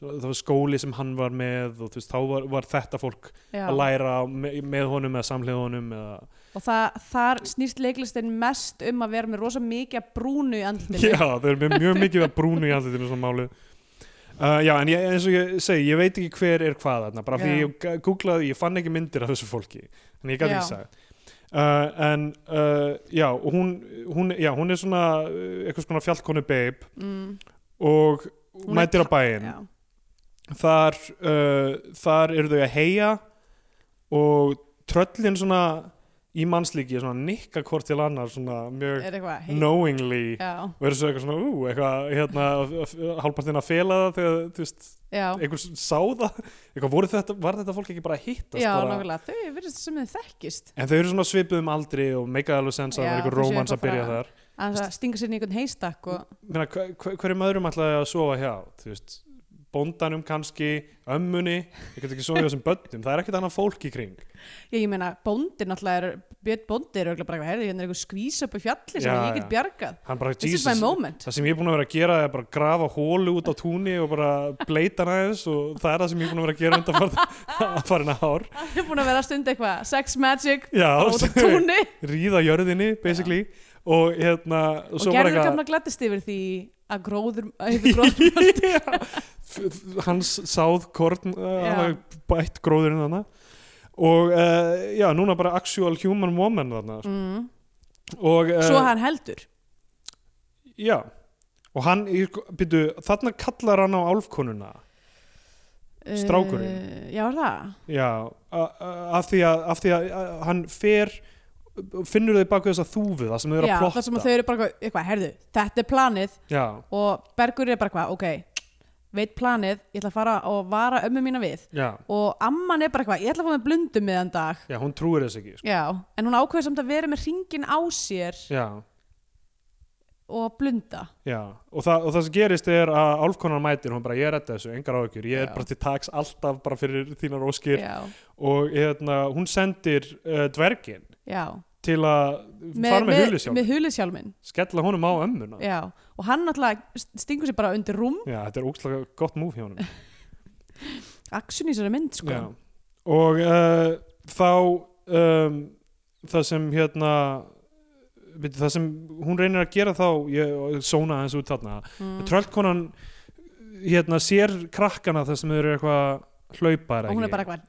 [SPEAKER 3] svona, það var skóli sem hann var með og þú veist, þá var, var þetta fólk
[SPEAKER 2] Mm, Já.
[SPEAKER 3] að læra með, með honum eða samhlið honum eða,
[SPEAKER 2] Og það, þar snýst leiklistin mest um að vera með rosa mikið af brúnu í andlutinu.
[SPEAKER 3] Já, þau eru með mjög mikið að brúnu í andlutinu svona máli uh, Já, en ég, eins og ég segi, ég veit ekki hver er hvað þarna, bara af
[SPEAKER 2] Já.
[SPEAKER 3] því ég ga- googlaði ég fann ekki myndir af þessu fólki en ég gæti
[SPEAKER 2] Já.
[SPEAKER 3] ekki sagt uh, en uh, já, og hún, hún, já, hún er svona uh, eitthvað svona fjallkonu babe
[SPEAKER 2] Mm.
[SPEAKER 3] og
[SPEAKER 2] Hún er
[SPEAKER 3] mætir á
[SPEAKER 2] ta-
[SPEAKER 3] bæinn
[SPEAKER 2] Já.
[SPEAKER 3] þar, uh, þar eru þau að heia og tröllin svona í mannslíki svona nikka hvort til annar svona mjög
[SPEAKER 2] er eitthvað hey,
[SPEAKER 3] knowingly
[SPEAKER 2] já,
[SPEAKER 3] og eru svo eitthvað svona, ú, eitthvað hérna, hálpartinn að fela það þegar, þú veist,
[SPEAKER 2] já,
[SPEAKER 3] einhver sá það eitthvað, voru þetta, var þetta fólk ekki bara að hittast
[SPEAKER 2] já
[SPEAKER 3] bara?
[SPEAKER 2] nákvæmlega þau verðist sem þau þekkist
[SPEAKER 3] en þau eru svona svipuð um aldri og meikaði alveg sens að það
[SPEAKER 2] Já,
[SPEAKER 3] var
[SPEAKER 2] þau séu
[SPEAKER 3] einhver rómans að
[SPEAKER 2] eitthvað
[SPEAKER 3] byrja
[SPEAKER 2] frá-
[SPEAKER 3] þar
[SPEAKER 2] að það stinga sér í einhvern heistakk og
[SPEAKER 3] Meina, hver, hver- hverjum öðrum ætlaði að sofa hjá þú veist, bóndanum kannski ömmunni, ég get ekki sofa hjá þessum bönnum það er ekkert annað fólk í kring
[SPEAKER 2] ég, ég meina bóndin náttúrulega er Björn bóndi er örugglega bara eitthvað herði hérna er einhver skvís upp á fjalli sem
[SPEAKER 3] Já,
[SPEAKER 2] ég
[SPEAKER 3] já.
[SPEAKER 2] get bjargað
[SPEAKER 3] hann bara,
[SPEAKER 2] this is my
[SPEAKER 3] Jesus,
[SPEAKER 2] moment
[SPEAKER 3] það sem ég er búin að vera að gera er bara að grafa hólu út á túni og bara bleita hann aðeins og það er það sem ég er búin að vera að gera undan að farin að hár
[SPEAKER 2] hann er búin að vera að stunda eitthvað sex magic
[SPEAKER 3] Já,
[SPEAKER 2] út á túnni
[SPEAKER 3] ríða jörðinni basically og hérna
[SPEAKER 2] og
[SPEAKER 3] svo var
[SPEAKER 2] gerður
[SPEAKER 3] eitthvað-
[SPEAKER 2] gamla glattist yfir því að gróður að yfir gróður
[SPEAKER 3] Já. F- f- hans sáð korn
[SPEAKER 2] Já.
[SPEAKER 3] uh, bætt gróðurinn þarna og uh, já, núna bara actual human woman þarna sko.
[SPEAKER 2] mm.
[SPEAKER 3] og, uh,
[SPEAKER 2] svo hann heldur
[SPEAKER 3] já, og hann byrju, þarna kallar hann á álfkonuna strákurinn.
[SPEAKER 2] Eh, já er það
[SPEAKER 3] já, a- a- af því að, af því að a- hann fer finnur þau baku þessa þúfu það sem þau eru
[SPEAKER 2] já,
[SPEAKER 3] að plotta
[SPEAKER 2] þar sem að þau eru bara eitthvað, eitthvað herðu þetta er planið
[SPEAKER 3] já,
[SPEAKER 2] og Bergur er bara hvað, ok veit planið, ég ætla að fara og vara ömmu mína við
[SPEAKER 3] já,
[SPEAKER 2] og amman er bara hvað, ég ætla að fá með blundum meðan dag
[SPEAKER 3] já, hún trúir þess ekki sko.
[SPEAKER 2] já, en hún ákveður samt að vera með ringin á sér
[SPEAKER 3] já
[SPEAKER 2] og blunda
[SPEAKER 3] Já, og það, og það sem gerist er að álfkonan mætir, hún bara, ég er þetta þessu, engar áhyggjur, ég er
[SPEAKER 2] Já.
[SPEAKER 3] bara til taks alltaf bara fyrir þínar óskir
[SPEAKER 2] já,
[SPEAKER 3] og hérna, hún sendir uh, dvergin
[SPEAKER 2] já
[SPEAKER 3] til að fara með, með hulusjálf,
[SPEAKER 2] með hulisjálmin
[SPEAKER 3] skella honum á ömmuna. Já,
[SPEAKER 2] já, og hann náttúrulega stingur sér bara undir rúm
[SPEAKER 3] þetta er ókslega gott múf hjá honum.
[SPEAKER 2] aksjun í sér að mynd sko
[SPEAKER 3] Já. Og uh, þá um, það sem hérna veit, það sem hún reynir að gera þá ég sóna hans út þarna
[SPEAKER 2] Mm.
[SPEAKER 3] tröllkonan hérna, sér krakkana þar sem þau eru eitthvað hlaupa er
[SPEAKER 2] og
[SPEAKER 3] það
[SPEAKER 2] hún er
[SPEAKER 3] ekki?
[SPEAKER 2] bara hvað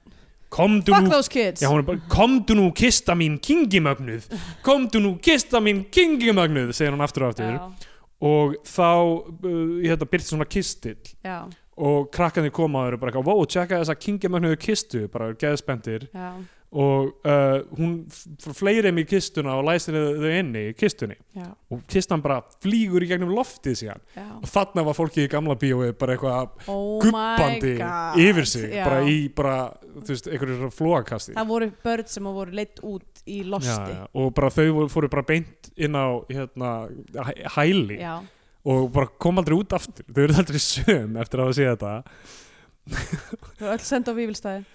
[SPEAKER 3] komdu
[SPEAKER 2] fuck
[SPEAKER 3] nú,
[SPEAKER 2] those kids
[SPEAKER 3] já, hún er bara, komdu nú kista mín kingimögnuð komdu nú kista mín kingimögnuð segir hún aftur og aftur
[SPEAKER 2] já,
[SPEAKER 3] og þá uh, hérna, byrti svona kistill
[SPEAKER 2] já,
[SPEAKER 3] og krakkandi koma og eru bara eitthvað wow, tjekka þessa kingimögnuðu kistu bara geðspendir
[SPEAKER 2] já,
[SPEAKER 3] og uh, hún f- fleiri þeim í kistuna og læsir þau þau inni í kistunni
[SPEAKER 2] já,
[SPEAKER 3] og kistan bara flýgur í gegnum loftið síðan
[SPEAKER 2] já.
[SPEAKER 3] og þarna var fólkið í gamla bíóið bara eitthvað
[SPEAKER 2] Oh my
[SPEAKER 3] guppandi
[SPEAKER 2] God.
[SPEAKER 3] yfir sig
[SPEAKER 2] Já.
[SPEAKER 3] bara í bara, þú veist, einhverju flóakasti
[SPEAKER 2] það voru börn sem voru leitt út í losti já,
[SPEAKER 3] og bara þau voru- fóru bara beint inn á hérna, hæ- hæli
[SPEAKER 2] já.
[SPEAKER 3] og bara kom aldrei út aftur þau eru aldrei söm eftir að hafa séð þetta
[SPEAKER 2] þau voru öll senda á vývilstæði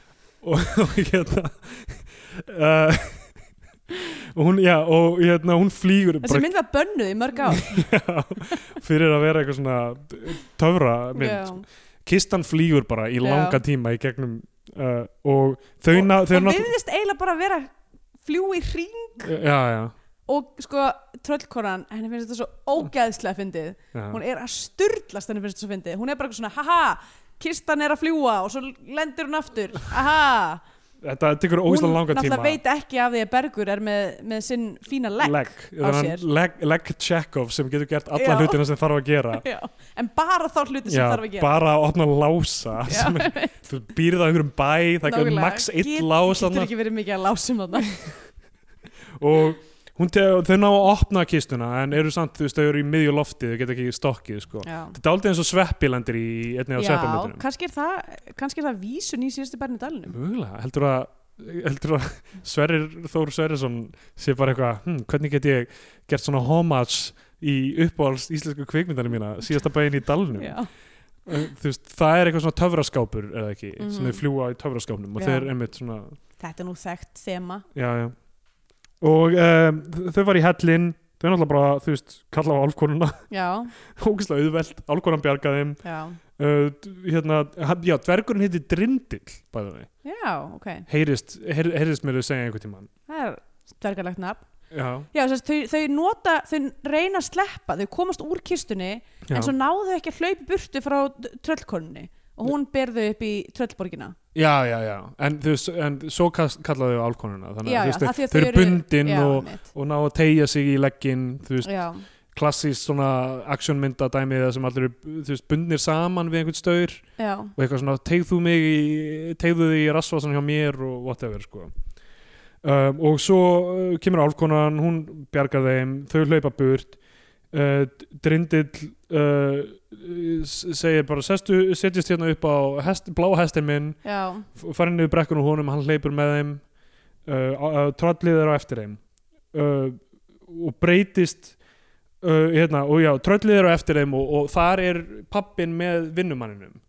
[SPEAKER 3] og hérna uh, og hún, já, og hérna hún flýgur
[SPEAKER 2] þessi mynd var bönnuð í mörg ár
[SPEAKER 3] fyrir að vera eitthvað svona töfra mynd
[SPEAKER 2] Já.
[SPEAKER 3] kistan flýgur bara í
[SPEAKER 2] Já.
[SPEAKER 3] langa tíma í gegnum uh, og þau ná
[SPEAKER 2] og
[SPEAKER 3] þau ná-
[SPEAKER 2] viððist eiginlega bara vera fljú í hring
[SPEAKER 3] já, já,
[SPEAKER 2] og sko tröllkonan henni finnst þetta svo ógæðslega fyndið
[SPEAKER 3] já.
[SPEAKER 2] hún er að sturdlast henni finnst þetta svo fyndið hún er bara eitthvað svona haha kistan er að fljúa og svo lendir hún aftur aha
[SPEAKER 3] þetta tekur
[SPEAKER 2] hún
[SPEAKER 3] ógeðslega langa tíma
[SPEAKER 2] náttúrulega veit ekki af því að Bergur er með, með sinn fína legg
[SPEAKER 3] legg, þannig
[SPEAKER 2] sér.
[SPEAKER 3] legg, legg Chekhov sem getur gert alla
[SPEAKER 2] Já.
[SPEAKER 3] hlutina sem þarf að gera
[SPEAKER 2] Já, en bara þá hluti sem
[SPEAKER 3] Já,
[SPEAKER 2] þarf að gera
[SPEAKER 3] bara að opna lása
[SPEAKER 2] Já,
[SPEAKER 3] sem er, þú býrð á einhverjum bæ það er
[SPEAKER 2] nákvæmlega.
[SPEAKER 3] max eitt
[SPEAKER 2] Get-
[SPEAKER 3] lás þarna. Sko.
[SPEAKER 2] getur ekki verið mikið að lásum þarna
[SPEAKER 3] og hún te- þau ná að opna kistuna en eru samt, þú veist, þau eru í miðju lofti þau geta ekki stokkið, sko
[SPEAKER 2] já,
[SPEAKER 3] þetta er aldrei eins og sveppilendir í einni af sveppamöndunum
[SPEAKER 2] kannski, er það, kannski er það vísun í síðustu bærni dalinum
[SPEAKER 3] Mögulega, heldur að heldur að Sverrir Þór Sverrisson sé bara eitthvað, hm, hvernig get ég gert svona homage í uppáhalds íslensku kvikmyndanum mína síðasta bæinn í dalnum
[SPEAKER 2] já,
[SPEAKER 3] þú veist, það er eitthvað svona töfraskápur eða ekki, sem
[SPEAKER 2] Mhm.
[SPEAKER 3] þau fljúa í töfraskápnum og
[SPEAKER 2] Já.
[SPEAKER 3] þau er einmitt svona
[SPEAKER 2] þetta er nú þekkt þema
[SPEAKER 3] já, já. og um, þau var í hellin þau er náttúrulega bara, þú veist, kalla á álfkonuna
[SPEAKER 2] já,
[SPEAKER 3] ógæslega auðvelt, álkonan bjargaði þeim
[SPEAKER 2] já,
[SPEAKER 3] uh, d- hérna, hann- já, dvergurinn heitir Drindill bæði þeim,
[SPEAKER 2] já, ok
[SPEAKER 3] heyrist heyr, heyrist mér þau segja einhvern tímann
[SPEAKER 2] það er stærkarlegt nafn
[SPEAKER 3] já,
[SPEAKER 2] já, þess, þau, þau nota, þau reyna að sleppa þau komast úr kistunni
[SPEAKER 3] já.
[SPEAKER 2] en svo náðu þau ekki að hlaupa í burtu frá tröllkonunni og hún ber þau upp í tröllborgina
[SPEAKER 3] já, já, já en, þú, veist, en svo kas- kallaðu þau álkonuna þannig
[SPEAKER 2] Já, já,
[SPEAKER 3] að þú veist,
[SPEAKER 2] af því að
[SPEAKER 3] þau eru bundin
[SPEAKER 2] já,
[SPEAKER 3] og,
[SPEAKER 2] einmitt.
[SPEAKER 3] og ná að tegja sig í leggin þú veist,
[SPEAKER 2] já,
[SPEAKER 3] klassískt svona actionmynda dæmið sem allir eru, þú veist, bundnir saman við einhvern staur
[SPEAKER 2] já,
[SPEAKER 3] og eitthvað svona tegð þú mig í, tegðu þig í rassvasan hjá mér og whatever sko. um, og svo uh, kemur álkonan, hún bjargar þeim þau hlaupa burt uh, Drindill uh, s- segir bara sestu, setjist hérna upp á hest, blá hestin minn
[SPEAKER 2] já,
[SPEAKER 3] farin niður brekkun og honum, hann hleypur með þeim uh, uh, tröllið er á eftir þeim uh, og breytist uh, hérna, og já, tröllið er á eftir þeim og, og þar er pappin með vinnumanninum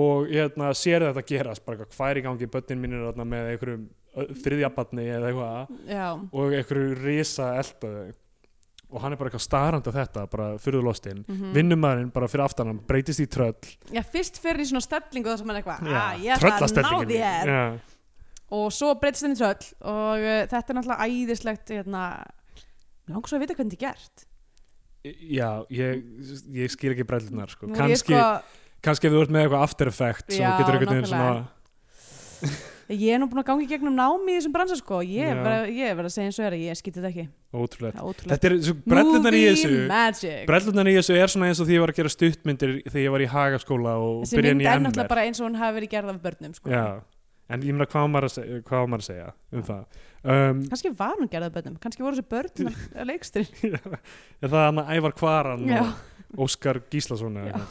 [SPEAKER 3] og hérna, sér þetta gerast bara eitthvað, hvað er í gangi, börnin mín er þarna með einhverjum ö, þriðja barni eða eitthvað
[SPEAKER 2] já,
[SPEAKER 3] og einhverju risa eldaðu og hann er bara eitthvað starrandi á þetta bara fyrir lostinn, mm
[SPEAKER 2] Mhm.
[SPEAKER 3] bara fyrir aftan hann breytist í tröll
[SPEAKER 2] já fyrst fer hann í svona stellingu þar sem hann er eitthvað,
[SPEAKER 3] Já,
[SPEAKER 2] að Ah, ég ætla að ná
[SPEAKER 3] tröllastellingin
[SPEAKER 2] þér
[SPEAKER 3] já,
[SPEAKER 2] og svo breytist hann í tröll og uh, þetta er náttúrulega æðislegt hérna, mér langar svo að vita hvernig þetta er gert
[SPEAKER 3] Sko, Já, ég, ég skil ekki brellunar sko.
[SPEAKER 2] Nú er ég
[SPEAKER 3] kannski,
[SPEAKER 2] sko,
[SPEAKER 3] kannski ef þú ert með eitthvað after effect sem
[SPEAKER 2] Já,
[SPEAKER 3] þú getur einhvern veginn svona
[SPEAKER 2] nákvæmlega. ég er nú búin að gangi gegnum námi í þessum bransa sko, ég er
[SPEAKER 3] Já.
[SPEAKER 2] bara- ég er verið að segja eins og er að ég skýti þetta ekki,
[SPEAKER 3] ótrúlegt
[SPEAKER 2] það er ótrúlega
[SPEAKER 3] Þetta er svo brellunar í þessu
[SPEAKER 2] Movie magic
[SPEAKER 3] Brellunar í þessu er svona eins og því ég var að gera stuttmyndir þegar ég var í Hagaskóla og
[SPEAKER 2] þessi mynd
[SPEAKER 3] byrjaði í
[SPEAKER 2] er
[SPEAKER 3] MR
[SPEAKER 2] náttúrulega bara eins og hún hafi verið gerð af börnum sko.
[SPEAKER 3] Já, en ég meina hvað á maður að segja, hvað á maður að segja um það um,
[SPEAKER 2] kannski var hún gerð af börnum, kannski voru þessi börn að- að leikstri
[SPEAKER 3] Er það hann að Ævar Kvaran
[SPEAKER 2] Já.
[SPEAKER 3] og Óskar Gíslason eða
[SPEAKER 2] Já.
[SPEAKER 3] eitthvað?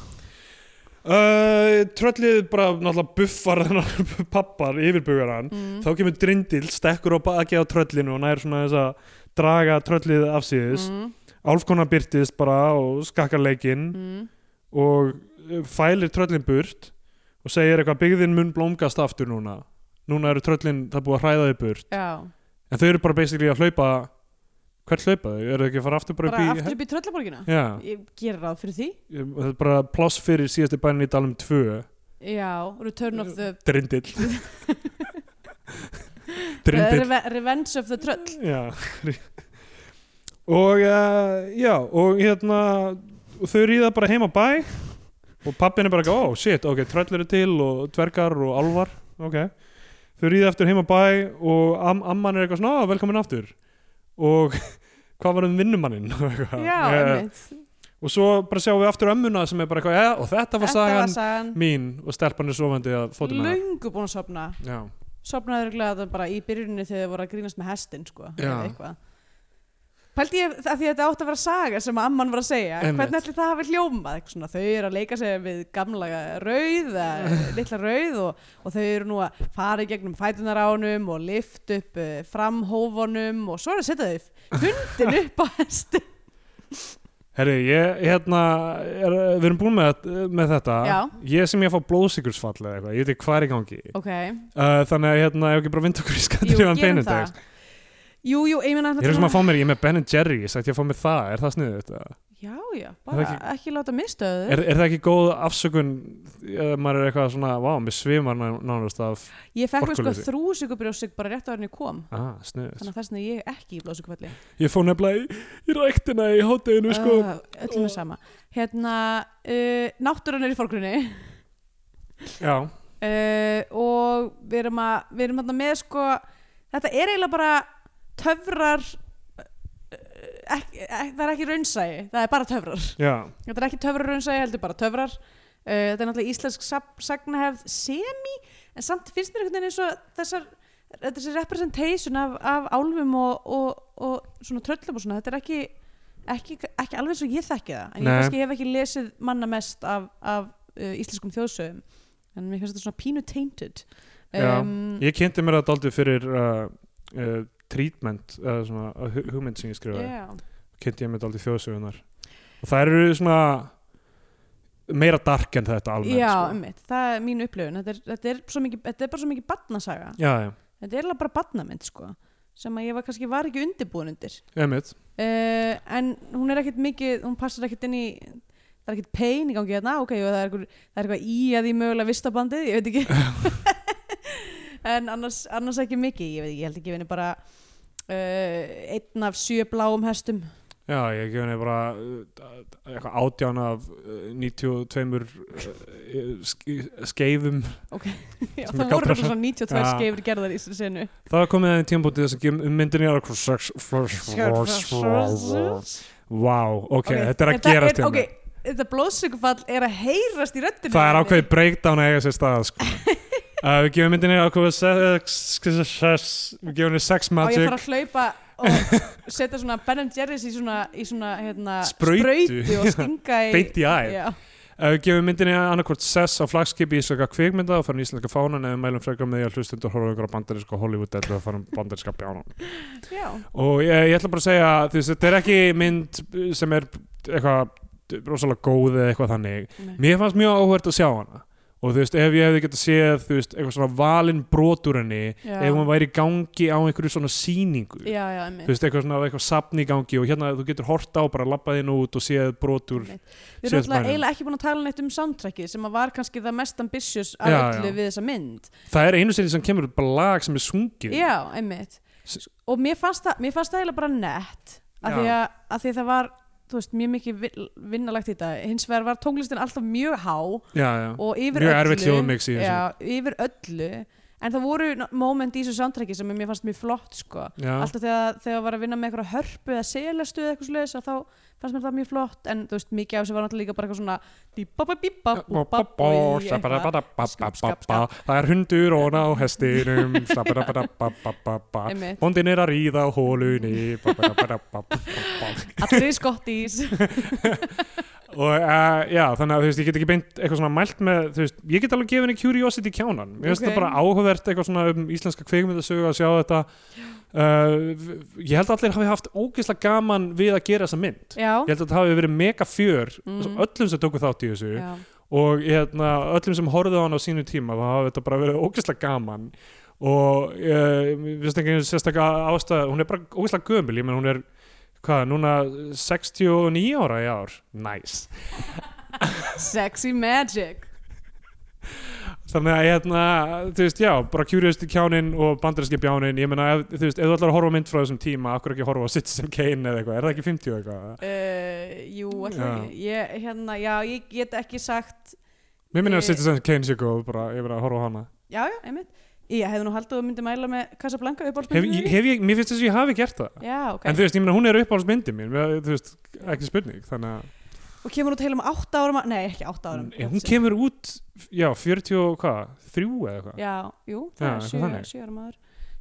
[SPEAKER 3] Uh, tröllið bara náttúrulega buffar þennan pappar yfirbugar hann
[SPEAKER 2] Mm.
[SPEAKER 3] Mm. þá kemur drindil, stekkur á baki á tröllinu og nær svona þess að draga tröllið af síðis mm. álfkona byrtist bara og skakkar leikinn
[SPEAKER 2] mm.
[SPEAKER 3] og uh, fælir tröllin burt og segir eitthvað byggðin mun blómgast aftur núna núna eru tröllin, það er búið að hræða þau burt
[SPEAKER 2] já,
[SPEAKER 3] en þau eru bara basically að hlaupa hvert hlaupa þau, eru þau ekki að fara aftur bara,
[SPEAKER 2] bara
[SPEAKER 3] upp í
[SPEAKER 2] aftur upp í tröllaborgina
[SPEAKER 3] Já,
[SPEAKER 2] ég gerir ráð fyrir því
[SPEAKER 3] um, þetta er bara pláss fyrir síðasti bænin í dalum 2
[SPEAKER 2] já, return of the
[SPEAKER 3] drindill drindill
[SPEAKER 2] Reve revenge of the tröll
[SPEAKER 3] Já eh, Og uh, já, og hérna og þau ríða bara heim á bæ og pappin er bara ekki, ó, shit, ok, tröll eru til og dvergar og álvar, ok þau ríða eftir heim á bæ og am amman er eitthvað svona, "Á, velkomin aftur og hvað var um vinnumanninn og eitthvað.
[SPEAKER 2] Já,
[SPEAKER 3] Eh,
[SPEAKER 2] einmitt
[SPEAKER 3] og svo bara sjáum við aftur ömmuna sem er bara eitthvað, "Eh, og þetta var
[SPEAKER 2] Þetta
[SPEAKER 3] sagan
[SPEAKER 2] var sagan
[SPEAKER 3] mín og stelpan er sofandi að fótum hennar
[SPEAKER 2] Lungu búin að sopna
[SPEAKER 3] Já.
[SPEAKER 2] Sopnaði reglega þetta bara í byrjunni þegar þau voru að grínast með hestin sko
[SPEAKER 3] Já.
[SPEAKER 2] eða eitthvað. Pældi ég að því að þetta átti að vera saga sem að amman var að segja
[SPEAKER 3] Einmitt.
[SPEAKER 2] Hvernig ætli það hafi hljómað eitthvað svona, Þau eru að leika sig við gamla rauð eh, Litla rauð og, og þau eru nú að fara í gegnum fætunar ánum Og lift upp eh, framhófunum Og svo er að setja þau hundin upp á hestin
[SPEAKER 3] Herri, ég, hérna, er, við erum búin með, með þetta.
[SPEAKER 2] Já.
[SPEAKER 3] Ég sem ég að fá blóðsikursfall eða eitthvað, ég veit ekki hvað er í gangi.
[SPEAKER 2] Ok,
[SPEAKER 3] Uh, þannig að hérna, ég ekki bara vind okkur í
[SPEAKER 2] jú,
[SPEAKER 3] skattriðan
[SPEAKER 2] gerum
[SPEAKER 3] beinin
[SPEAKER 2] það Jú, jú, ég meina
[SPEAKER 3] Ég er svona að fá mér, ég er með Ben Jerry, ég sagði ég að fá mér það, er það sniðið þetta?
[SPEAKER 2] Já, já,
[SPEAKER 3] Er það
[SPEAKER 2] bara ekki, láta mistöðu
[SPEAKER 3] Er, er það ekki góð afsökun, eða maður er eitthvað svona, vá, mér svimar ná- nánast af,
[SPEAKER 2] Ég fekk mér sko
[SPEAKER 3] Orkuleysi.
[SPEAKER 2] þrúsugubrjósik bara rétt á henni kom
[SPEAKER 3] ah, sniðið.
[SPEAKER 2] Þannig að þess að ég er ekki í blóðsugufalli
[SPEAKER 3] Ég fór nefnilega í, í ræktina í hátteginu, sko.
[SPEAKER 2] uh, Öllum er sama Hérna, uh, náttúran er í fórgrunni
[SPEAKER 3] Já,
[SPEAKER 2] uh, Og við erum að Við erum að með sko Þetta er eiginlega bara töfrar uh, ekki, ek, Það er ekki raunsæi Það er bara töfrar
[SPEAKER 3] já,
[SPEAKER 2] Þetta er ekki töfrar raunsæi, heldur bara töfrar uh, Þetta er náttúrulega íslensk sap- sagnahefð semi, en samt finnst mér einhvern veginn eins og þessar þetta er representation af, af álfum og, og, og svona tröllum og svona þetta er ekki, ekki, ekki alveg svo ég þekki það, en
[SPEAKER 3] Nei.
[SPEAKER 2] ég kannski hef ekki lesið manna mest af, af uh, íslenskum þjóðsögum en mér finnst þetta svona pínu tainted
[SPEAKER 3] Já.
[SPEAKER 2] Um,
[SPEAKER 3] ég kynnti mér þetta aldrei fyrir uh, uh, treatment, uh, svona, uh, hu- hugmynd sem ég skrifaði.
[SPEAKER 2] já,
[SPEAKER 3] kynnti ég með aldrei þjóðsögunar og það eru svona meira dark en þetta almennt
[SPEAKER 2] já
[SPEAKER 3] sko.
[SPEAKER 2] einmitt, það er mín upplifun þetta er, þetta er, svo mikið, þetta er bara svo mikið batnasaga
[SPEAKER 3] já, já,
[SPEAKER 2] þetta er eiginlega bara badnamynd sko sem að ég var kannski var ekki undirbúin undir
[SPEAKER 3] emitt
[SPEAKER 2] uh, en hún er ekkert mikið hún passar ekkert inn í það er ekkert pain í gangi þarna ok, og það er einhver- það er eitthvað í að því mögulega vistabandið ég veit ekki en annars, annars ekki mikið ég veit ekki, ég held ekki henni bara uh, einn af sjö bláum hestum
[SPEAKER 3] já, ég hef henni bara uh, eitthvað átján af uh, 92 uh, sk- skeifum
[SPEAKER 2] Já,
[SPEAKER 3] Sem er
[SPEAKER 2] það
[SPEAKER 3] gátar.
[SPEAKER 2] voru bara svona 92
[SPEAKER 3] Ja.
[SPEAKER 2] skeifur gerðar í þessari senu
[SPEAKER 3] það var komið að tímpútið þess að myndin er okkur sex wow, ok, þetta er að hérna.
[SPEAKER 2] þetta
[SPEAKER 3] gera til
[SPEAKER 2] ok, þetta blóðsökufall er að heyrast í röddinu
[SPEAKER 3] það er
[SPEAKER 2] á henni.
[SPEAKER 3] ákveðið breakdown að eiga sér stað sko. uh, við gefum myndinni ákveðið sex, sex, sex, við gefum henni
[SPEAKER 2] og
[SPEAKER 3] sex
[SPEAKER 2] ég
[SPEAKER 3] magic
[SPEAKER 2] þarf að hlaupa og setja svona Ben Jerry's í svona, í svona hérna,
[SPEAKER 3] Sprautu.
[SPEAKER 2] og stinga í
[SPEAKER 3] beint í æð
[SPEAKER 2] Já,
[SPEAKER 3] Ef við gefum myndinni annarkvort sess á flagskipi í Íslaka kvikmynda og farum íslenska fánan eða mælum frekar með því að hlustendur horfa ykkur á bandarinska Hollywood eða farum bandarinska bjánan.
[SPEAKER 2] já,
[SPEAKER 3] Og ég, ég ætla bara að segja að þess, þetta er ekki mynd sem er eitthvað rosalega góð eða eitthvað þannig.
[SPEAKER 2] Nei.
[SPEAKER 3] Mér fannst mjög áhvert að sjá hana. Og þú veist, ef ég hefði getað séð, þú veist, eitthvað svona valinn brotur henni,
[SPEAKER 2] já
[SPEAKER 3] ef hún væri í gangi á einhverju svona sýningu.
[SPEAKER 2] Já, já,
[SPEAKER 3] Þú
[SPEAKER 2] einmitt
[SPEAKER 3] veist, eitthvað svona eitthvað sapn í gangi og hérna þú getur horta á bara labbaðin út og séð brotur.
[SPEAKER 2] Einmitt. Við erum
[SPEAKER 3] Síðast
[SPEAKER 2] alltaf
[SPEAKER 3] bænum.
[SPEAKER 2] eiginlega ekki búin að tala neitt um soundtrackið sem að var kannski það mest ambitious af
[SPEAKER 3] Já,
[SPEAKER 2] öllu
[SPEAKER 3] já.
[SPEAKER 2] við þessa mynd
[SPEAKER 3] Það er einu sinni sem kemur upp bara lag sem er sungið.
[SPEAKER 2] Já, einmitt
[SPEAKER 3] S-
[SPEAKER 2] Og mér fannst það, mér fannst það eiginlega bara nett af
[SPEAKER 3] Já.
[SPEAKER 2] því að, að því að það var þú veist, mjög mikið vin- vinnalagt í þetta hins vegar var tónlistin alltaf mjög há
[SPEAKER 3] já, já.
[SPEAKER 2] og yfir
[SPEAKER 3] Mjög
[SPEAKER 2] öllu
[SPEAKER 3] erfitt hljóðmix í þessu.
[SPEAKER 2] já, yfir öllu en það voru no- moment í þessu soundtracki sem mér fannst mjög flott sko.
[SPEAKER 3] Já.
[SPEAKER 2] alltaf þegar, þegar var að vinna með eitthvað hörpu eða selastu eða eitthvað sliðis þá fannst mér það mjög flott en þú veist mikið af þessu var náttúrulega líka bara eitthvað svona bíbaba bíbaba bíbaba skap, skap, skap.
[SPEAKER 3] Það er hundur og ná hestinum Snabba-dabba-dabba-babba-babba.
[SPEAKER 2] Einmitt.
[SPEAKER 3] Bóndin er að ríða á hólunni Babba-dabba-dabba-babba.
[SPEAKER 2] allir í skottís
[SPEAKER 3] Og uh, já, þannig að þú veist, ég get ekki beint eitthvað svona mælt með, þú veist, ég get alveg gefið henni curiosity kjánan, mér finnst
[SPEAKER 2] Ok.
[SPEAKER 3] þetta bara áhugavert eitthvað svona um íslenska kveikmyndasögu að sjá þetta uh, ég held að allir hafi haft ógeðslega gaman við að gera þessa mynd,
[SPEAKER 2] já,
[SPEAKER 3] ég held að þetta hafi verið mega fjör,
[SPEAKER 2] Mhm.
[SPEAKER 3] öllum sem tóku þátt í þessu
[SPEAKER 2] já,
[SPEAKER 3] og hérna, öllum sem horfðu á hann á sínu tíma þá hafa þetta bara verið ógeðslega gaman og eh, ég veist ekki sérstaklega ástæða, hún er bara ógeðslega gömul ég menn hún er, hvað, núna 69 ára í ár nice.
[SPEAKER 2] sexy magic
[SPEAKER 3] þannig að hérna, þú veist, já, bara curiosity kjánin og bandarinski bjánin, ég menna ef, þú veist, ef þú ætlar að horfa á mynd frá þessum tíma akkur ekki horfa á Citizen Kane eða eitthvað, er það ekki 50 eða eitthvað?
[SPEAKER 2] Uh, jú,
[SPEAKER 3] Já.
[SPEAKER 2] alltaf ekki ég, hérna, já, ég get ekki sagt
[SPEAKER 3] Mér minnir
[SPEAKER 2] Eh,
[SPEAKER 3] að Citizen Kane sé góð bara, ég verið að horfa á hana
[SPEAKER 2] já, já, einmitt ég hefði nú haldið að þú myndi mæla með Casablanca
[SPEAKER 3] hef,
[SPEAKER 2] uppáhaldsmyndinni
[SPEAKER 3] ég- hef ég, Mér finnst þess að ég hafi gert það
[SPEAKER 2] já, ok,
[SPEAKER 3] En þú veist, ég meina hún er uppáhaldsmyndin mín við- Þú veist, ekki spurning Þannig að
[SPEAKER 2] og kemur út heilum átta árum að- nei, ekki átta árum
[SPEAKER 3] Nei, Mm, Hún kemur út, já, 40 og hvað? Þrjú eða hvað?
[SPEAKER 2] já, jú,
[SPEAKER 3] Já,
[SPEAKER 2] það
[SPEAKER 3] eitthvað
[SPEAKER 2] er
[SPEAKER 3] þannig.
[SPEAKER 2] sjö, sjö ára maður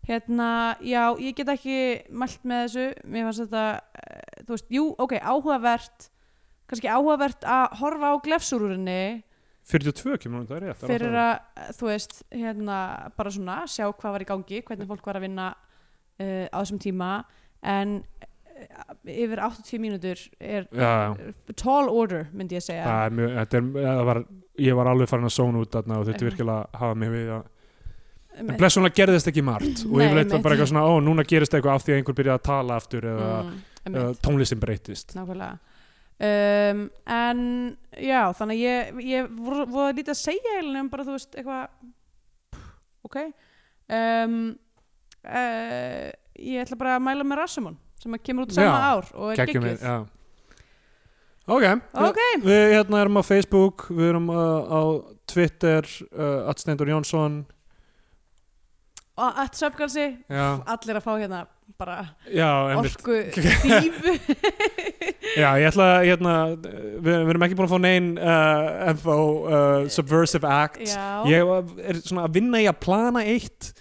[SPEAKER 2] hérna, já, ég get ekki mælt með þessu, mér fannst þetta eh, þú veist, jú, ok, áhugavert kannski áhugavert að horfa á glefsúrurinni
[SPEAKER 3] 42 kemur hún, það er rétt það er
[SPEAKER 2] fyrir að,
[SPEAKER 3] alltaf-
[SPEAKER 2] eh, þú veist, hérna bara svona, sjá hvað var í gangi hvernig fólk var að vinna uh, á þessum tíma en uh, yfir 80 mínútur er
[SPEAKER 3] Já, já.
[SPEAKER 2] tall order, myndi ég segja
[SPEAKER 3] Það er mjög, þetta er, það var, ég var alveg farin að sóna út þarna og þetta
[SPEAKER 2] Já.
[SPEAKER 3] virkilega að hafa mig við að En
[SPEAKER 2] Einmitt.
[SPEAKER 3] blessunlega gerðist ekki margt og
[SPEAKER 2] Nei,
[SPEAKER 3] ég veit
[SPEAKER 2] einmitt.
[SPEAKER 3] það bara eitthvað svona, ó, núna gerist eitthvað af því að einhver byrjaði að tala aftur eða,
[SPEAKER 2] mm,
[SPEAKER 3] eða
[SPEAKER 2] einmitt.
[SPEAKER 3] tónlistin breytist
[SPEAKER 2] nákvæmlega um, en já, þannig að ég, ég voru, voru lítið að segja eiginlega um bara þú veist eitthvað ok um, uh, ég ætla bara að mæla með Rassimon sem að kemur út sama
[SPEAKER 3] Já,
[SPEAKER 2] ár og er
[SPEAKER 3] Geggjum við,
[SPEAKER 2] geggjuð
[SPEAKER 3] já Ok,
[SPEAKER 2] ok,
[SPEAKER 3] Við, við hérna erum á Facebook, við erum uh, á Twitter, uh, Atstendur Jónsson
[SPEAKER 2] og að söpgalsi
[SPEAKER 3] Já,
[SPEAKER 2] allir að fá hérna bara
[SPEAKER 3] já, einmitt
[SPEAKER 2] orku þýfu
[SPEAKER 3] Já, ég ætla að, hérna, við, við erum ekki búin að fá neinn uh, ennþá uh, Subversive Act
[SPEAKER 2] já,
[SPEAKER 3] Ég er svona að vinna í að plana eitt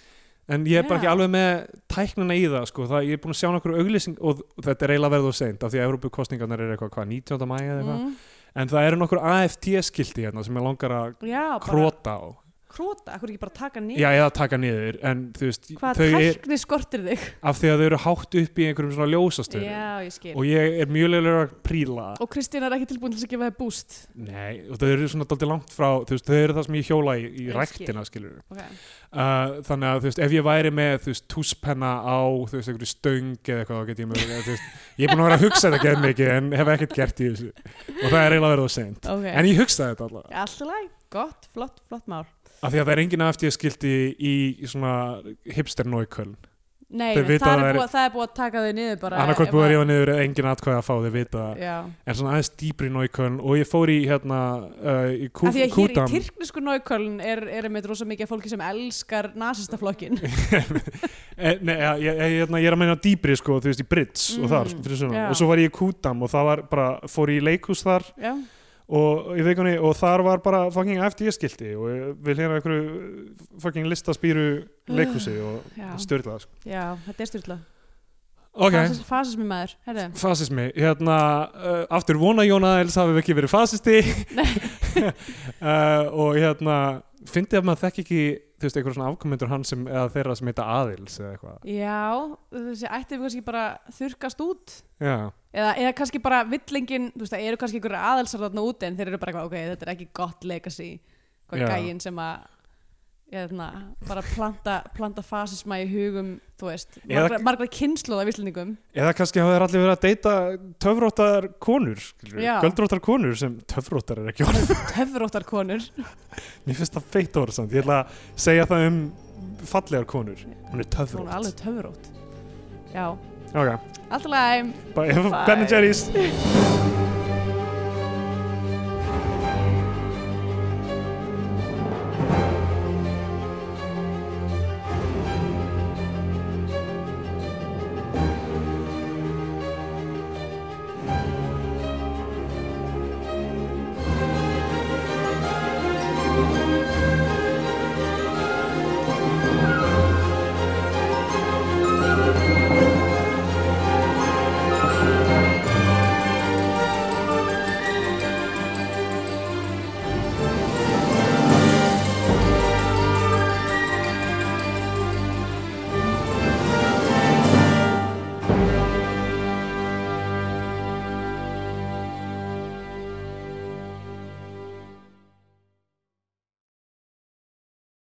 [SPEAKER 3] en ég er bara
[SPEAKER 2] Já.
[SPEAKER 3] ekki alveg með tæknina í það sko, það ég er búin að sjá nokkur auglýsing og þetta er eiginlega verið og seint af því að Evrópukostningarnar er eitthvað, hvað, 19. mæja eða eitthvað
[SPEAKER 2] mm,
[SPEAKER 3] en það eru nokkur AFT-skilti hérna sem ég langar að
[SPEAKER 2] já bara
[SPEAKER 3] króta á
[SPEAKER 2] króta, akkur ekki bara taka
[SPEAKER 3] Já,
[SPEAKER 2] nýtt
[SPEAKER 3] eða taka niður, en þú veist
[SPEAKER 2] hvað
[SPEAKER 3] þau er,
[SPEAKER 2] tækni skortir þig
[SPEAKER 3] af því að þau eru hátt upp í einhverjum svona ljósastöru
[SPEAKER 2] já, ég skil
[SPEAKER 3] og ég er mjög leiðilega að príla
[SPEAKER 2] og Kristín er ekki tilbúin til að gefa það búst
[SPEAKER 3] Nei, og þau eru svona daldið langt frá þú veist, þau eru það sem ég hjóla í, í
[SPEAKER 2] Ég skil.
[SPEAKER 3] ræktina skilur
[SPEAKER 2] okay.
[SPEAKER 3] uh, þannig að þú veist, ef ég væri með þú veist, túspenna á, þú veist, einhverju stöng eða eitthvað, þá get ég mögulega, þú veist ég er búin að vera að hugsa þetta geð mikið en hef ekkert gert í þessu og það er eiginlega verið á seint
[SPEAKER 2] okay.
[SPEAKER 3] en ég hugsa þetta allavega,
[SPEAKER 2] Alltaf læg, gott, flott, flott mál
[SPEAKER 3] af því að það er enginn aftur ég skildi í, í svona hipster nóiköln,
[SPEAKER 2] Nei,
[SPEAKER 3] Þau
[SPEAKER 2] það,
[SPEAKER 3] vita
[SPEAKER 2] það,
[SPEAKER 3] að
[SPEAKER 2] er
[SPEAKER 3] það er-
[SPEAKER 2] búið, það er búið að taka þau niður bara
[SPEAKER 3] annarkvæmt búið að rífa niður eða enginn atkvæði að fá þau vita það.
[SPEAKER 2] Já,
[SPEAKER 3] en svona aðeins dýpri nóiköln og ég fór í hérna uh, í Kú-
[SPEAKER 2] af því að hér í
[SPEAKER 3] Kúdam
[SPEAKER 2] tyrknesku náuköln er, er með rosa mikið af fólki sem elskar nasistaflokkin
[SPEAKER 3] Eh, Nei, ja, ég, ég, hérna, ég er að meina dýbri sko, þú veist, í Brits
[SPEAKER 2] Mm,
[SPEAKER 3] og þar, sko, fyrir sunnan
[SPEAKER 2] já.
[SPEAKER 3] og svo var ég í Kútam og það var bara, fór í leikhús þar
[SPEAKER 2] Já,
[SPEAKER 3] og í vikunni, og þar var bara fucking FD-skilti og ég vil hérna einhverju fucking listaspýru leikhúsi og
[SPEAKER 2] Ah, já,
[SPEAKER 3] styrla sko.
[SPEAKER 2] já, þetta er styrla
[SPEAKER 3] Ok,
[SPEAKER 2] Fasismi maður, herri
[SPEAKER 3] fasismi, hérna uh, aftur vona Jóna, els hafum við ekki verið fasisti uh, og hérna, fyndi að maður þekki ekki, þú veist, einhverjum svona afkomendur hans sem, eða þeirra sem heita aðils eða eitthvað,
[SPEAKER 2] Já, þessi ætti við kannski bara að þurrkast út
[SPEAKER 3] já
[SPEAKER 2] eða, eða kannski bara villingin, þú veist, það eru kannski einhverja aðalsar þarna úti en þeir eru bara eitthvað, ok, þetta er ekki gott legacy, hvað
[SPEAKER 3] Já.
[SPEAKER 2] gægin sem að eðna, bara planta, planta fasisma í hugum þú veist,
[SPEAKER 3] Eða-
[SPEAKER 2] margra, margra kynnslóða víslendingum
[SPEAKER 3] Eða kannski hafa þeir allir verið að deyta töfróttar konur,
[SPEAKER 2] Já.
[SPEAKER 3] göldróttar konur sem töfróttar er ekki orðið.
[SPEAKER 2] töfróttar konur
[SPEAKER 3] Mér finnst það feitt orð samt, ég ætla að segja það um fallegar konur. Hún er
[SPEAKER 2] hún er
[SPEAKER 3] töfrótt.
[SPEAKER 2] alveg töfrótt já,
[SPEAKER 3] Ok,
[SPEAKER 2] alltaf læm
[SPEAKER 3] bara
[SPEAKER 2] Bye.
[SPEAKER 3] Ben Jerry's.